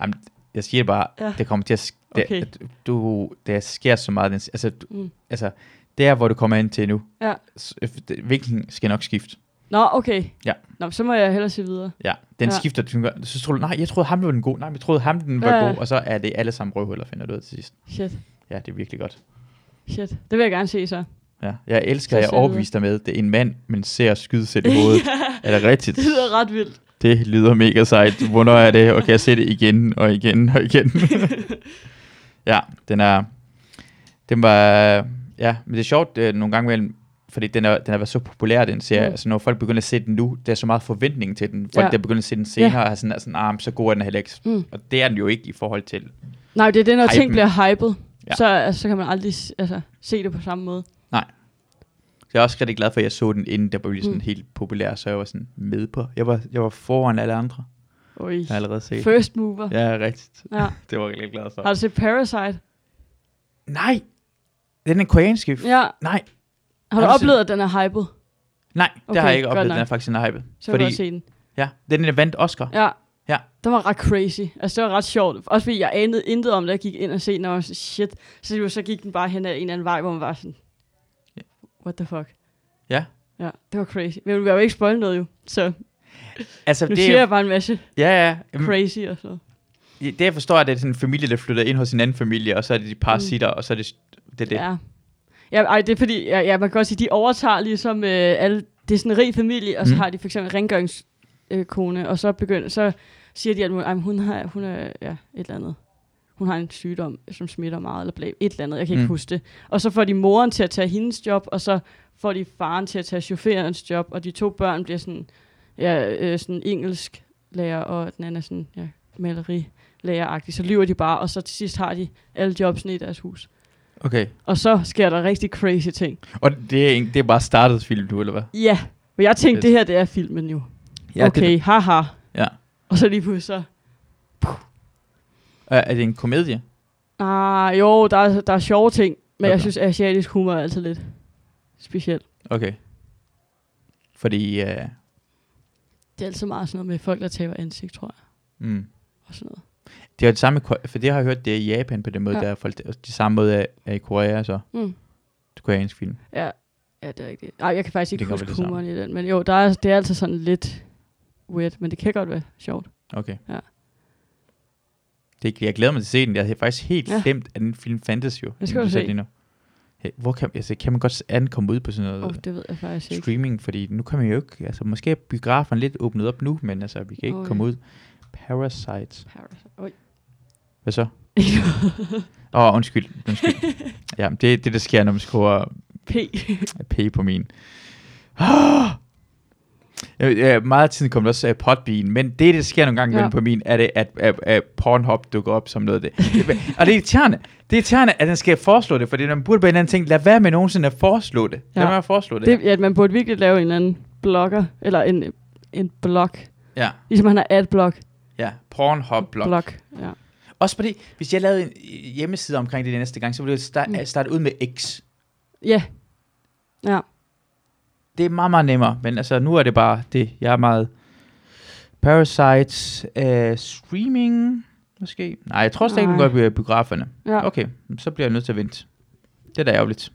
Jamen, jeg siger bare, Ja. ja. det kommer til at... Sk- det, Okay. du, der sker så meget. den- Altså, du, Mm. mm. altså, der hvor du kommer ind til nu, Ja. s- det- vinklen skal nok skifte. Nå, okay. Ja. Nå, så må jeg hellere se videre. Ja, den Ja. ja. skifter. Du, tænker, så tror du, nej, jeg troede ham var den gode. Nej, men jeg troede ham den var Ja. ja. god. Og så er det alle sammen røvhuller, finder du ud af til sidst. Shit, Ja, det er virkelig godt. shit. Det vil jeg gerne se så. Ja. Jeg elsker, Så at jeg ser vi. overbeviste dig med, det er en mand, men ser skyde selv i hovedet. Er det rigtigt? det lyder ret vildt. Det lyder mega sejt. Hvornår er det? Og kan jeg se det igen og igen og igen? ja, den er... Den var... Ja, men det er sjovt øh, nogle gange imellem, fordi den er, den er været så populær, den serie. Mm. Mm. Altså, når folk begynder at se den nu, der er så meget forventning til den. Folk, Ja. ja. der begynder at se den senere, yeah. er sådan, er sådan ah, men så god er den heller ikke. Mm. Mm. Og det er den jo ikke i forhold til... Nej, det er det, når ting Hypen. bliver hypet, ja. Ja. så, altså, så kan man aldrig s- altså, se det på samme måde. Så jeg er også rigtig glad for, at jeg så den, inden der blev sådan Mm. mm. helt populær, så jeg var sådan med på. Jeg var, jeg var foran alle andre, Oi. jeg har allerede set. First mover. Ja. Ja, rigtigt. ja. Det var jeg rigtig glad for. Har du set Parasite? Nej! Den er koreanske. f- Ja. Nej, Har du Har du oplevet, at den er hypet? Nej, okay, Okay, det har jeg ikke godt oplevet. nok. Den er faktisk en hype. Så kan du fordi, godt se den. ja, den er vandt Oscar. Ja. Ja. Ja. Den var ret crazy. Altså, det var ret sjovt. Også fordi jeg anede intet om det, jeg gik ind og se den, og jeg var sådan, shit. Så, jo, så gik den bare hen ad en eller anden vej, hvor man var sådan, what the fuck. Ja. Ja, det var crazy. Men vi har jo ikke spoilet noget jo, så Altså, nu det, siger er- jeg bare en masse ja, ja, Jamen, crazy og sådan noget. det jeg forstår, er, at det er sådan en familie, der flytter ind hos en anden familie, og så er det de parasitter, og så er det det. er det. Ja. Mm. Ja. Ja, ej, det er fordi, ja, ja, man kan godt sige, de overtager ligesom øh, alle, det er sådan en rig familie, og så mm. Mm. har de for eksempel rengøringskone, øh, kone, og så begynder, så siger de, at hun, ej, men hun har, hun er, ja, et eller andet. Hun har en sygdom, som smitter meget, eller blæ, et eller andet, jeg kan ikke Mm. huske det. Og så får de moren til at tage hendes job, og så får de faren til at tage chaufførens job, og de to børn bliver sådan, ja, øh, sådan engelsk lærer, og den anden er sådan, ja, maleri læreragtig. Så lyver de bare, og så til sidst har de alle jobsene i deres hus. Okay. Og så sker der rigtig crazy ting. Og det er, en- det er bare startet film nu, eller hvad? Ja, men jeg tænkte, Fedt. det her det er filmen jo. Ja, okay, Det, haha. Ja. Og så lige pludselig så, er, er det en komedie? ah, jo, der er, der er sjove ting, men okay. jeg Okay. synes, asiatisk humor er altid lidt specielt. Okay. Fordi, uh, Det er altid meget sådan noget med folk, der taber ansigt, tror jeg. mm, Og sådan noget. det er det samme, i Ko- for det har jeg hørt, det er i Japan på den måde, Ja. ja. der er folk, det samme måde er, er i Korea, så Mm. det koreansk film. Ja, ja, det er rigtigt. Nej, jeg kan faktisk ikke Det kan huske være det samme. humoren i den, men jo, der er, det er altid sådan lidt weird, men det kan godt være sjovt. Okay. Ja. Det, jeg glæder mig til at se den. Jeg har faktisk helt Ja. ja. glemt, at den film fandtes jo. skal som sagde du se. lige nu. Hey, hvor kan, altså, kan man godt se, at den komme ud på sådan Åh, noget oh, det ved jeg faktisk ikke. streaming? Fordi nu kan man jo ikke... Altså, måske er biografen lidt åbnet op nu, men altså, vi kan ikke Åh, ja. komme ud. Parasite. Parasite. Oj. Hvad så? Åh, oh, undskyld. undskyld. ja, det er det, der sker, når man skriver P. P på min. Ah! Øh, øh, meget af tiden kom der også uh, potbean, men det, der sker nogle gange Ja. imellem på min, er det, at, at, at Pornhub dukker op som noget af det. Det- og det er irriterende, det er irriterende, at den skal foreslå det, fordi når man burde på en eller anden ting, lad være med nogensinde at foreslå det. Lad Ja. være med at foreslå det. Det, ja, man burde virkelig lave en eller anden blogger, eller en, en blog. Ja, Ligesom han har adblock. ja. Pornhub-blog. Blog. Ja. Også fordi, hvis jeg lavede en hjemmeside omkring det næste gang, så ville jeg starte, Mm. starte ud med X. ja. Ja. det er meget, meget nemmere, men altså, nu er det bare det. Jeg er meget... Parasites, øh, streaming, måske? Nej, jeg tror slet ikke, den Nej. går i bi- biograferne. ja. Okay. Ah, Okay, så bliver jeg nødt til at vente. Det er da ærgerligt.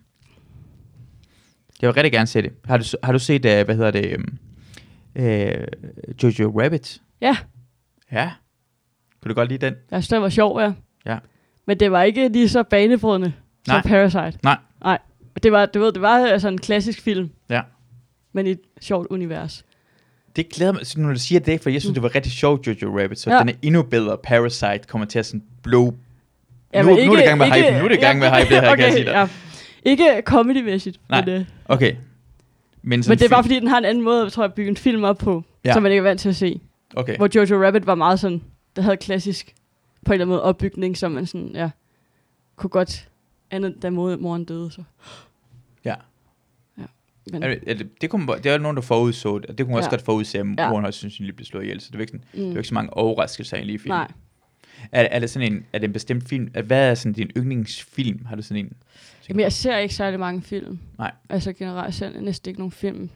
Jeg vil rigtig gerne se det. Har du, s- har du set, øh, hvad hedder det, øhm, øh, Jojo Rabbit? Ja. Ja. Kunne du godt lide den? Jeg synes, det var sjov, ja. Ja. Men det var ikke lige så banebrydende som Nej. Parasite. Nej. Nej. Det var, du ved, det var altså en klassisk film. Ja. Men i et sjovt univers. Det glæder mig, så når du siger det, for jeg synes, det var rigtig sjovt, Jojo Rabbit, så Mm. Ja. ja. den er endnu bedre. Parasite kommer til at sådan blow Ja, Nu- men nu er det i gang med hypen. Nu er det i gang med hypen, det her, kan jeg okay, sige dig. Ja. Ikke comedymæssigt. Nej. Men, øh, Okay. Men, Men det er bare fi- fordi, den har en anden måde, tror jeg, at bygge en film op på, Ja. ja. som man ikke er vant til at se. Okay. Hvor Jojo Rabbit var meget sådan, der havde klassisk på en eller anden måde opbygning, som man sådan, ja, kunne godt andet, da mod- moren døde. Så. Ja. ja. Men, Er det, er det, det, kunne, man- det er jo nogen, der forudså det. og Det kunne man også Ja. godt forudse, at Ja. moren højst sandsynligt blev slået ihjel. Så det var ikke, sådan, det var mm, ikke så mange overraskelser egentlig i filmen. nej. Er, er, det sådan en, er det en bestemt film? Er, hvad er sådan din yndlingsfilm? Har du sådan en? Jamen, jeg ser ikke særlig mange film. Nej. Altså generelt jeg ser næsten ikke nogen film.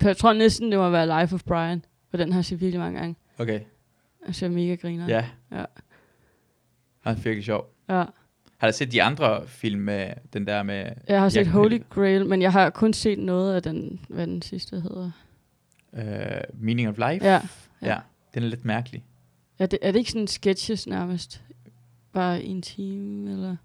For jeg tror næsten, det må være Life of Brian, for den har jeg set virkelig mange gange. Okay, Altså, jeg er mega griner. ja. Ja. Han er virkelig sjov. ja. Har du set de andre film med den der med... Jeg har set kan Holy ikke- Grail, men jeg har kun set noget af den, hvad den sidste hedder. Uh, Meaning of Life? Ja. ja. Den er lidt mærkelig. Er det, er det ikke sådan sketches nærmest? Bare en time, eller?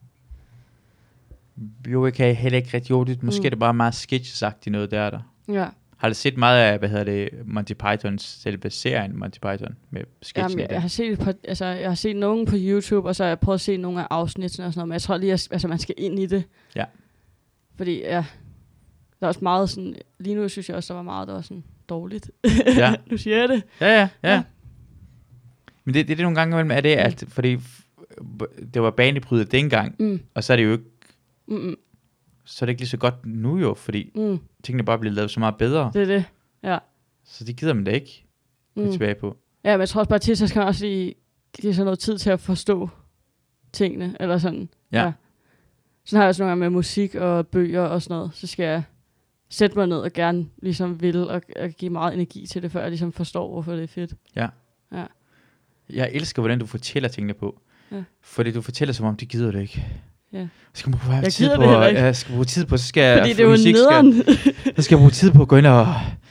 Jo, jeg kan heller ikke rigtig... Jo, det, måske Mm. mm. er det bare meget sketchesagtigt noget, der er der. Ja, Har du set meget af, hvad hedder det, Monty Pythons selve serien Monty Python med sketchen Jamen, i jeg, det? jeg, har set et par, altså, jeg har set nogen på YouTube, og så har jeg prøvet at se nogle af afsnittene og sådan noget, men jeg tror lige, at altså, man skal ind i det. Ja. Fordi, ja, der er også meget sådan, lige nu synes jeg også, der var meget, der var sådan dårligt. Ja. nu siger jeg det. Ja, ja, ja. Ja. ja. Men det, det er det nogle gange imellem, er det, at fordi f- det var banebrydet dengang, Mm, og så er det jo ikke, mm, mm, så er det ikke lige så godt nu jo, fordi mm, tingene bare er blevet lavet så meget bedre, det er det. så det gider man da ikke mm. Mm. tilbage på. Ja, men jeg tror også bare til, så skal man også lige give sig noget tid til at forstå tingene, eller sådan. Ja. Sådan har jeg også nogle gange med musik og bøger og sådan noget, så skal jeg sætte mig ned og gerne ligesom vil og, og give meget energi til det, før jeg ligesom forstår, hvorfor det er fedt. Jeg elsker, hvordan du fortæller tingene på. Ja. Ja. Fordi du fortæller som om, det gider du ikke. Ja. Så skal man bruge Jeg tid gider på, det heller ikke. jeg skal bruge tid på, så skal jeg, Fordi det er jo musik nederen. skal, så skal jeg bruge tid på at gå ind og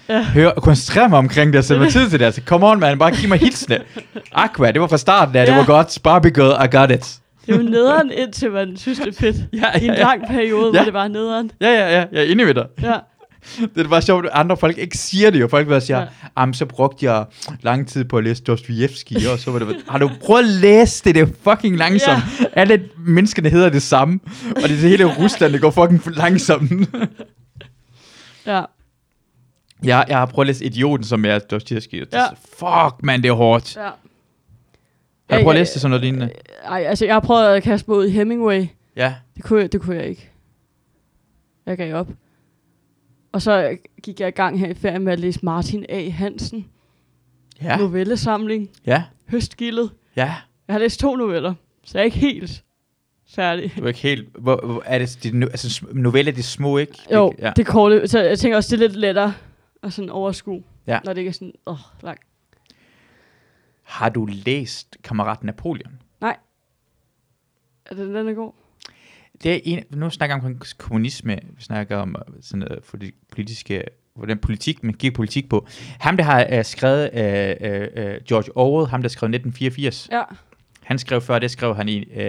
Ja. ja. høre og koncentrere mig omkring det, og sætte mig tid til det. Altså, come on, man, bare giv mig hilsene. Aqua, det var fra starten, ja, det Ja. var godt. Barbie girl, I got it. det er jo nederen, indtil man synes, det er fedt. Ja, I en ja, lang periode, ja. hvor Ja. det bare er nederen. ja, ja, ja, jeg er enig med dig. Ja. Det er bare sjovt, at andre folk ikke siger det jo. Folk bare siger, Ja. ja. jamen så brugte jeg lang tid på at læse Dostoyevsky, og så var det, har du prøvet at læse det, det er fucking langsomt. Ja. Alle menneskerne hedder det samme, og det er det hele Rusland, det går fucking for langsomt. ja. jeg, jeg har prøvet at læse Idioten, som er Dostoyevsky, og det Ja. ja. fuck man, det er hårdt. ja. Har Ja, du prøvet ja, at læse det sådan noget lignende? Ej, altså jeg har prøvet at kaste mig ud i Hemingway. Ja. Det kunne jeg, det kunne jeg ikke. Jeg gav op. Og så gik jeg i gang her i ferien med at læse Martin A. Hansen. Ja. Ja. Novellesamling. Ja. Høstgildet. Ja. Jeg har læst to noveller, så jeg er ikke helt færdig. Du er ikke helt... Hvor, hvor er det... De, nu- altså, sm- noveller, de er små, ikke? Jo, Ja. det er korte. Så jeg tænker også, det er lidt lettere at sådan overskue. Ja. Når det ikke er sådan, åh, oh, langt. Har du læst Kammerat Napoleon? Er det den, der går? Det er en, nu snakker jeg om kommunisme, vi snakker om øh, sådan noget for det politiske, hvordan politik, man giver politik på. Ham, der har uh, skrevet uh, uh, uh, George Orwell, ham, der skrev 1984, Ja. han skrev før, det skrev han i, uh,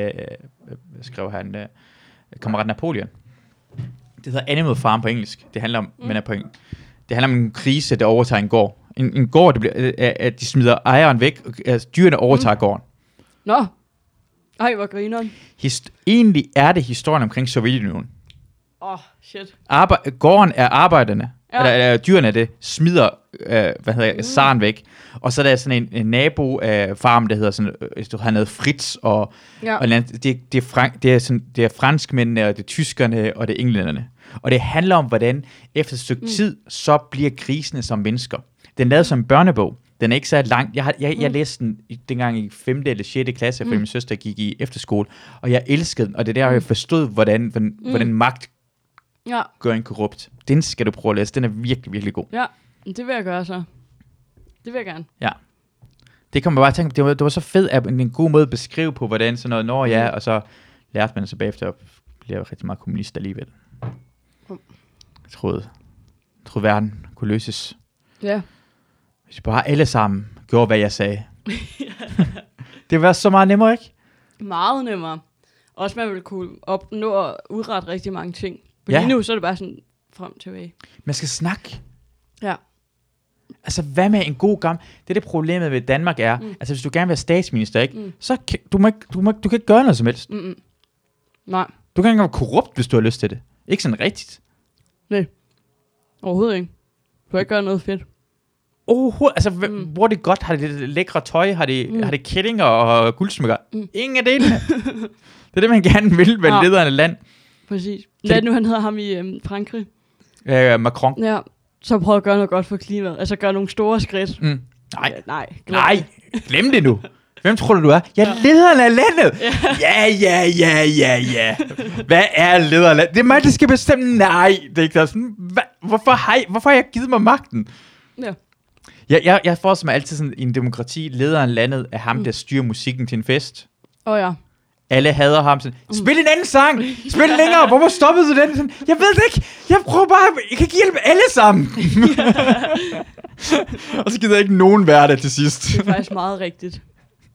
uh, skrev han uh, Kammerat Napoleon. Det hedder Animal Farm på engelsk. Det handler om, mm. man er på en, det handler om en krise, der overtager en gård. En, en gård, det bliver, øh, øh, at de smider ejeren væk, og altså, dyrene overtager mm. gården. Nå. Ej, hvor grineren. Hist- egentlig er det historien omkring Sovjetunionen. Åh, oh, shit. Arbe- gården er arbejderne, Ja. ja. eller, eller dyrene er det, smider øh, hvad hedder jeg, saren væk. Og så er der sådan en, en nabo øh, farm, der hedder sådan, øh, hvis du har noget Fritz, og, Ja. ja. og land- det, det, er frank, det, er sådan, det er franskmændene, og det er tyskerne, og det er englænderne. Og det handler om, hvordan efter et stykke mm. tid, så bliver grisene som mennesker. Den er lavet som en børnebog. Den er ikke så lang. Jeg, har, jeg, jeg læste den i- dengang i 5. eller 6. klasse, fordi min søster gik i efterskole, og jeg elskede den, og det er der, jeg forstod, hvordan, hvordan, hvordan magt Ja. gør en korrupt. Den skal du prøve at læse. Den er virkelig, virkelig god. Ja. Det vil jeg gøre så. Det vil jeg gerne. Det kommer bare at tænke, det var, det var så fedt, at en en god måde at beskrive på, hvordan sådan noget når Mm. ja, og så lærte man så bagefter, at blive rigtig meget kommunist alligevel. Mm. Jeg troede, jeg troede verden kunne løses. Ja. Hvis vi bare alle sammen gjorde, hvad jeg sagde. det ville være så meget nemmere, ikke? Meget nemmere. Også man vil kunne opnå og udrette rigtig mange ting. Men ja. Ja. lige nu, så er det bare sådan frem og tilbage. Man skal snakke. Ja. Altså, hvad med en god gammel... Det er det problemet ved Danmark er. Mm. Altså, hvis du gerne vil være statsminister, ikke? Mm. Mm. Så kan, du, må, ikke- du, må, ikke- du kan ikke gøre noget som helst. Mm-mm. Nej, Du kan ikke engang være korrupt, hvis du har lyst til det. Ikke sådan rigtigt. overhovedet ikke. Du har ikke gøre noget fedt. Overhovedet, altså, mm. hvor er det godt? Har det lidt lækre tøj? Har det, mm. har det kællinger og guldsmykker? Mm. Ingen af delene. det er det, man gerne vil med Nå. lederen af land. Præcis. Kan Hvad det- nu han hedder ham i øhm, Frankrig? Øh, Macron. Ja. Så prøv at gøre noget godt for klimaet. Altså gør nogle store skridt. Mm. Nej, Ja, nej. glem Nej, det. glem det nu. Hvem tror du, du er? Jeg er lederen af landet. Ja, ja, ja, ja, ja. Hvad er lederen af landet? Det er mig, der skal bestemme. Nej, det er ikke der. sådan. Hvad? Hvorfor, har I, hvorfor har jeg givet mig magten? Ja. Jeg, jeg, jeg forestiller mig altid sådan, i en demokrati, lederen af landet er ham, der styrer musikken til en fest. Åh oh, ja. Alle hader ham sådan, Mm. spil en anden sang, spil længere, hvorfor stoppede du den? Sådan, jeg ved det ikke, jeg prøver bare, jeg kan ikke hjælpe alle sammen. Og så gider ikke nogen være det til sidst. Det er faktisk meget rigtigt.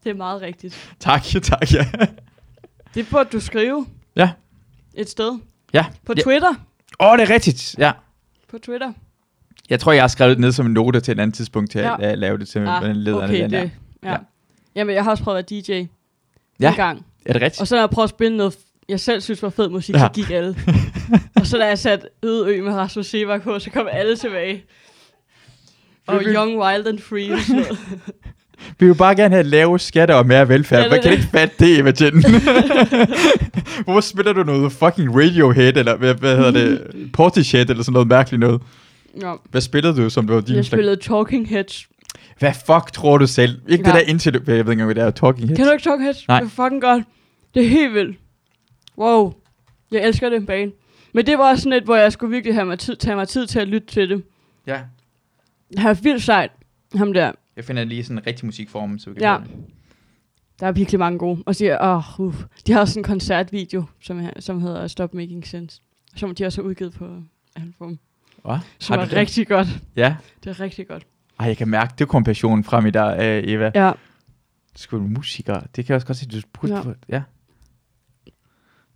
Det er meget rigtigt. Tak, tak, ja. Det burde du skrive. Ja. Et sted. Ja. På ja. Twitter. Åh, det er rigtigt, ja. På Twitter. Jeg tror, jeg har skrevet det ned som en note til et andet tidspunkt til at Ja. ja. lave det til ah, lederne. okay, den der. det. Ja. Ja. ja. Jamen, jeg har også prøvet at være DJ. Ja. En gang. Er det rigtigt? Og så har jeg prøvet at spille noget, f- jeg selv synes var fed musik, ja. Ja. så gik alle. og så da jeg satte Øde Ø med Rasmus Sebak på, så kom alle tilbage. Og Vi vil- Young, Wild and Free. og sådan noget. Vi vil bare gerne have lave skatter og mere velfærd. Ja, Ja, det Man er kan det. ikke fatte det, Emma Jensen. Hvorfor spiller du noget fucking Radiohead, eller hvad, hvad hedder det? Portishead, eller sådan noget mærkeligt noget. Nå, Hvad spillede du, som det var din jeg slags- spillede Talking Heads. Hvad fuck tror du selv? Ikke ja. Ja. det der indtil... Jeg ved ikke engang, hvad det er. Talking Heads. Kan du ikke Talking Heads? Nej. Det er fucking godt. Det er helt vildt. Wow. Jeg elsker den bane. Men det var også sådan et, hvor jeg skulle virkelig have mig tid, tage mig tid til at lytte til det. Ja. Han er vildt sejt, ham der. Jeg finder lige sådan en rigtig musikform, så vi kan Ja. høre det. Der er virkelig mange gode. Og siger, åh, oh, uh. de har også en koncertvideo, som, er- som hedder Stop Making Sense, som de også har udgivet på album. Hva? Som Har er du det? rigtig godt. Ja. Det er rigtig godt. Ej, jeg kan mærke, det kom passionen frem i dig, øh, Eva. Ja, skulle musiker. Det kan jeg også godt se, du burde Ja. ja. ja.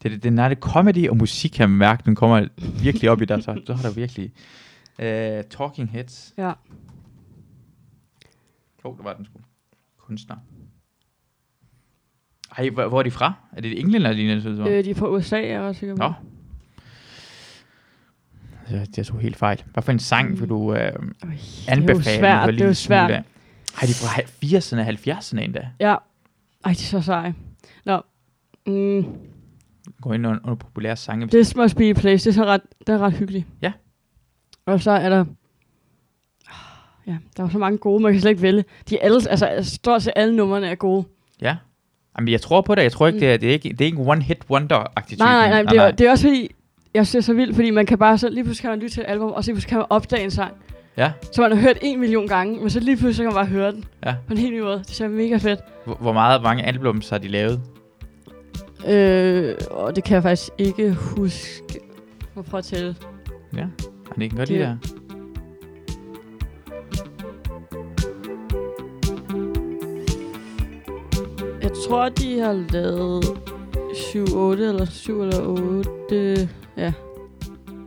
Det, det, det, nej, det er comedy og musik, kan man mærke. Den kommer virkelig op i dig, så, så har du virkelig... Uh, talking Heads. ja. Åh, oh, der var den sgu. Kunstner. Ej, hvor, hvor er de fra? Er det England eller lignende? synes du? Øh, de er fra USA, er jeg også sikker på. Nå. Jeg, jeg tog helt fejl. Hvad for en sang vil du øh, Øj, anbefale? Det er jo svært, en det er jo lille smule svært. af? Ej, de er fra 80'erne og 70'erne endda. Ja. Ej, de er så seje. Nå. Mm, Gå ind under, under populære sange. Det. This Must Be a Place, det er så ret, det er ret hyggeligt. Ja. Og så er der... Ja, der er jo så mange gode, man kan slet ikke vælge. De er alle, altså stort set alle numrene er gode. Ja. Jamen, jeg tror på det. Jeg tror ikke, det er, det er ikke, det er ikke en one-hit wonder-agtig Mm. Nej, nej, nej, type. det er, det er også fordi, jeg synes det er så vildt, fordi man kan bare så, lige pludselig kan man lytte til et album, og så lige pludselig kan man opdage en sang, Ja, som man har hørt en million gange, men så lige pludselig så kan man bare høre den Ja. på en helt ny måde. Det er mega fedt. hvor, hvor meget, mange albums har de lavet? Øh, og det kan jeg faktisk ikke huske. Må prøve at tælle. Ja, og det kan godt Det- lide der. Jeg tror, de har lavet 7-8 eller 7 eller 8 ja, Ja,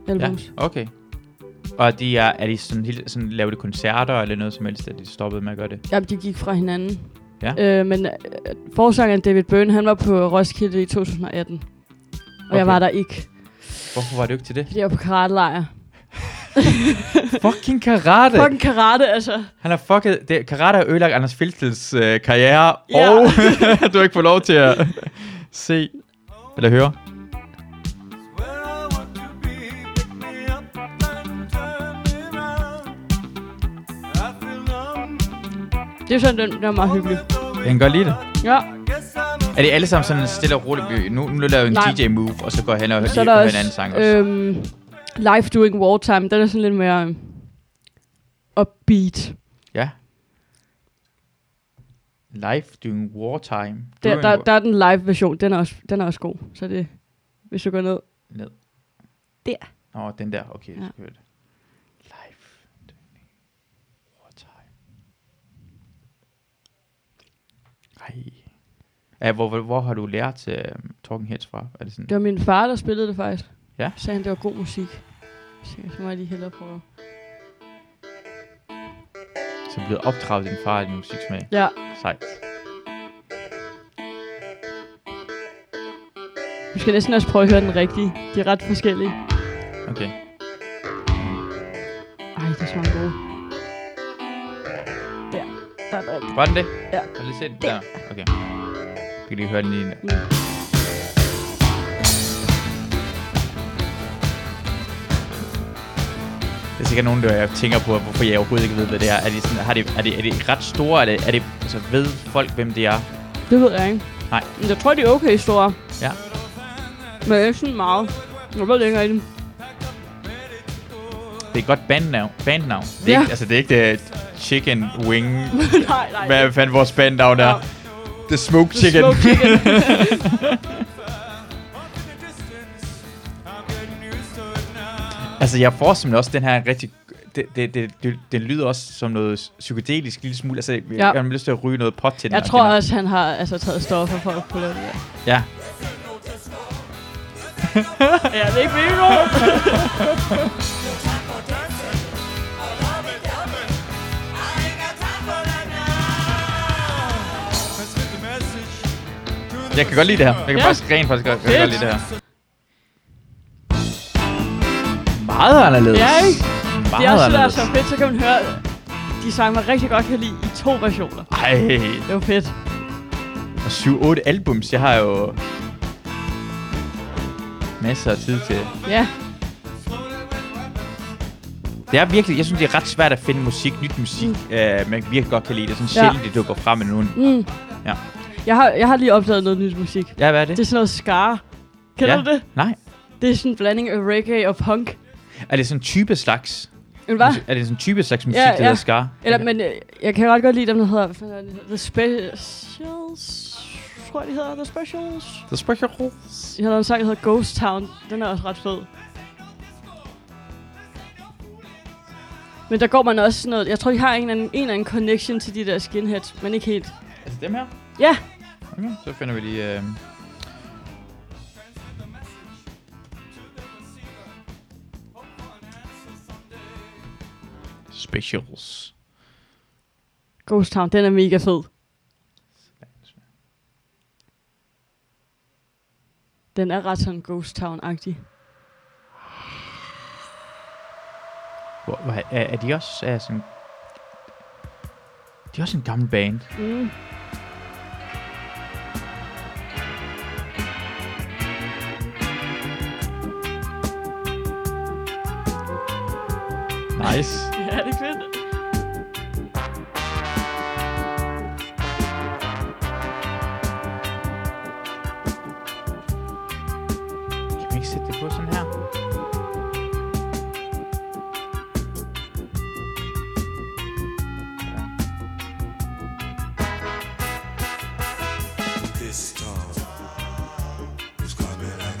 albums. okay. Og de er, er de sådan, helt, sådan, laver de koncerter eller noget som helst, at de stoppede med at gøre det? Ja. Jamen, de gik fra hinanden. Ja. Øh, men øh, forsangeren David Byrne, han var på Roskilde i 2018. Og okay. Okay. jeg var der ikke, Hvorfor var du ikke til det? fordi jeg var på karatelejr. Fucking karate! Fucking karate, altså. Han har fucket... Det, karate har ødelagt Anders Filtels øh, karriere, Ja. ja. og du har ikke fået lov til at se eller høre. Det er sådan, den, den er meget hyggelig. Jeg kan godt lide det. Ja, Er det alle sammen sådan stille og roligt? Vi- Nu, nu laver jeg en Nej. DJ-move, og så går jeg hen og så hører er en anden der også, sang også. øhm, Life During Wartime. Den er sådan lidt mere øhm, upbeat. Ja. Life during wartime. Der, During der, war- der er den live version, den er også, den er også god. Så det, hvis du går ned. Ned. Der. Nå, den der. Okay, Ja. ja. hørte. Life during wartime. Ej. Ja, hvor, hvor, hvor har du lært uh, Talking Heads fra? Er det sådan? Det var min far, der spillede det faktisk. Ja. Så sagde han, det var god musik. Så tænkte jeg, så må jeg lige hellere prøve. Så blev opdraget din far i din musiksmag. Ja, Sejt. vi skal næsten også prøve at høre den rigtige. De er ret forskellige. Okay. Ej, det så mange gode. Der. Der er der. Var den det? Ja. Har du lige set den Det. Mm. der? Okay. Vi kan lige høre den lige. der. Der er sikkert nogen, der jeg tænker på, hvorfor jeg overhovedet ikke ved, hvad det er. Er de, sådan, har de, er de, er de ret store? Er det, er det, altså, ved folk, hvem det er? Det ved jeg ikke. Nej. Men jeg tror, de er okay store. Ja. Men ikke sådan meget. Jeg ved det ikke rigtigt. Det er et godt bandnavn. bandnavn. Det er Ja. ikke, altså, det er ikke det chicken wing. nej, nej. Hvad fanden vores bandnavn er? Ja. The Smoke The Chicken. Smoke chicken. Altså, jeg forestiller mig også den her rigtig... Det, det, det, det, det lyder også som noget psykedelisk lille smule. Altså, jeg Ja. ja. har lyst til at ryge noget pot til den jeg her tror kender. også, han har altså, taget stoffer for at kunne lave det der. Ja. Ja, det er ikke bingo. Ah, Jeg kan godt lide det her. Jeg kan ja. Ja. faktisk rent faktisk godt, jeg kan Fedt. godt lide det her. Meget anderledes. Ja, ikke? Meget Det er også det, der er anderledes. så fedt, så kan man høre, de sange, man rigtig godt kan lide i to versioner. Det var fedt. Ej, og 7-8 albums. Jeg har jo masser af tid til. Ja, Det er virkelig, jeg synes, det er ret svært at finde musik, nyt musik, mm. øh, man virkelig godt kan lide. Det er sådan Ja. sjældent, det dukker frem med nogen. Mm. Ja. Jeg har, jeg har lige opdaget noget nyt musik. Ja, hvad er det? Det er sådan noget skar. Kender ja. du det? Nej. Det er sådan en blanding af reggae og punk. Er det sådan en type slags? Men hvad? Er det sådan en type slags musik, Ah. Ja, ja, ja. der hedder ja. Scar? Eller, men øh, jeg kan ret godt lide dem, der hedder... hvad fanden er det, de hedder? The Specials... Tror jeg, de hedder The Specials. Så spørger jeg ro. Jeg har lavet en sang, der hedder Ghost Town. Den er også ret fed. Men der går man også sådan noget... Jeg tror, de har en eller anden, en eller anden connection til de der skinheads, men ikke helt. Er det Altså, dem her? Ja, Okay, så finder vi lige... Øh... Specials. Ghost Town, den er mega fed. Den er ret sådan Ghost Town-agtig. Hvor, hvor, er, er de også er sådan... De er også en gammel band. Mm. Nice. Ja, det er fedt. Kan man ikke sætte det på sådan her?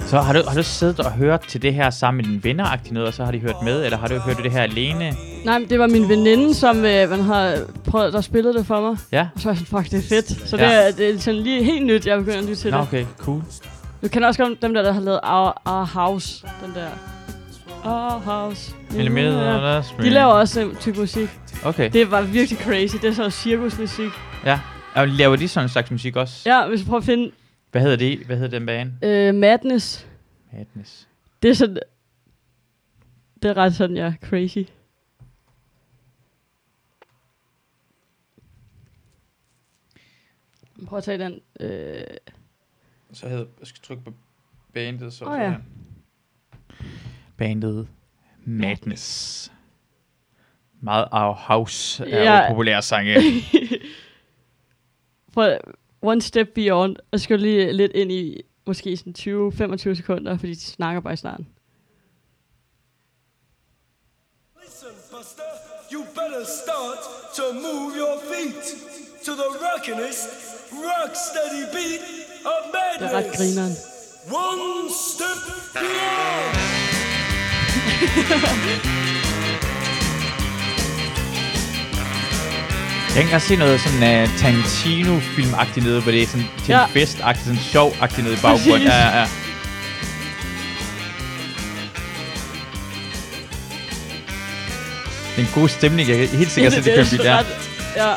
Så har du, har du siddet og hørt til det her sammen med dine venner noget, og så har de hørt med, eller har du hørt det her alene? Nej, men det var min veninde, som øh, man har prøvet, der spillede det for mig. Ja? Og så var jeg sådan, fuck, det er fedt. Så Ja. det, er, det er sådan lige helt nyt, jeg begynder at lytte til Nå, det. okay, cool. Du kender også godt dem der, der har lavet Our, Our House. Den der. Our House. Ja. Millimeter, De laver også den type musik. Okay, Det var virkelig crazy. Det er så cirkusmusik. ja. Og laver de sådan en slags musik også? Ja, hvis du prøver at finde Hvad hedder det? Hvad hedder den band? øh, Madness. Madness. Det er sådan... Det er ret sådan, ja, crazy. Prøv at tage den. Øh, Så hedder, jeg skal trykke på bandet. Så Åh, ja. Bandet Madness. Meget Our House er Ja. ja. jo populære sange. prøv at, one step beyond. Jeg skal lige lidt ind i måske sådan 20-25 sekunder, fordi de snakker bare i starten. Listen, Buster, you better start to move your feet to the rockinest, rock steady beat of Det er ret madness. grineren. One step beyond. Jeg kan ikke engang se noget sådan uh, Tarantino-filmagtigt nede, hvor det er sådan til ja. Ja. en festagtigt, sådan sjovagtigt nede i baggrunden. Præcis. Ja, ja, ja. Den gode stemning, jeg kan helt sikkert se, det kan blive der. ret- Ja,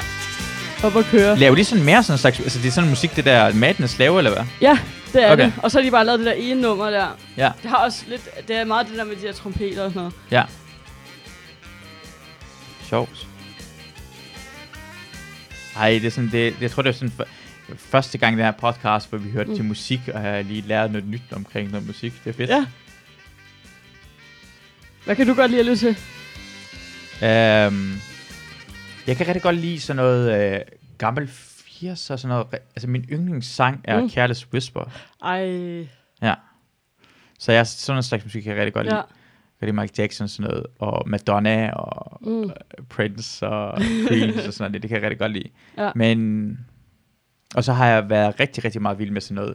op at køre. Laver de sådan mere sådan en slags, altså det er sådan musik, det der Madness laver, eller hvad? Ja, det er Okay. okay. det. Og så har de bare lavet det der ene nummer der. Ja. Det har også lidt, det er meget det der med de der trompeter og sådan noget. Ja. sjovt. Ej, det er sådan, det, jeg tror, det er sådan for, første gang i den her podcast, hvor vi hørte mm. til musik, og jeg har lige lært noget nyt omkring noget musik. Det er fedt. Ja. Hvad kan du godt lide at lytte til? Øhm, jeg kan rigtig godt lide sådan noget øh, gammel 80'er, sådan noget. Altså, min yndlingssang er Mm. mm. Careless Whisper. Ej, Ja. Så jeg, sådan en slags musik kan jeg rigtig godt ja. ja. lide. Jeg kan lide Michael Jackson sådan noget, og Madonna, og Mm. Prince og Queens og sådan noget. Det kan jeg rigtig godt lide. Ja. Men, og så har jeg været rigtig, rigtig meget vild med sådan noget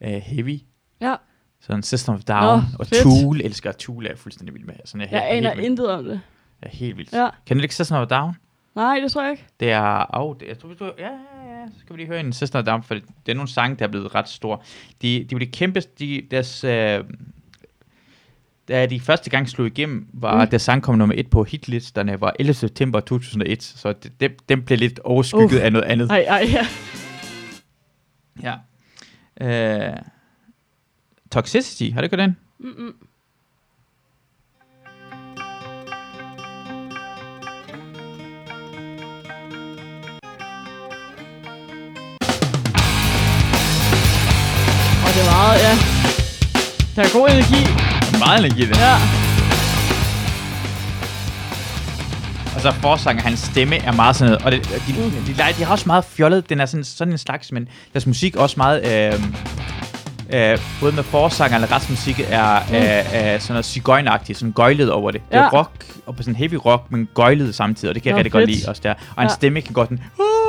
uh, heavy. Ja. Sådan System of Down Nå, og fedt. Tool. Elsker Tool, er jeg fuldstændig vild med. Sådan, jeg, er Jeg helt- aner helt vild. intet om det. Jeg er helt vild. Ja. Kan du ikke System of Down? Nej, det tror jeg ikke. Det er... Åh, oh, jeg tror, du, ja, ja, ja, så skal vi lige høre en System of Down, for det er nogle sange, der er blevet ret store. De, de blev kæmpe... De, deres, øh, da de første gang slog igennem, var Mm. mm. deres sang kom nummer et på hitlisterne, var 11. september 2001, så det, det, den blev lidt overskygget Uff. uh. af noget andet. Ej, ej, ja. Ja. Øh, toxicity, har du ikke hørt den? Mm-mm. Og det er meget, ja. Der er god energi. Meget energi, den. Ja. Og så forsanger, hans stemme er meget sådan noget. Og det, de, Mm. de, de, de, har også meget fjollet, den er sådan, sådan en slags, men deres musik er også meget... Øh, øh, både med forsangeren og retsmusik er mm. øh, øh, sådan noget cigøjnagtigt, sådan gøjlet over det. Ja. Det Ja. er rock, og på sådan heavy rock, men gøjlet samtidig, og det kan jeg Nå, rigtig godt fedt. lide også der. Og hans Ja. stemme kan godt den,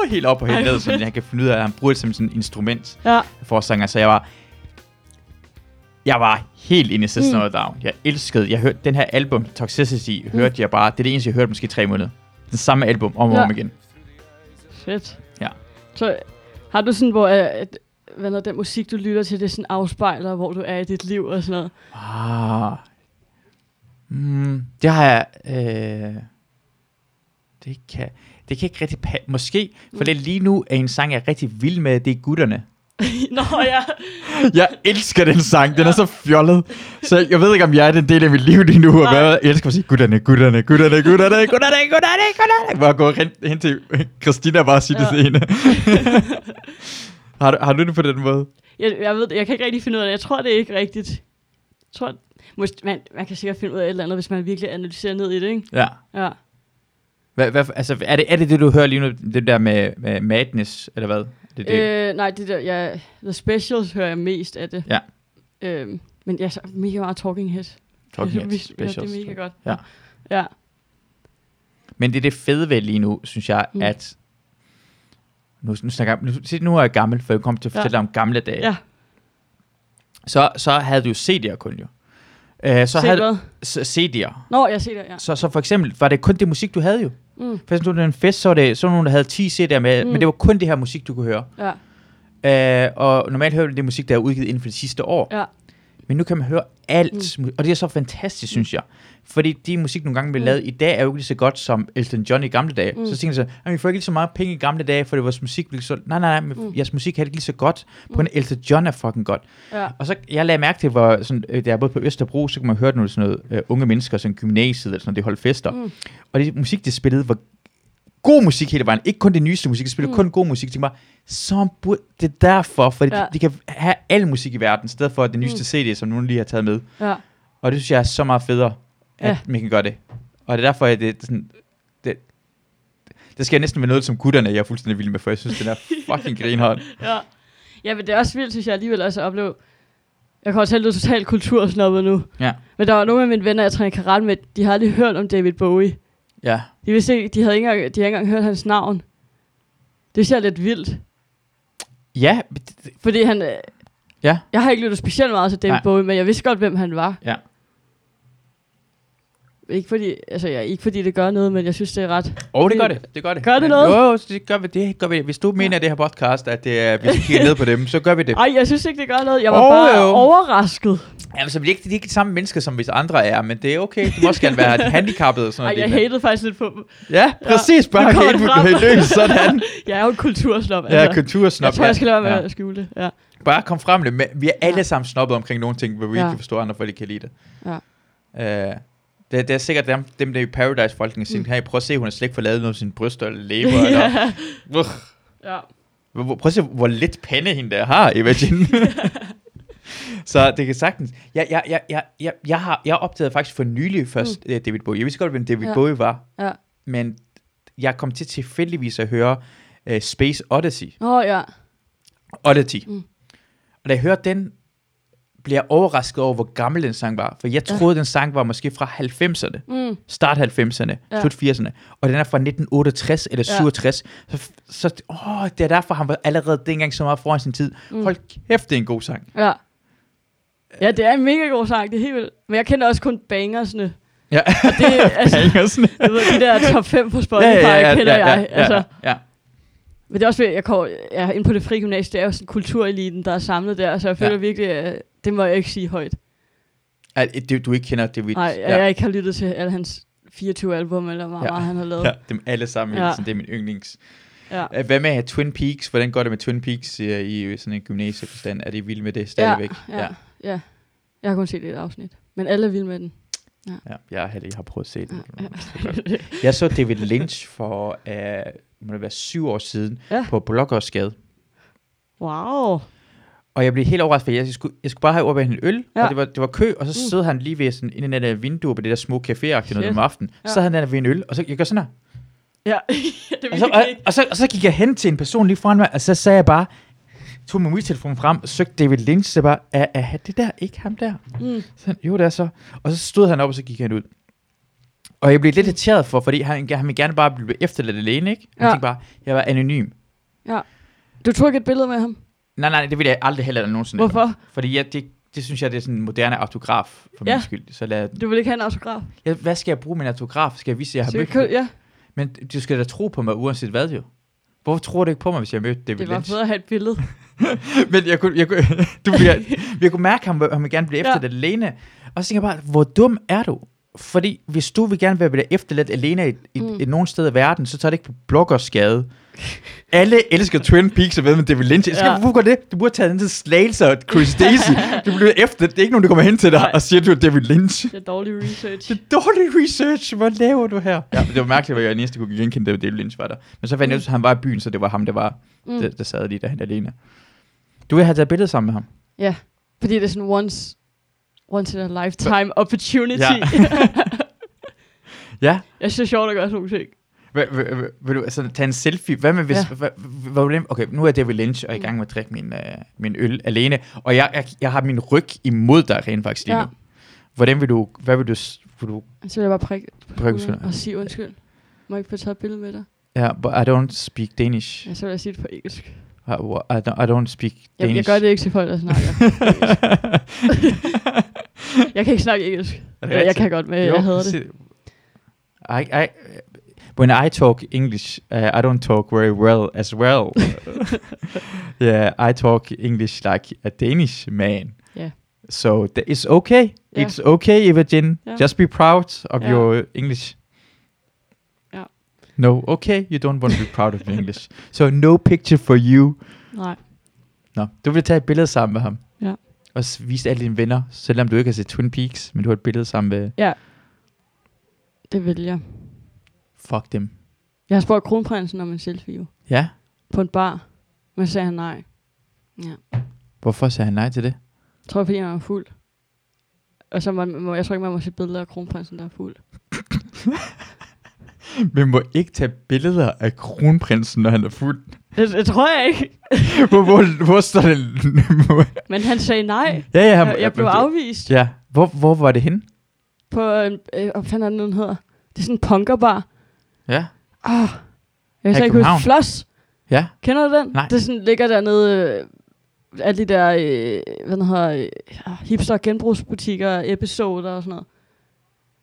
uh, helt op og helt Ej, ned, hvor så fedt. han kan finde ud af, at han bruger det som sådan et instrument Ja. forsanger, så jeg var jeg var helt inde i System mm. Down. Jeg elskede, jeg hørte den her album, Toxicity, mm. hørte jeg bare, det er det eneste, jeg hørte måske tre måneder. Den samme album om og Ja. om igen. Fedt. Ja. Så har du sådan, hvor øh, at, hvad noget, den musik, du lytter til, det sådan afspejler, hvor du er i dit liv og sådan noget? Ah. Mm, det har jeg... Øh, det kan, det kan ikke rigtig... Pa- måske, for det lige nu er en sang, jeg er rigtig vild med, det er Gutterne. Nå ja. Jeg elsker den sang, den er så fjollet. Så jeg ved ikke, om jeg er den del af mit liv lige nu, og Nej. hvad jeg elsker at sige, gutterne, gutterne, gutterne, gutterne, gutterne, gutterne, gutterne. Bare gå hen, hen til Christina og bare sige ja. Ja. det ene. har, du, har du det på den måde? Jeg, jeg ved det, jeg kan ikke rigtig finde ud af det. Jeg tror, det er ikke rigtigt. Jeg tror, måske, man, man kan sikkert finde ud af et eller andet, hvis man virkelig analyserer ned i det, ikke? Ja. Ja. Hvad, hvad, altså, er det, er det det, du hører lige nu, det der med, med madness, eller hvad? Det, er det. Øh. Øh, nej, det der, ja, The Specials hører jeg mest af det. Ja. Øhm, men jeg så mega meget Talking Heads. Talking Heads Ja, specials. det er mega godt. Ja. Ja. Men det er det fede ved lige nu, synes jeg, Mm. mm. at... Nu, nu, snakker, jeg- nu, se, nu er jeg gammel, for jeg kommer til at Ja. fortælle dig om gamle dage. Ja. Så, så havde du jo CD'er kun jo. Øh, så Så Se havde, hvad? s- CD'er. Nå, jeg ser det, ja. Så, så for eksempel var det kun det musik, du havde jo. Mm, For eksempel til en fest, så var det så var der nogen, der havde 10 CD'er med, Mm. mm. men det var kun det her musik, du kunne høre. ja. Øh, og normalt hører du det musik, der er udgivet inden for det sidste år. Ja. Men nu kan man høre alt, mm. og det er så fantastisk, synes jeg. Fordi de musik, nogle gange bliver Mm. mm. lavet i dag, er jo ikke lige så godt som Elton John i gamle dage. Mm. Mm. Så tænker jeg så, "Jamen, I får ikke lige så meget penge i gamle dage, for det vores musik blev så... Nej, nej, nej, men Mm. mm. jeres musik er ikke lige så godt. På en Mm. Elton John er fucking godt. Ja. Og så, jeg lagde mærke til, hvor sådan, øh, der er både på Østerbro, så kan man høre nogle sådan noget, øh, unge mennesker, sådan gymnasiet eller sådan noget, de holdt fester. Mm. Mm. Og det musik, de spillede, var god musik hele vejen. Ikke kun det nyeste musik, de spillede Mm. mm. kun god musik. Jeg Tænkte mig, så burde, det er derfor, for Ja. ja. de, de, kan have al musik i verden, i stedet for den nyeste Mm. mm. CD, som nogen lige har taget med. Ja. Og det synes jeg er så meget federe, at Ja. man kan gøre det. Og det er derfor, at det, er sådan, det, det skal jeg næsten være noget, som gutterne, jeg er fuldstændig vild med, for jeg synes, den er fucking grinhånd. ja. Ja, men det er også vildt, synes jeg alligevel også at opleve. Jeg kommer til at lyde totalt kultursnobbet nu. Ja. Men der var nogle af mine venner, jeg trænede karate med, de har aldrig hørt om David Bowie. Ja. De, vidste ikke, de, havde ikke engang, de havde ikke engang hørt hans navn. Det synes jeg er lidt vildt. Ja, men det- det- Fordi han... Øh, Ja. Jeg har ikke lyttet specielt meget til David Nej. Nej. Bowie, men jeg vidste godt, hvem han var. Ja. Ikke fordi, altså, ja, ikke fordi det gør noget, men jeg synes, det er ret. Åh, oh, det gør det. Det gør det. Gør det Ja. noget? Jo, det gør vi. Det gør vi. Hvis du mener, at det her podcast, at det er, vi skal kigge ned på dem, så gør vi det. Ej, jeg synes ikke, det gør noget. Jeg var Åh, bare jo. overrasket. Jamen, så er vi ikke, de er ikke de samme mennesker, som hvis andre er, men det er okay. Du må også gerne være handicappet og Ej, sådan jeg noget. hatede faktisk lidt på dem. Ja, præcis. nu Bare kommer helt det på frem. det løs, sådan. Jeg er jo en kultursnop, altså. Ja, jeg kultursnop. tror, jeg skal lade være med Ja. at skjule det. Ja. Bare kom frem med det. Men Vi er Ja. alle sammen snobbet omkring nogle ting, hvor vi Ja. ikke kan forstå andre, for de kan lide det. Ja. Øh, Det, det er sikkert dem, dem der i Paradise folkene mm. hey, prøv at se, hun har slet ikke fået lavet noget af sin bryster eller læber. ja. eller, Ugh. Ja. Hvor- hvor- Prøv at se, hvor lidt pande hende der har, Eva Jean. Så det kan sagtens. Jeg, jeg, jeg, jeg, jeg, jeg, har, jeg opdagede faktisk for nylig først mm. David Bowie. Jeg vidste godt, hvem David Ja. ja. Bowie var, Ja. men jeg kom til tilfældigvis at høre uh, Space Odyssey. Åh, oh, ja. Oddity. Mm. Og da jeg hørte den, blev jeg overrasket over, hvor gammel den sang var. For jeg troede, den sang var måske fra 90'erne. Mm. Start 90'erne, Ja. ja. slut 80'erne. Og den er fra 1968 eller Ja. 67. Så, så åh, det er derfor, han var allerede dengang så meget foran sin tid. Mm. Hold kæft, det er en god sang. Ja. Ja, det er en mega god sang, det er helt vildt. Men jeg kender også kun bangersne. Ja. Og det, altså, Bangersen. jeg ved, de der top 5 på Spotify, ja, ja, ja, kender ja, jeg. ja, Altså, ja, Men det er også, fordi, jeg kommer ja, ind på det frie gymnasie, det er jo sådan kultureliten, der er samlet der, så jeg føler ja. Ja. virkelig, at det må jeg ikke sige højt. ja. ja. det, du ikke kender David. Nej, ja. ja. jeg ikke har lyttet til alle hans 24 album, eller hvor Ja. meget han har lavet. ja, dem alle sammen. Ja. Ja. Det er min yndlings. Ja. Øh, Hvad med Twin Peaks? Hvordan går det med Twin Peaks øh, i sådan en gymnasieforstand? Er det vild med det stadigvæk? Ja, ja, ja. Jeg har kun set et afsnit, men alle er vilde med den. ja. Jeg har, jeg har prøvet at se det. Ja. Jeg så David Lynch for, uh, må det være syv år siden, Ja. ja. på Blågårdsgade. Wow. Og jeg blev helt overrasket, for jeg skulle, jeg skulle bare have over en øl, Ja. ja. og det var, det var kø, og så sidder han lige ved sådan, inden af det der vindue på det der små café noget om aftenen. Ja. Så sad han der ved en øl, og så jeg gør sådan her. Ja, det er Og så, virkelig Altså, og, ikke. og, så, og så gik jeg hen til en person lige foran mig, og så sagde jeg bare, tog min mobiltelefon frem, søgte David Lynch, så bare, er, er det der ikke ham der? Mm. Så, han, jo, det er så. Og så stod han op, og så gik han ud. Og jeg blev lidt irriteret for, fordi han, han ville gerne bare blive efterladt alene, ikke? Han Ja. ja. tænkte bare, jeg var anonym. Du tog ikke et billede med ham? Nej, nej, det ville jeg aldrig heller nogensinde. Hvorfor? Fordi jeg, det, det synes jeg, det er sådan en moderne autograf, for Ja. min skyld. Så lad, Du vil ikke have en autograf? jeg, hvad skal jeg bruge min autograf? Skal jeg vise, at jeg har Så vi mødt kø- kø- ja, Men du skal da tro på mig, uanset hvad jo. Hvorfor tror du ikke på mig, hvis jeg mødte David det var Lynch? fedt at have et billede. Men jeg kunne, jeg kunne, du, jeg, jeg kunne mærke, at han, vil- han vil gerne blive Ja. efterladt alene. Og så tænker jeg bare, hvor dum er du? Fordi hvis du vil gerne være blive efterladt alene i, i, mm. i nogen sted i verden, så tager det ikke på bloggerskade. Alle elsker Twin Peaks og ved med David Lynch. Jeg skal, Ja. ja. Hvorfor går det? Du burde tage den til Slagelse og Chris Daisy. Du bliver efter. Det er ikke nogen, der kommer hen til dig Nej. og siger, at du er David Lynch. Det er dårlig research. Det er dårlig research. Hvad laver du her? Ja, men det var mærkeligt, at jeg næsten kunne genkende, at David Lynch var der. Men så fandt jeg ud, at han var i byen, så det var ham, der, var, Mm. mm. der, der sad lige derhen alene. Du vil have taget billede sammen med ham. Ja, fordi det er sådan once, once in a lifetime opportunity. Ja. Ja. jeg synes, det er sjovt at gøre sådan nogle ting. Vil, vil, vil, vil du altså, tage en selfie? Hvad med hvis... Ja. Mm. Ja. Hvad, hvad, hvad, okay, nu er David Lynch, og jeg er i gang med at drikke min, øh, min øl alene. Og jeg, jeg, jeg har min ryg imod dig rent faktisk lige Ja. ja. nu. Hvordan vil du... Hvad vil du... s- Vil du Så vil jeg bare prikke Prikke skulderen. og sige undskyld. Må jeg ikke få taget et billede med dig? ja, but I don't speak Danish. Ja, så vil jeg sige det på engelsk. I, I, don't, I don't speak Jeg, Danish. jeg gør det ikke til folk, der snakker. jeg kan ikke snakke engelsk. Er det Ja, jeg rigtigt? kan godt, men jeg hader Øh, det. sig- I, I, when I talk English, uh, I don't talk very well as well. yeah, I talk English like a Danish man. Yeah. So th- it's okay. Yeah. It's okay, Eva Jin. Yeah. Just be proud of Yeah. your English. Yeah. No, okay, you don't want to be proud of your English. So no picture for you. Nej. Nå, du vil tage et billede sammen med ham. Ja. Og s- vise alle dine venner, selvom du ikke har set Twin Peaks, men du har et billede sammen med... Det vil jeg. Fuck dem. Jeg har spurgt kronprinsen om en selfie jo, Ja. på en bar, men så sagde han nej. Ja. Hvorfor sagde han nej til det? Jeg tror, fordi han var fuld. Og så man, må, jeg tror ikke, man må se billeder af kronprinsen, der er fuld. Man må ikke tage billeder af kronprinsen, når han er fuld. Det, det tror jeg ikke. Hvor, hvor, hvor står det? Men han sagde nej. ja, ja, Jeg, jeg blev afvist Ja, hvor, hvor var det henne? på en... Øh, hvad fanden er den, den hedder? Det er sådan en punkerbar. Ja. Oh, jeg kan Her i slet ikke huske. København? Floss. Ja. Kender du den? Nej. Det sådan, ligger dernede... Øh, alle de der, øh, hvad den hedder, øh, hipster genbrugsbutikker, episoder og sådan noget.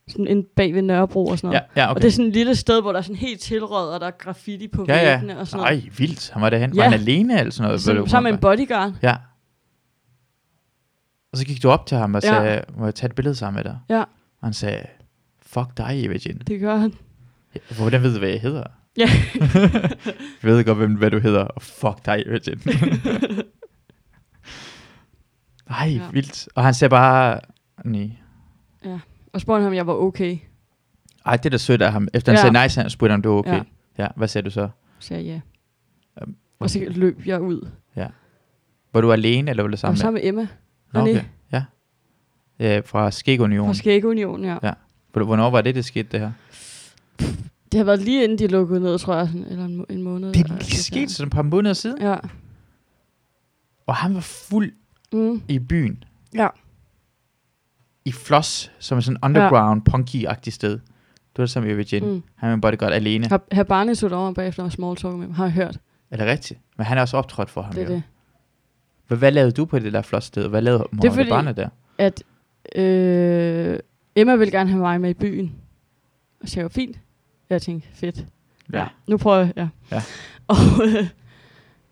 Sådan inde bag ved Nørrebro og sådan noget. Ja, ja, Og okay. det er sådan et lille sted, hvor der er sådan helt tilråd, og der er graffiti på ja, ja. væggene og sådan Nej, noget. vildt. Han var derhen. Ja. Var han alene eller sådan noget? Var Som, det- sammen med en bodyguard. Ja. Og så gik du op til ham og Ja. sagde, må jeg tage et billede sammen med dig? Ja. Og han sagde, fuck dig, Eva Jean. Det gør han. Hvordan ved du, hvad jeg hedder? Ja. jeg ved godt, hvem, hvad du hedder. Og fuck dig, Virgin. Nej, Ja. ja. vildt. Og han ser bare... Nej. og spurgte ham, om jeg var okay. Ej, det er da sødt af ham. Efter han Ja. ja. sagde nej, så han spurgte han, om du er okay. Ja. Ja. ja. hvad sagde du så? Så sagde jeg ja. Øhm, Og så løb jeg ud. Var du alene, eller var du Sammen og sammen med? sammen med Emma Nå, René. okay. Ja. Øh, fra Skægunionen. fra Skægunionen, ja. Ja. Hvornår var det, det skete, det her? Det har været lige inden de lukkede ned, tror jeg, sådan, eller en, må- en måned. Det eller er sådan sket der. sådan et par måneder siden, Ja. og han var fuld Mm. i byen. Ja. I Floss, som er sådan underground, ja. punky-agtigt sted. Du er sammen med Virginia. Mm. Mm. Han var bodyguard alene. Har, har Barney suttet over bagefter og small talk med ham, har jeg hørt. Er det rigtigt? Men han er også optrådt for ham. Det er jo. det. Hvad, hvad lavede du på det der flot sted? Hvad lavede Mohammed fordi- fordi... Barnet der? At øh, Emma ville gerne have mig med i byen. Og så jeg var fint. Jeg tænkte, fedt. Ja. Nu prøver jeg, ja. Ja. Og, øh,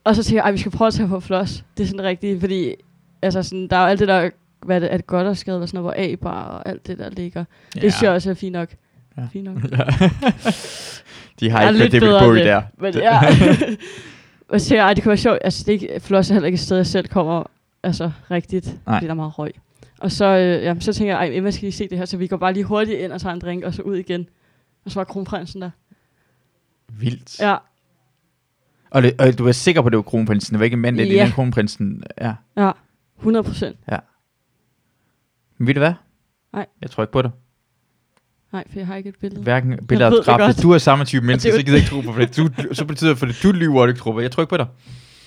og så tænkte jeg, "Ej, vi skal prøve at tage på floss. Det er sådan rigtigt, fordi altså sådan, der er jo alt det der, hvad er det, at godt og skade, og sådan noget, hvor A-bar og alt det der ligger. Ja. Det synes jeg også er fint nok. Ja. Fint nok. De Jeg har er ikke kørt lidt det bedre ved Bowie end der. Men ja. og så siger jeg, "Ej, det kunne være sjovt. Altså, det er ikke, floss er heller ikke et sted, jeg selv kommer altså, rigtigt. Nej. Nej. Fordi der er meget røg. Og så, øh, ja, så tænker jeg, ej, Emma skal lige se det her, så vi går bare lige hurtigt ind og tager en drink, og så ud igen. Og så var kronprinsen der. Vildt. Ja. Ja, Og, det, og, du var sikker på, at det var kronprinsen. Det var ikke en mand, det Ja. ja. er kronprinsen. Ja. 100 procent. Men ved du hvad? Nej. Jeg tror ikke på det. Nej, for jeg har ikke et billede. Hverken billeder ved af det drab. godt. Hvis du er samme type menneske, det er så gider jeg ikke tro på det. Du, så betyder det, for det, du lyver, og du ikke tror på det. Jeg tror ikke på dig.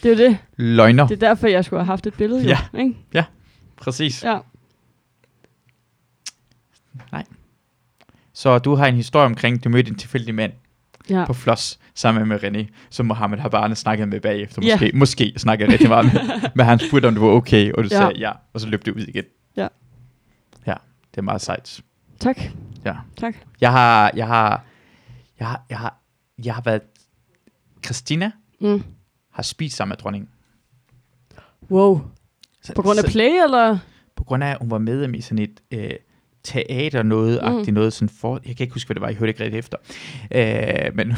Det er jo det. Løgner. Det Det... er derfor, jeg skulle have haft et billede, jo. Ja. Ikke? Præcis. Ja. Ja. Så du har en historie omkring, du mødte en tilfældig mand ja. på Floss sammen med René, som Mohammed har bare snakket med bagefter. Ja. Måske, yeah. måske snakkede jeg rigtig meget med, men han spurgte, om du var okay, og du Ja. ja. sagde ja, og så løb det ud igen. Ja. Ja, det er meget sejt. Tak. Ja. Tak. Jeg har, jeg har, jeg har, jeg har, jeg har været, Christina Mm. har spist sammen med dronningen. Wow. Så- På grund af så- play, eller? på grund af, at hun var med i sådan et øh, teater noget agtigt noget sådan for, jeg kan ikke huske, hvad det var, jeg hørte ikke rigtig efter. Øh, men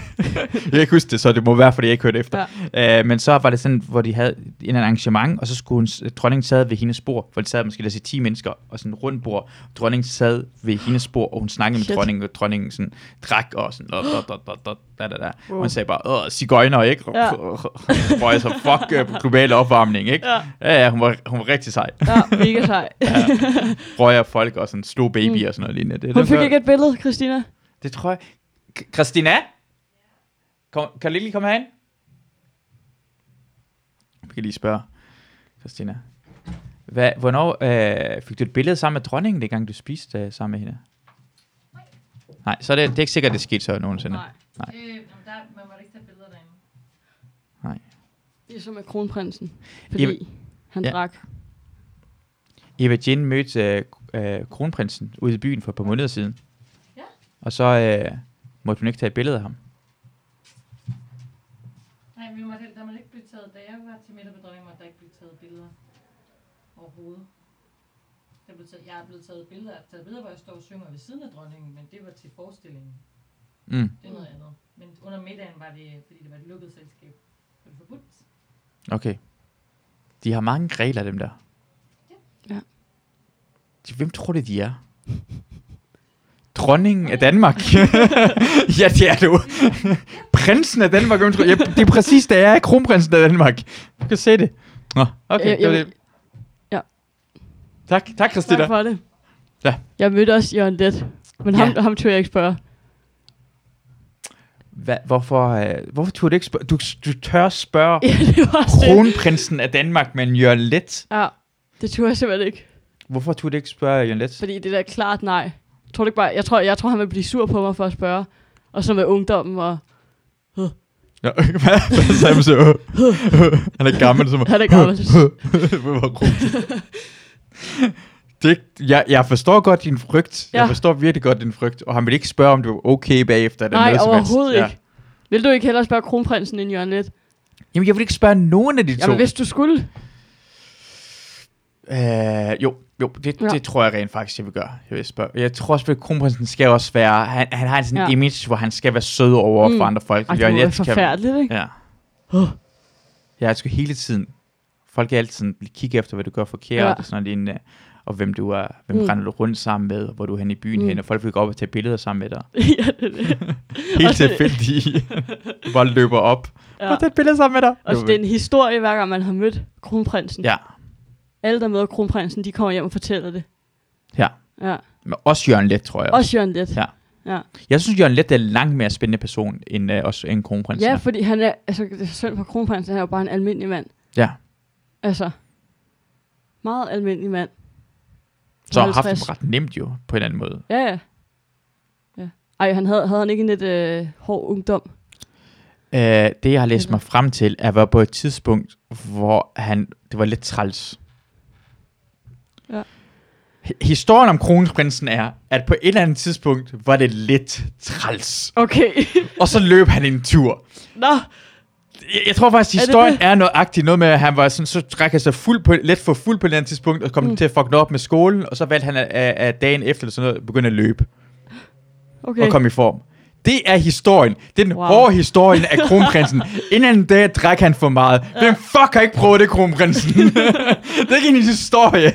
jeg kan ikke huske det, så det må være, fordi jeg ikke hørte efter. Ja. Øh, men så var det sådan, hvor de havde en eller anden arrangement, og så skulle hun, dronningen sad ved hendes spor, hvor de sad måske, lad os sige, 10 mennesker, og sådan rundt bord. Dronningen sad ved hendes spor, og hun snakkede Shit. med dronningen, og dronningen sådan drak og sådan, da, da, da, da, da, da, da. Wow. Wow. Hun sagde bare, åh, cigøjner, ikke? Ja. Ja. Hvor jeg så, fuck øh, global opvarmning, ikke? Ja. Ja, ja, hun var, hun var rigtig sej Ja, mega sej. røg af folk og sådan slog baby mm. og sådan noget lignende. Det, er Hun den fik der- ikke et billede, Christina. det tror jeg. K- Christina? Kom, kan du lige komme herind? Vi kan lige spørge Christina. Hvad, hvornår øh, fik du et billede sammen med dronningen, dengang du spiste øh, sammen med hende? Nej, så er det, det er ikke sikkert, det skete så nogensinde. Nej. Nej. Øh, jamen, der, man måtte ikke tage billeder derinde. Det er som med kronprinsen. Fordi Jamen- han Ja. drak. Eva Jane mødte øh, øh, kronprinsen ude i byen for et par måneder siden. Ja. Og så øh, måtte hun ikke tage et billede af ham. Nej, vi måtte, heller- der måtte ikke blive taget, da jeg var til middag på dronningen, måtte der ikke blive taget billeder overhovedet. Der blev taget, jeg er blevet taget billeder, taget billeder, hvor jeg står og synger ved siden af dronningen, men det var til forestillingen. Mm. Det er noget andet. Men under middagen var det, fordi det var et lukket selskab, var det forbudt. Okay. De har mange regler, dem der. Ja. De, hvem tror det, de er? Dronningen af Danmark. ja, det er du. Prinsen af Danmark. Hvem tror, ja, det er præcis det, jeg er. Kronprinsen af Danmark. Du kan se det. Nå, okay. Øh, det var jamen- det. Tak, tak Christina. Tak for det. Ja. Jeg mødte også Jørgen Let, men ham, Ja. ham tør jeg ikke spørge. Hva, hvorfor, øh, hvorfor turde du ikke spørge? Du, du tør spørge Ja, det var også det. kronprinsen af Danmark, men Jørgen Let. Ja, det turde jeg simpelthen ikke. Hvorfor turde du ikke spørge Jørgen Let? Fordi det der klart nej. Tror du ikke bare, jeg, tror, jeg tror, han vil blive sur på mig for at spørge. Og så med ungdommen, og Ja, hvad, hvad sagde man så? Han er gammel, som han er gammel. Hvor grumt. Det, jeg, jeg forstår godt din frygt. Ja. Ja. Jeg forstår virkelig godt din frygt. Og han vil ikke spørge, om du er okay bagefter. Eller nej, noget som helst. overhovedet ikke. Vil du ikke hellere spørge kronprinsen end Jørgen Let? Jamen, jeg vil ikke spørge nogen af de to. Jamen, hvis du skulle. Øh, jo, jo det, Ja. ja. det tror jeg rent faktisk, jeg vil gøre. Jeg, vil spørge. jeg tror også, at kronprinsen skal også være... Han, han har sådan en Ja. ja. image, hvor han skal være sød over Mm. for andre folk. Ej, det Jørgen må være Leth kan- forfærdeligt, ikke? Ja. Åh. Jeg skal hele tiden... Folk er altid sådan, lige kigge efter, hvad du gør forkert. Ja. Ja. Og sådan noget, lignende. og hvem du er, hvem Mm. mm. render du rundt sammen med, og hvor du er henne i byen Mm. mm. hen, og folk vil gå op og tage billeder sammen med dig. ja, det er det. Helt Også- tilfældigt. du bare løber op. Ja. Og tage billeder sammen med dig. Og så det er en historie, hver gang man har mødt kronprinsen. Ja. Alle, der møder kronprinsen, de kommer hjem og fortæller det. Ja. ja. Men også Jørgen Let, tror jeg. Også Jørgen Let. Ja. Jeg synes, Jørgen Let er en langt mere spændende person end, øh, også, end kronprinsen. ja, er. fordi han er, altså det er så synd for kronprinsen, han er jo bare en almindelig mand. ja. Altså, meget almindelig mand. Så har han haft 50. det ret nemt jo, på en anden måde. Ja, ja. ja. Ej, han havde, havde han ikke en lidt øh, hård ungdom? Øh, det, jeg har læst Eller- mig frem til, er, var på et tidspunkt, hvor han, det var lidt træls. Ja. H- Historien om kronprinsen er, at på et eller andet tidspunkt var det lidt træls. Okay. Og så løb han en tur. Nå, Jeg, jeg tror faktisk, Er det historien det? er, nøjagtig noget med, at han var sådan, så trak han sig fuld på, let for fuld på et eller andet tidspunkt, og kom Mm. mm. til at fuck noget op med skolen, og så valgte han af, af dagen efter, eller sådan noget, at begynde at løbe okay. og komme i form. Det er historien. Det er den Wow. wow. hårde historien af kronprinsen. Inden en dag drak han for meget. Hvem fuck har ikke prøvet det, kronprinsen? det er ikke en historie.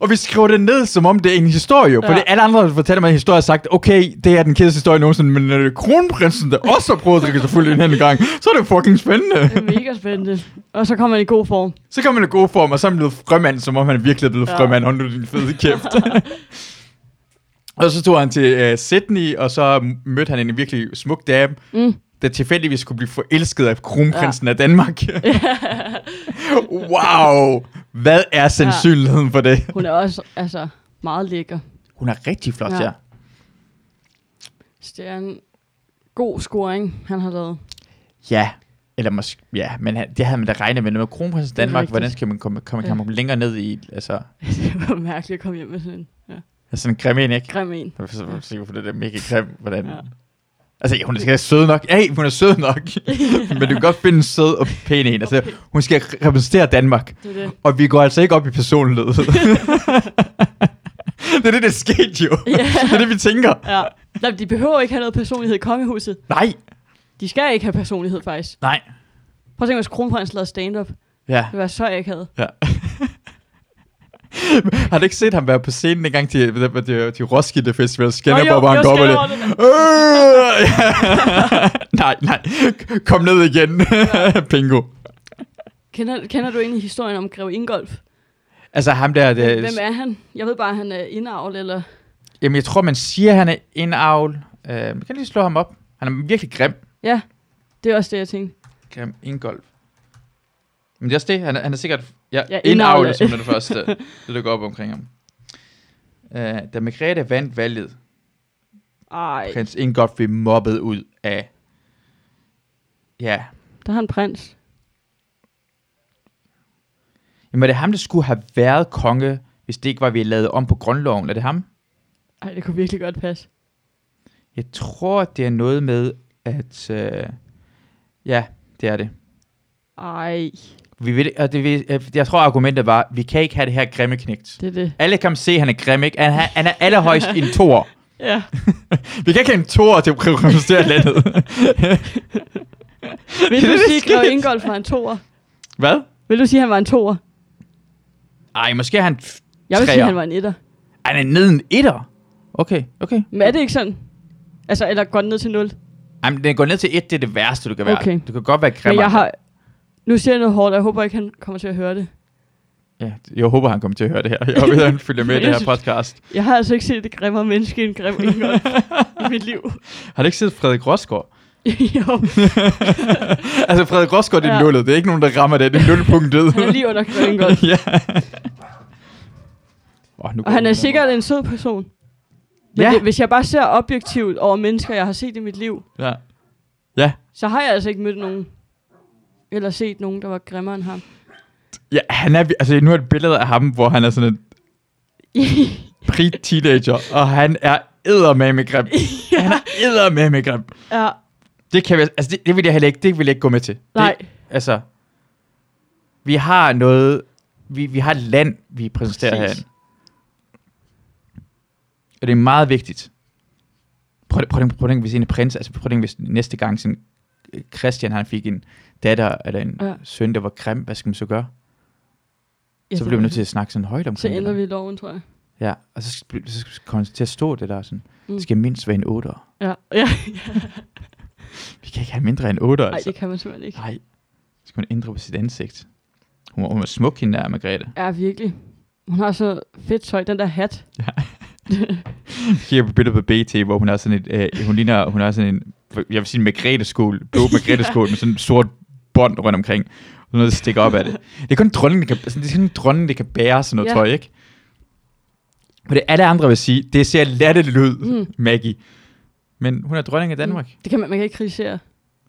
og vi skriver det ned, som om det er en historie. Ja. Ja. Fordi alle andre, der fortæller mig en historie, har sagt, okay, det er den kedeligste historie nogensinde, men når det er kronprinsen, der også har prøvet at drikke sig fuld en anden gang, så er det fucking spændende. Det er mega spændende. Og så kommer han i god form. Så kan man i god form, og så er man blevet frømand, som om han virkelig er blevet Ja. ja. frømand. Hold nu din fede kæft. og så tog han til uh, Sydney, og så m- mødte han en virkelig smuk dame, Mm. der tilfældigvis kunne blive forelsket af kronprinsen ja. af Danmark. wow! Hvad er sandsynligheden for det? Hun er også altså, meget lækker. Hun er rigtig flot, Ja. ja. ja. Så det er en god scoring, han har lavet. Ja, eller måske, ja, men han- det havde man da regnet med. Når man er kronprinsen af Det er Danmark, rigtigt. hvordan skal man komme, komme, kan man komme længere ned i, altså, det var mærkeligt at komme hjem med sådan en ja, sådan en grim en, ikke? grim en. Jeg er sikker på, det der mega grim, hvordan... Ja. Ja. Altså, ja, hun skal være sød nok. Ja, hun er sød nok. Men du kan godt finde en sød og pæn en. Altså, hun skal repræsentere Danmark. Det er det. Og vi går altså ikke op i personlighed. det er det, der skete jo. Ja. Det er det, vi tænker. Ja. Nej, de behøver ikke have noget personlighed i kongehuset. Nej, De skal ikke have personlighed, faktisk. nej. Prøv at tænke, hvis kronprins lavede stand-up. Det Ja. var så jeg ikke havde. ja. Har du ikke set ham være på scenen engang til, til, til, til Roskilde Festival? Skanderborg, hvor han går op og lidt. Øh, ja. nej, nej. Kom ned igen, Pingo. Kender, kender du egentlig historien om Greve Ingolf? Altså ham der, det, Hvem er han? Jeg ved bare, at han er indavl, eller... jamen jeg tror, man siger, at han er indavl. Øh, man kan lige slå ham op. Han er virkelig grim. Ja, det er også det, jeg tænkte. Grim Ingolf. Men det er også det, han er, han er sikkert ja, Ja, ja, indavlet. indavlet, som er det første, det der går op omkring ham. Øh, da Margrethe vandt valget, Ej, prins Ingolf blev mobbet ud af... Ja, der har en prins. jamen er det ham, der skulle have været konge, hvis det ikke var, vi lavede om på grundloven? Er det ham? Ej, det kunne virkelig godt passe. Jeg tror, det er noget med, at... Øh, ja, det er det. Ej, Vi vil, og det, vil- øh, jeg tror, argumentet var, vi kan ikke have det her grimme knægt. det er det. Alle kan se, at han er grim, ikke? Han, han- han er allerhøjst en tor. Ja, Vi kan ikke have en tor til at repræsentere landet. vil Det du er sige, at skidt. Greve Ingolf var en toer? Hvad? Vil du sige, at han var en toer? Ej, måske er han... Jeg vil sige, Treer. at han var en etter. Ej, han er neden etter. Okay, okay. Men er det ikke sådan? Altså, eller går den ned til 0? Ej, men den går ned til et, det er det værste, du kan være. Okay. Du kan godt være grim. Men jeg har... Nu siger jeg noget hårdt, og jeg håber ikke, han kommer til at høre det. Ja, jeg håber, han kommer til at høre det her. Jeg håber, han følger med i det her podcast. Jeg har altså ikke set det grimmere menneske end Grim Ingolf i mit liv. Har du ikke set Frederik Rosgaard? jo, Altså, Frederik Rosgaard, det er Ja. ja. nullet. Det er ikke nogen, der rammer det. Det er nulpunktet. han er lige under Grim Ingolf. ja. Oh, nu går Og han den er her. sikkert en sød person. Men Ja. det, hvis jeg bare ser objektivt over mennesker, jeg har set i mit liv, Ja. Ja. så har jeg altså ikke mødt nogen, eller set nogen, der var grimmere end ham. ja, han er, altså nu er et billede af ham, hvor han er sådan en pre-teenager, og han er eddermame grim. ja. Han er eddermame grim. ja, Det kan vi, altså det, det vil jeg heller ikke, det vil jeg ikke gå med til. nej. Det, altså, vi har noget, vi, vi har et land, vi præsenterer Præcis. herinde. Og det er meget vigtigt. Prøv, prøv, prøv, prøv at tænke, hvis en prins, altså prøv at tænke, hvis næste gang sådan, øh, Christian han fik en datter eller en Ja. ja. søn, der var grim, hvad skal man så gøre? Så bliver vi nødt til at snakke sådan højt Så omkring det. ændrer vi loven, tror jeg. Ja, og så skal, så skal kommer det til at stå det der sådan. Mm. Det skal mindst være en 8. Ja, ja. Vi kan ikke have mindre end 8, Nej, altså. det kan man simpelthen ikke. Nej, så skal hun ændre på sit ansigt. Hun var, hun var smuk, hende der, Margrethe. Ja, virkelig. Hun har så fedt tøj, den der hat. Kigger på billeder på BT, hvor hun har sådan et, øh, hun ligner, hun har sådan en, jeg vil sige en Margrethe-skål, blå Margrethe-skål med sådan en sort bånd rundt omkring. Og noget, der stikker op af det. Det er kun dronningen, der kan, sådan- det er kun dronningen, der kan bære sådan noget Ja. ja. tøj, ikke? For det alle andre vil sige, det ser latterligt ud, Mm. mm. Maggie. Men hun er dronning af Danmark. Mm. Det kan man, man kan ikke kritisere.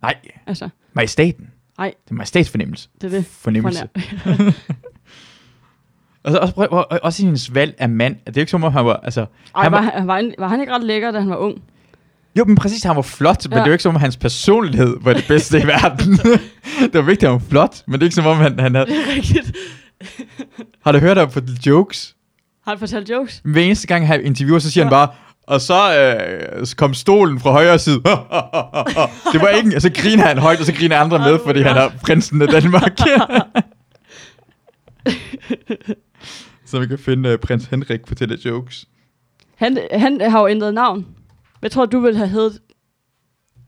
Nej, Altså, majestaten. Nej. Det er majestatsfornemmelse. det er det. Fornemmelse. Fornær- Og så også, prøv, og, og, også i hendes valg af mand. Det er jo ikke som om, han var... Altså, Ej, Han var, var- han- var, han, var han ikke ret lækker, da han var ung? jo, men præcis, han var flot, men Ja. det er jo ikke som om, hans personlighed var det bedste i verden. det var vigtigt, at han var flot, men det er ikke som om, han, han havde... Det er rigtigt. Har du hørt ham på jokes? Har han fortalt jokes? Hver eneste gang, han interviewer, så siger ja. han bare... Og så øh, så kom stolen fra højre side. det var ikke... Og så griner han højt, og så griner andre med, fordi han er prinsen af Danmark. så vi kan finde øh, prins Henrik fortælle jokes. Han, han har jo ændret navn. Hvad tror du, du ville have heddet,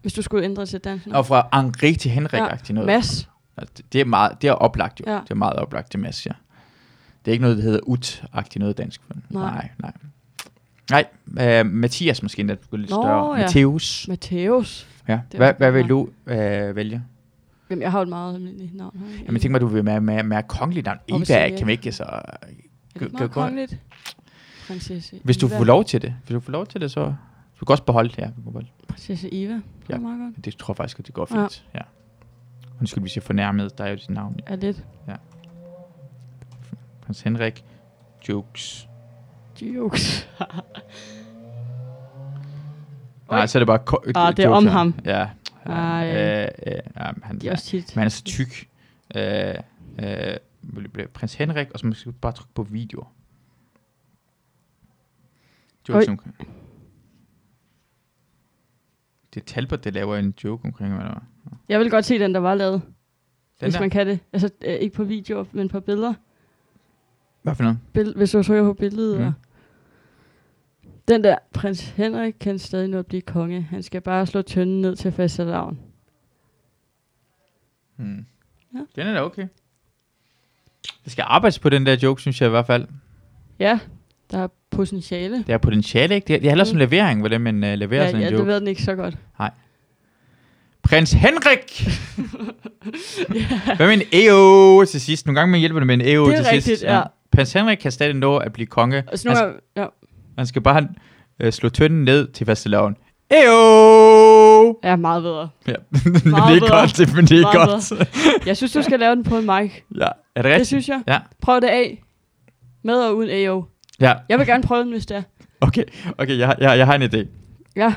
hvis du skulle ændre til dansk? Og fra Henri til Henrik-agtig noget. Mads. Altså, det- Det er, meget, det er oplagt jo. Ja. Ja. Det er meget oplagt til Mads, ja. Det er ikke noget, der hedder ut-agtigt noget dansk. Men. Nej. Nej, nej. Nej, øh, Mathias måske endda skulle lidt Nå, større. ja. Ja. Matteus. Matthæus. Ja. er Hvad, også hvad godt vil du øh, vælge? Jamen, jeg har jo et meget almindeligt navn. har jeg ikke? Jamen, jeg tænker mig, du vil med, med, med kongelig navn. Hvorfor Eva siger jeg kan man ikke? ikke altså, så... Er det ikke Gå- meget gå- gå- kongeligt? Prinsesse Hvis du Eva. får lov til det, hvis du får lov til det, så... Du kan også beholde det, ja. Du kan beholde det. Prinsesse Eva. Det er Ja. meget godt. Det tror jeg faktisk, at det går Ja. fint. Ja. Undskyld, hvis jeg fornærmede dig og dit navn. Er lidt Prins Henrik. Jokes. jokes. Nej, så er det bare... Ko- Ah, det er om ham. Ja. Ej. Øh, øh, ja, men han, De er også tit. men han er så tyk. Øh, øh, vil- vil- prins Henrik, og så måske bare trykke på video. Det var Oj. ikke sådan, det er Talbot, der laver en joke omkring, hvad der var. Jeg vil godt se den, der var lavet. Den hvis der, man kan det. Altså, øh, ikke på videoer, men på billeder. hvad for noget? Bill- hvis du søger på billedet. Mm. Mm. Den der, prins Henrik kan stadig nå at blive konge. Han skal bare slå tønden ned til fastelavn. Hmm. Ja. Den er da okay. Det skal arbejdes på den der joke, synes jeg i hvert fald. Ja, der er potentiale. Det er potentiale, ikke? Det er, det er heller som Mm. levering, hvordan man uh, leverer ja, sådan ja en joke. det ved den ikke så godt. Prins Henrik! Hvad med en EO til sidst? Nogle gange man hjælper det med en EO Det er til rigtigt, sidst. ja. Prins Henrik kan stadig nå at blive konge. Og så han, nu er, ja, han skal bare øh, slå tynden ned til fastelavn. EO! er meget bedre. Ja, men det Meget er bedre. godt, det, men det er Meget godt. Jeg synes, du skal lave den på en mic. ja, er det Det rigtigt? synes jeg. Ja. Prøv det af. Med og uden AO. Ja, Jeg vil gerne prøve den, hvis det er. okay, okay, jeg, har- jeg, jeg har en idé. Ja,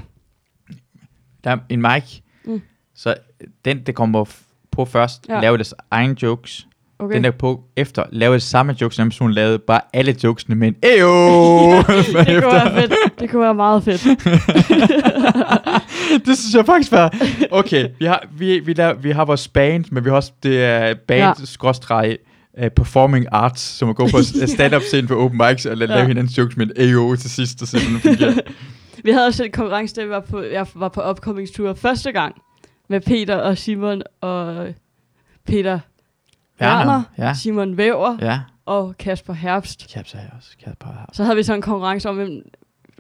Der er en mic, Mm. mm. så den, der kommer f- på først, Ja. ja. laver deres egen jokes. okay. Okay. Den der på efter, laver det samme jokes, som den person lavede, bare alle jokesene med en E EO! det kunne være fedt. Det kunne være meget fedt. det synes jeg faktisk var... Okay, vi har, vi, vi, laver, vi har vores band, men vi har også det er band, Ja. ja. skråstreg, uh, performing arts, som at gå på s- stand-up scene på open mics og la- Ja. lave hinandens jokes med en AO til sidst, og se, hvordan det fungerer. Vi havde også en konkurrence, da vi var på, jeg var på opkommingstur første gang. Med Peter og Simon og Peter Werner, Ja, Simon Væver ja. og Kasper Herbst. Kaps er jeg også. Kaps er jeg også. Så havde vi så en konkurrence om, hvem,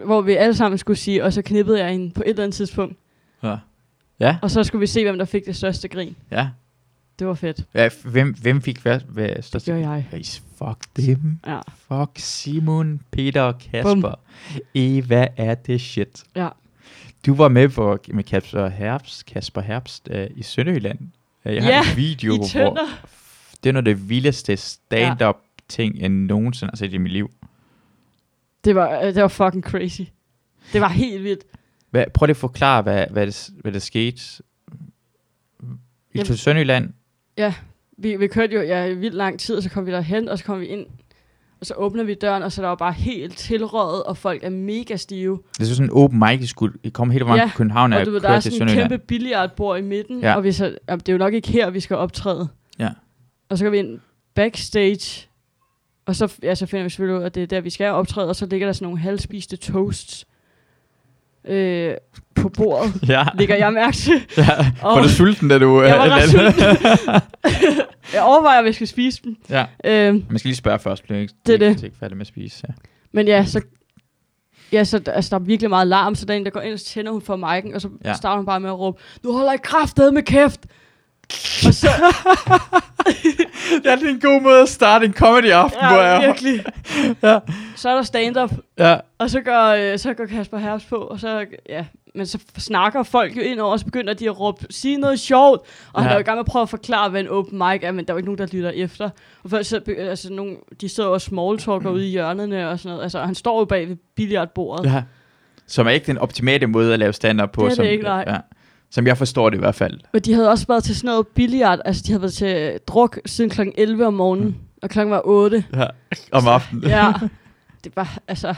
hvor vi alle sammen skulle sige, og så knippede jeg hende på et eller andet tidspunkt. Ja. Ja. Og så skulle vi se, hvem der fik det største grin. Ja. Det var fedt. ja. f- Hvem, hvem fik hvad? hvad Det største? gjorde jeg. Ris, fuck dem. Ja. Fuck Simon, Peter og Kasper. Bum. Eva er det shit. Ja. Du var med på, med Kasper Herbst, Kasper Herbst øh, i Sønderjylland. Øh, Jeg har Ja, en video, I hvor tønder. det er noget af det vildeste stand-up ting, jeg nogensinde har set i mit liv. Det var, øh, det var fucking crazy. Det var helt vildt. Hvad, prøv lige at forklare, hvad, hvad, det, s- hvad der skete. I Jamen- Jamen. Sønderjylland, Vi, vi kørte jo ja, i vildt lang tid, og så kom vi derhen, og så kom vi ind. Og så åbner vi døren, og så er der var bare helt tilrøjet, og folk er mega stive. det er sådan en open mic, I skulle I kom hele vejen Ja, ja. til København og, og du ved, der er kørte til sådan et Sønderjylland. kæmpe billiardbord i midten, ja. Ja. og vi så, jamen, det er jo nok ikke her, vi skal optræde. Ja. Og så går vi ind backstage, Og så, ja, så finder vi selvfølgelig ud af, at det er der, vi skal optræde, og så ligger der sådan nogle halvspiste toasts øh, på bordet. Ja, Ligger jeg mærke til. ja. Og var du sulten, da du... jeg var øh, ret da- sulten. jeg overvejer, om jeg skal spise dem. ja. Øh, Man skal lige spørge først, bliver jeg ikke, Det er det. ikke, ikke færdig med at spise. Ja. men ja, så, ja, så der- altså, der er virkelig meget larm, så der er en, der går ind, og så tænder hun for mic'en, og så Ja. ja. starter hun bare med at råbe, nu holder jeg kraftedet med kæft! Og så, ja, det er en god måde at starte en comedy aften, ja, hvor ja, jeg... virkelig. Ja. Så er der stand-up, Ja, Og så går, øh, så går Kasper Herps på, og så, ja, men så snakker folk jo ind over, og så begynder de at råbe, sige noget sjovt. Og ja. han Ja. er jo i gang med at prøve at forklare, hvad en open mic er, men der er jo ikke nogen, der lytter efter. Og først så, be- altså, nogle, de sidder jo og smalltalker ude i hjørnerne og sådan noget. Altså, og han står jo bag ved billiardbordet. Mm. ja. Som er ikke den optimale måde at lave stand-up på. Det er det som, ikke, nej. Ja. Som jeg forstår det i hvert fald. Men de havde også været til sådan noget billiard, altså de havde været til øh, druk siden kl. 11 om morgenen, mm. og klokken var 8. Ja. Om aftenen. Ja, det var, altså,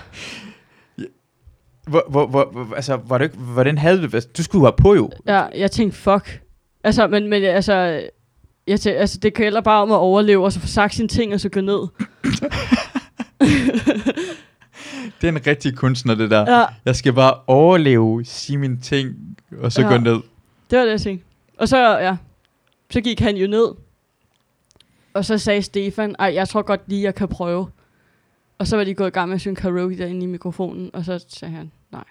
Hvor, hvor, hvor, hvor, altså, var du ikke, hvordan havde du det? Du skulle jo have på jo. Ja, jeg tænkte, fuck. Altså, men, men altså, jeg tænkte, altså, det gælder bare om at overleve, og så få sagt sine ting, og så gå ned. Det er en rigtig kunstner, det der. Ja. Ja, Jeg skal bare overleve, sige mine ting, og så ja. Ja. gå ned. det var det, jeg tænkte. Og så, ja, så gik han jo ned. Og så sagde Stefan, ej, jeg tror godt lige, jeg kan prøve. Og så var de gået i gang med at synge karaoke derinde i mikrofonen, og så sagde han, nej,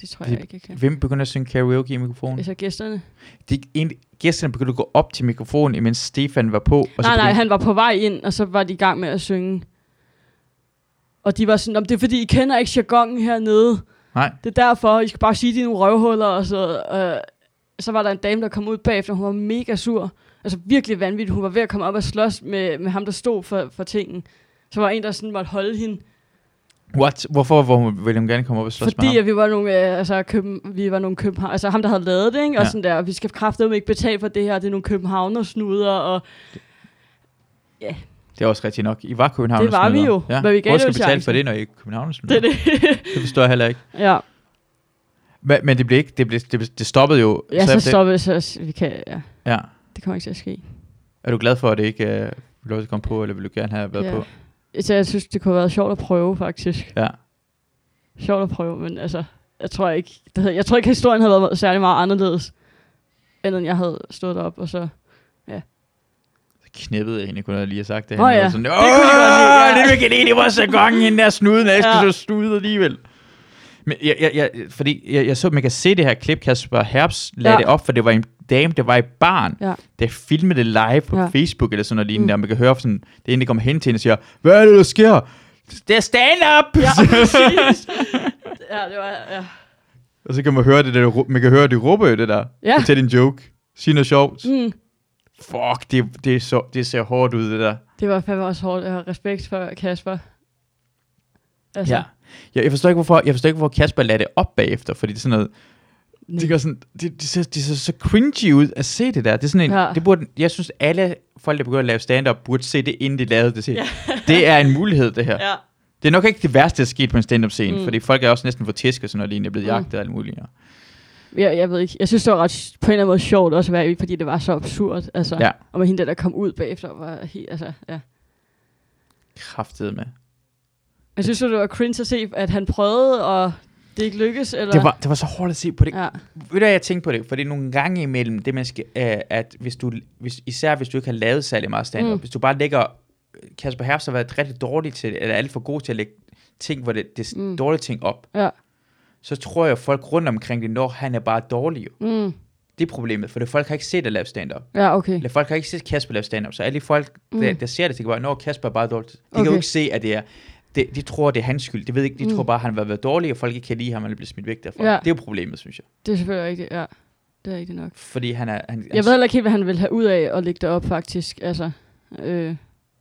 det tror jeg Det- ikke, jeg kan. Hvem begynder at synge karaoke i mikrofonen? Altså gæsterne. De, en, gæsterne begyndte at gå op til mikrofonen, imens Stefan var på. Og så nej, nej, begyndte- han var på vej ind, og så var de i gang med at synge. Og de var sådan, "Nå, men det er fordi, I kender ikke jargonen hernede. Nej. Det er derfor, I skal bare sige, at de er nogle røvhuller, og så, øh, så var der en dame, der kom ud bagefter, hun var mega sur. Altså virkelig vanvittig. Hun var ved at komme op og slås med, med ham, der stod for, for tingen. Så var der en, der sådan måtte holde hende, What? Hvorfor hvor vil hun gerne komme op og slås med fordi ham? at vi var nogle, øh, altså, køben, vi var nogle københavn, altså ham, der havde lavet det, ikke? Og Ja. sådan der, vi skal kraftedeme ikke betale for det her, det er nogle københavnersnuder, og Det er også rigtigt nok. I var København. Det var vi jo, Ja. men vi gav Hvor det skal betale jo for chancen. det, når I er København? det er det. det forstår jeg heller ikke. ja, Men, men det blev ikke, det, blev, det, blev, det stoppede jo. ja så efter- stoppede det, så vi kan, ja, Ja. det kommer ikke til at ske. Er du glad for, at det ikke øh, blev lov til at komme på, eller vil du gerne have været Ja. på? Så jeg synes, det kunne have været sjovt at prøve, faktisk. Ja. sjovt at prøve, men altså, jeg tror ikke, det havde, jeg tror ikke, historien havde været særlig meget anderledes, end at jeg havde stået op og så... knippede jeg egentlig, kunne jeg lige have sagt det. Nå Han ja, var sådan, det Åh, kunne de godt lide, ja." det var ikke det, det var så gongen, hende der snuden, jeg Ja. skulle så snude alligevel. Men jeg, jeg, jeg, fordi jeg, jeg så, man kan se det her klip, Kasper Herbs lagde Ja. ja. det op, for det var en dame, der var i barn, Ja. der filmede det live på Ja. ja. Facebook eller sådan noget lignende, Mm. mm. og man kan høre sådan, det er en, der kommer hen til hende og siger, hvad er det, der sker? Det er stand-up! Ja, præcis. ja, det var... Ja. og så kan man høre det, der, ru- man kan høre, det råber jo det der. Ja. Fortæl en joke. Sig noget sjovt. Mm. Mm, Fuck, det, det, er så, det ser hårdt ud, det der. det var fandme også hårdt. Jeg har respekt for Kasper. Altså, Ja. Jeg, jeg, forstår ikke, hvorfor, jeg forstår ikke, hvor Kasper lader det op bagefter, fordi det er sådan noget, nej. det gør sådan, det, det, ser, det ser så cringy ud at se det der. Det er sådan en, Ja. ja. det burde, jeg synes, alle folk, der begynder at lave stand-up, burde se det, inden de lavede det. Ja. Det er en mulighed, det her. Ja. ja. Det er nok ikke det værste, der er sket på en stand-up-scene, Mm. mm. fordi folk er også næsten for tæsk og sådan noget, lige er blevet Mm. jagtet og alt muligt. Ja. Jeg, jeg ved ikke. Jeg synes, det var ret, på en eller anden måde sjovt også at være i, fordi det var så absurd. Altså, Ja. Og med hende, der, der kom ud bagefter, var helt... Altså, ja. Kraftet med. Jeg synes, det var cringe at se, at han prøvede, og det ikke lykkedes, eller... Det var, det var så hårdt at se på det. Ja. Ja, Ved du, hvad jeg tænkte på det? Fordi nogle gange imellem, det man skal, øh, at hvis du, hvis, især hvis du ikke har lavet særlig meget stand-up, Mm. mm. hvis du bare lægger, øh, Kasper Herbst har været rigtig dårlig til, eller alt for god til at lægge ting, hvor det, det Mm. mm. dårlige ting op, ja. så tror jeg, at folk rundt omkring det, når han er bare dårlig. jo. Mm, Det er problemet, for det, folk har ikke set at lave stand-up. ja, okay. Eller folk har ikke set Kasper lave stand-up, så alle de folk, mm. der, Mm. der ser det, tænker bare, når Kasper er bare dårlig. De okay. kan Okay. jo ikke se, at det er, de, de tror, det er hans skyld. De, ved ikke, de Mm. mm. tror bare, at han har været dårlig, og folk ikke kan lide ham, og han er blevet smidt væk derfra. Ja. Ja. Det er jo problemet, synes jeg. Det er selvfølgelig rigtigt, ja. Det er rigtigt nok. Fordi han er... Han, Jeg ved heller ikke helt, hvad han vil have ud af at lægge det op, faktisk. Altså, øh,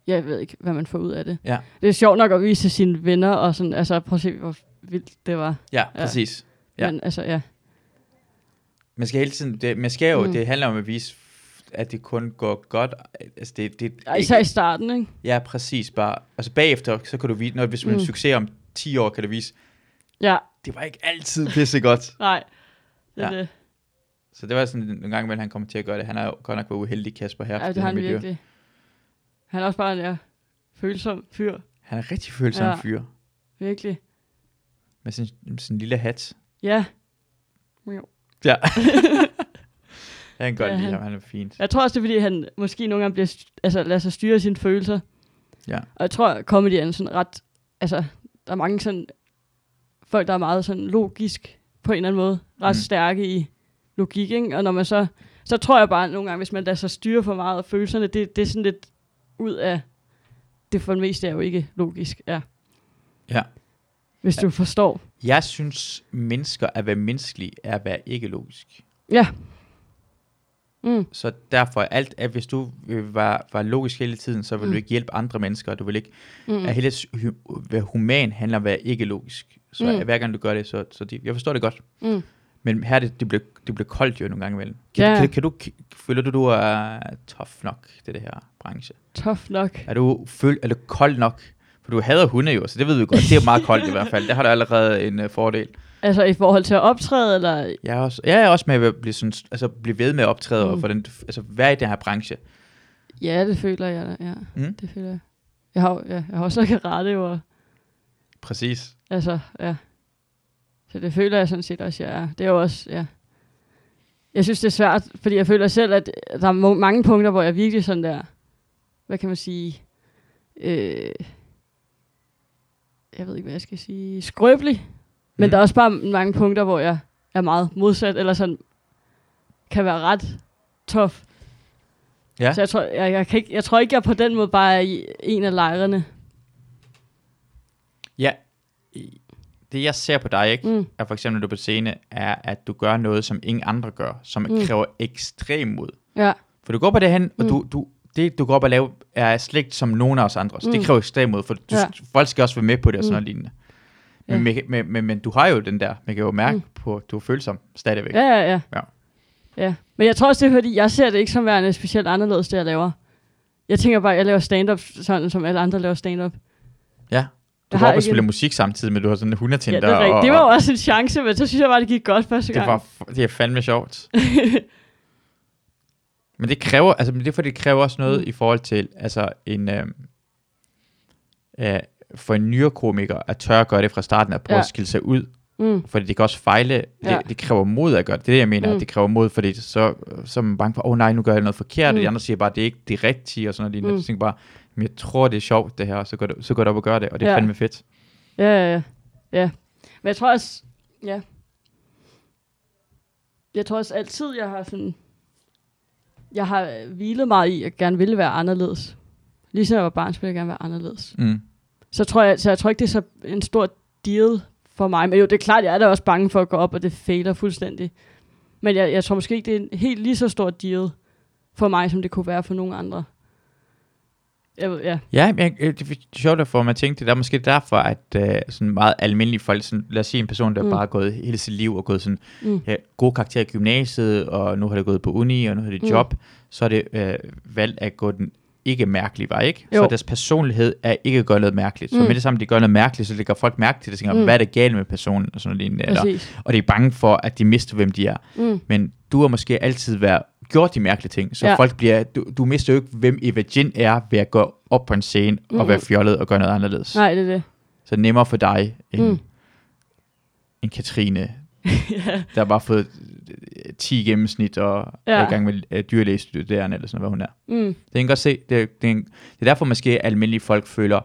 jeg ved ikke, hvad man får ud af det. Ja. Det er sjovt nok at vise til sine venner, og sådan, altså, prøv at se, hvor vildt det var. Ja, Ja. præcis. Ja. Ja. Men altså, ja. Man skal hele tiden... Det, man skal jo... Mm. Mm. Det handler om at vise, at det kun går godt. Altså, det, det, Ej, Især i starten, ikke? Ja, præcis. Bare, altså bagefter, så kan du vise... Når, hvis man Mm. mm. succes om 10 år, kan du vise, Ja, det var ikke altid pissegodt. nej. Det, ja. Ja. det. så det var sådan nogle gange, imellem han kommer til at gøre det. Han har jo godt nok været uheldig, Kasper her. Ej, det har han virkelig. Han er også bare, ja, følsom fyr. Han er rigtig følsom Ja. ja. fyr. Virkelig. Med sin, sin lille hat. Ja. Ja. jeg kan godt Ja, ja, lide han- ham, han er fint. Jeg tror også, det er, fordi han måske nogle gange bliver, st- altså, lader sig styre af sine følelser. Ja. Og jeg tror, at comedy er en sådan ret... Altså, der er mange sådan... Folk, der er meget sådan logisk på en eller anden måde. Ret Mm. mm. stærke i logik, ikke? Og når man så... Så tror jeg bare at nogle gange, hvis man lader sig styre for meget af følelserne, det, det er sådan lidt ud af... Det for det meste er jo ikke logisk, ja. Ja. Hvis du forstår. Jeg synes, mennesker at være menneskelige er at være ikke logisk. Ja. Mm. Så derfor er alt, at hvis du øh, var, var logisk hele tiden, så vil mm. Mm. du ikke hjælpe andre mennesker, og du vil ikke... Mm. Mm. At hele, s- hu- være human handler om at være ikke logisk. Så Mm. mm. hver gang du gør det, så... så det, jeg forstår det godt. Mm. Men her er det, det bliver, det bliver koldt jo nogle gange imellem. Kan, Ja. ja. kan, kan du, kan, føler du, du er tough nok til det her branche? Tough nok. Er du føl, er du kold nok? For du hader hunde jo, så det ved vi godt. Det er meget koldt i hvert fald. Der har du allerede en uh, fordel. Altså i forhold til at optræde, eller... Jeg er også, jeg er også med at blive, sådan, altså, blive ved med at optræde, mm. og Mm. hvordan, altså, være i den her branche. Ja, det føler jeg da, ja. Mm. Det føler jeg. Jeg har, jo- ja, jeg har også karate, jo, og, Præcis. altså, ja. Så det føler jeg sådan set også, jeg er. Det er jo også, ja. Jeg synes, det er svært, fordi jeg føler selv, at der er mo- mange punkter, hvor jeg virkelig sådan der, hvad kan man sige, øh, jeg ved ikke, hvad jeg skal sige, skrøbelig. Men Mm. der er også bare mange punkter, hvor jeg er meget modsat, eller sådan, kan være ret tough. Ja. Så jeg tror, jeg, jeg, kan ikke, jeg tror ikke, jeg på den måde bare er i en af lejrene. Ja, i- det jeg ser på dig, ikke, Mm. mm. er for eksempel, når du er på scene, er, at du gør noget, som ingen andre gør, som Mm. mm. kræver ekstrem mod. Ja. For du går på det hen, og Mm. du, du, det, du går op og laver, er slet ikke som nogen af os andre. Så mm. Mm. det kræver ekstrem mod, for du, Ja. ja. folk skal også være med på det og sådan Mm. noget lignende. Men, men, men, men, men du har jo den der, man kan jo mærke mm. på, at du er følsom stadigvæk. Ja, ja, ja. Ja. ja. Men jeg tror også, det er fordi, jeg ser det ikke som værende specielt anderledes, det jeg laver. Jeg tænker bare, at jeg laver stand-up sådan, som alle andre laver stand-up. ja. Du Jeg går har op og ikke- spiller musik samtidig, men du har sådan en Ja, hundetinder. det, er rigtigt. og, det var jo også en chance, men så synes jeg bare, det gik godt første det, gang. var, f- det er fandme sjovt. men det kræver, altså men det er fordi, det kræver også noget Mm. mm. i forhold til, altså en, øh, øh, for en nyere komiker, at tør at gøre det fra starten, at prøve Ja. ja. at skille sig ud, Mm. fordi det kan også fejle, det, Ja. ja. det kræver mod at gøre det, det er det jeg mener, Mm. mm. det kræver mod, fordi så, så er man bange for, åh oh, nej, nu gør jeg noget forkert, mm. og Mm. de andre siger bare, det er ikke det rigtige, og sådan noget, mm. Mm. jeg tænker bare, men jeg tror det er sjovt det her, og så går det, så går det op og gør det, og det er Ja. ja. fandme fedt. Ja, ja, ja. ja. Men jeg tror også, ja. Jeg tror også altid, jeg har sådan, jeg har øh, hvilet meget i, at jeg gerne ville være anderledes. Ligesom jeg var barn, så ville jeg gerne være anderledes. Mm. så tror jeg, så jeg tror ikke, det er så en stor deal for mig. Men jo, det er klart, jeg er da også bange for at gå op, og det fejler fuldstændig. Men jeg, jeg tror måske ikke, det er en helt lige så stor deal for mig, som det kunne være for nogen andre. Jeg ved, ja. Ja, men jeg, øh, det er sjovt at få mig at tænke, det er måske derfor, at øh, sådan meget almindelige folk, sådan, lad os sige en person, der Mm. mm. bare har gået hele sit liv og gået sådan, Mm. mm. ja, gode karakterer i gymnasiet, og nu har det gået på uni, og nu har det Mm. job, så er det øh, valgt at gå den ikke mærkelige vej, ikke? Jo. Så deres personlighed er ikke at gøre noget mærkeligt. Så Mm. med det samme, de gør noget mærkeligt, så lægger folk mærke til det, og tænker, Mm. mm. hvad er der galt med personen, og sådan noget lignende, eller, Præcis. og de er bange for, at de mister, hvem de er. Mm. Men du har måske altid været, gjort de mærkelige ting, så Ja. ja. folk bliver, du, du mister jo ikke, hvem Eva Jin er, ved at gå op på en scene mm. Mm-mm. og være fjollet og gøre noget anderledes. Nej, det er det. Så nemmere for dig, end, Mm. mm. end Katrine, ja. der bare har fået øh, 10 gennemsnit og ja. er Ja. i gang med øh, dyrlægestuderende eller sådan noget, hvad hun er. Mm. Det kan jeg godt se. Det, er- det, er- det er derfor måske, at almindelige folk føler,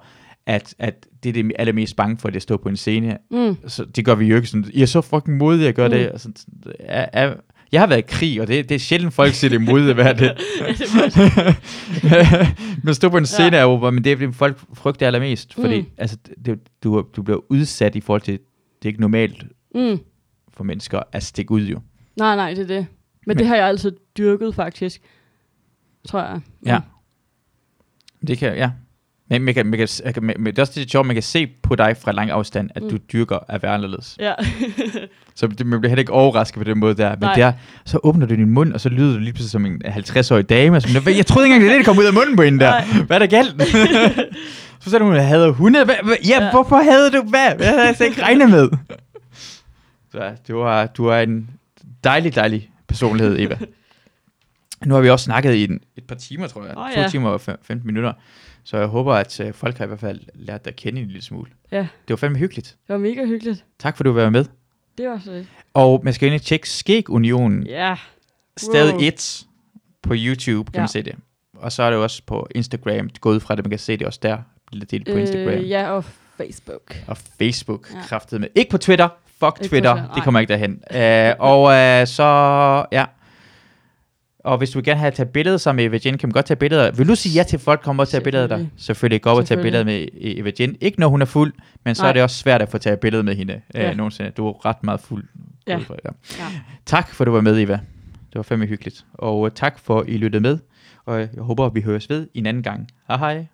at, at det er det allermest bange for, det er at stå på en scene. Mm. Så det gør vi jo ikke sådan, I er så fucking modige at gøre mm. det. Og sådan, er, er, jeg har været i krig, og det, det er sjældent, folk siger, det er modigt at være det. Ja, det er faktisk- Men at stå på en scene er jo, hvor- men det er det, folk frygter allermest, fordi Mm. mm. altså, det, du, du bliver udsat i forhold til, det er ikke normalt mm. for mennesker at stikke ud jo. Nej, nej, det er det. Men, Men det har jeg altid dyrket, faktisk. Tror jeg. Mm. Ja. Det kan, ja. Men, man kan, man kan, man kan, man, men det er også det sjovt, man kan se på dig fra lang afstand, at Mm. mm. du dyrker at være anderledes. Ja. Så det, man bliver heller ikke overrasket på den måde der. Men Nej. det er, så åbner du din mund, og så lyder du lige pludselig som en 50-årig dame. Som, "Hvad- jeg troede ikke engang, det er det, der kom ud af munden på hende der. Nej. Hvad er der galt? så sagde hun, at hun hader hunde. Hva, hva, ja, Ja. ja, hvorfor havde du? Hvad? Hvad havde jeg slet ikke regnet med? Så du er, du er en dejlig, dejlig personlighed, Eva. Nu har vi også snakket i en, et par timer, tror jeg. Åh, to ja. timer og fem- 15 minutter. Så jeg håber, at øh, folk har i hvert fald lært dig at kende en lille smule. Ja. Det var fandme hyggeligt. Det var mega hyggeligt. Tak for, at du var med. Det var så lidt. Og man skal ind og tjekke Skægunionen. Ja. Stadig Wow. 1 på YouTube, kan Ja. man se det. Og så er det også på Instagram. Gå ud fra det, man kan se det også der. Lidt delt på Instagram. Øh, ja, og Facebook. Og Facebook, ja. Ja. kraftet med. Ikke på Twitter. Fuck Ikke på Twitter. Twitter, det nej. kommer ikke derhen. Øh, og øh, så, ja. Og hvis du gerne vil have taget billeder sammen med Eva Jane, kan man godt tage billeder. Vil du sige ja til, at folk kommer og tager billeder af dig? Selvfølgelig. Selvfølgelig. Gå op og tage billeder Selvfølgelig. med E- Eva Jane. Ikke når hun er fuld, men så Nej. er Nej. det også svært at få taget billeder med hende øh, Ja. nogensinde. Du er ret meget fuld. Ja. Ja. Ja. Tak for, at du var med, Eva. Det var fandme hyggeligt. Og øh, tak for, at I lyttede med. Og øh, jeg håber, at vi høres ved en anden gang. Hej hej.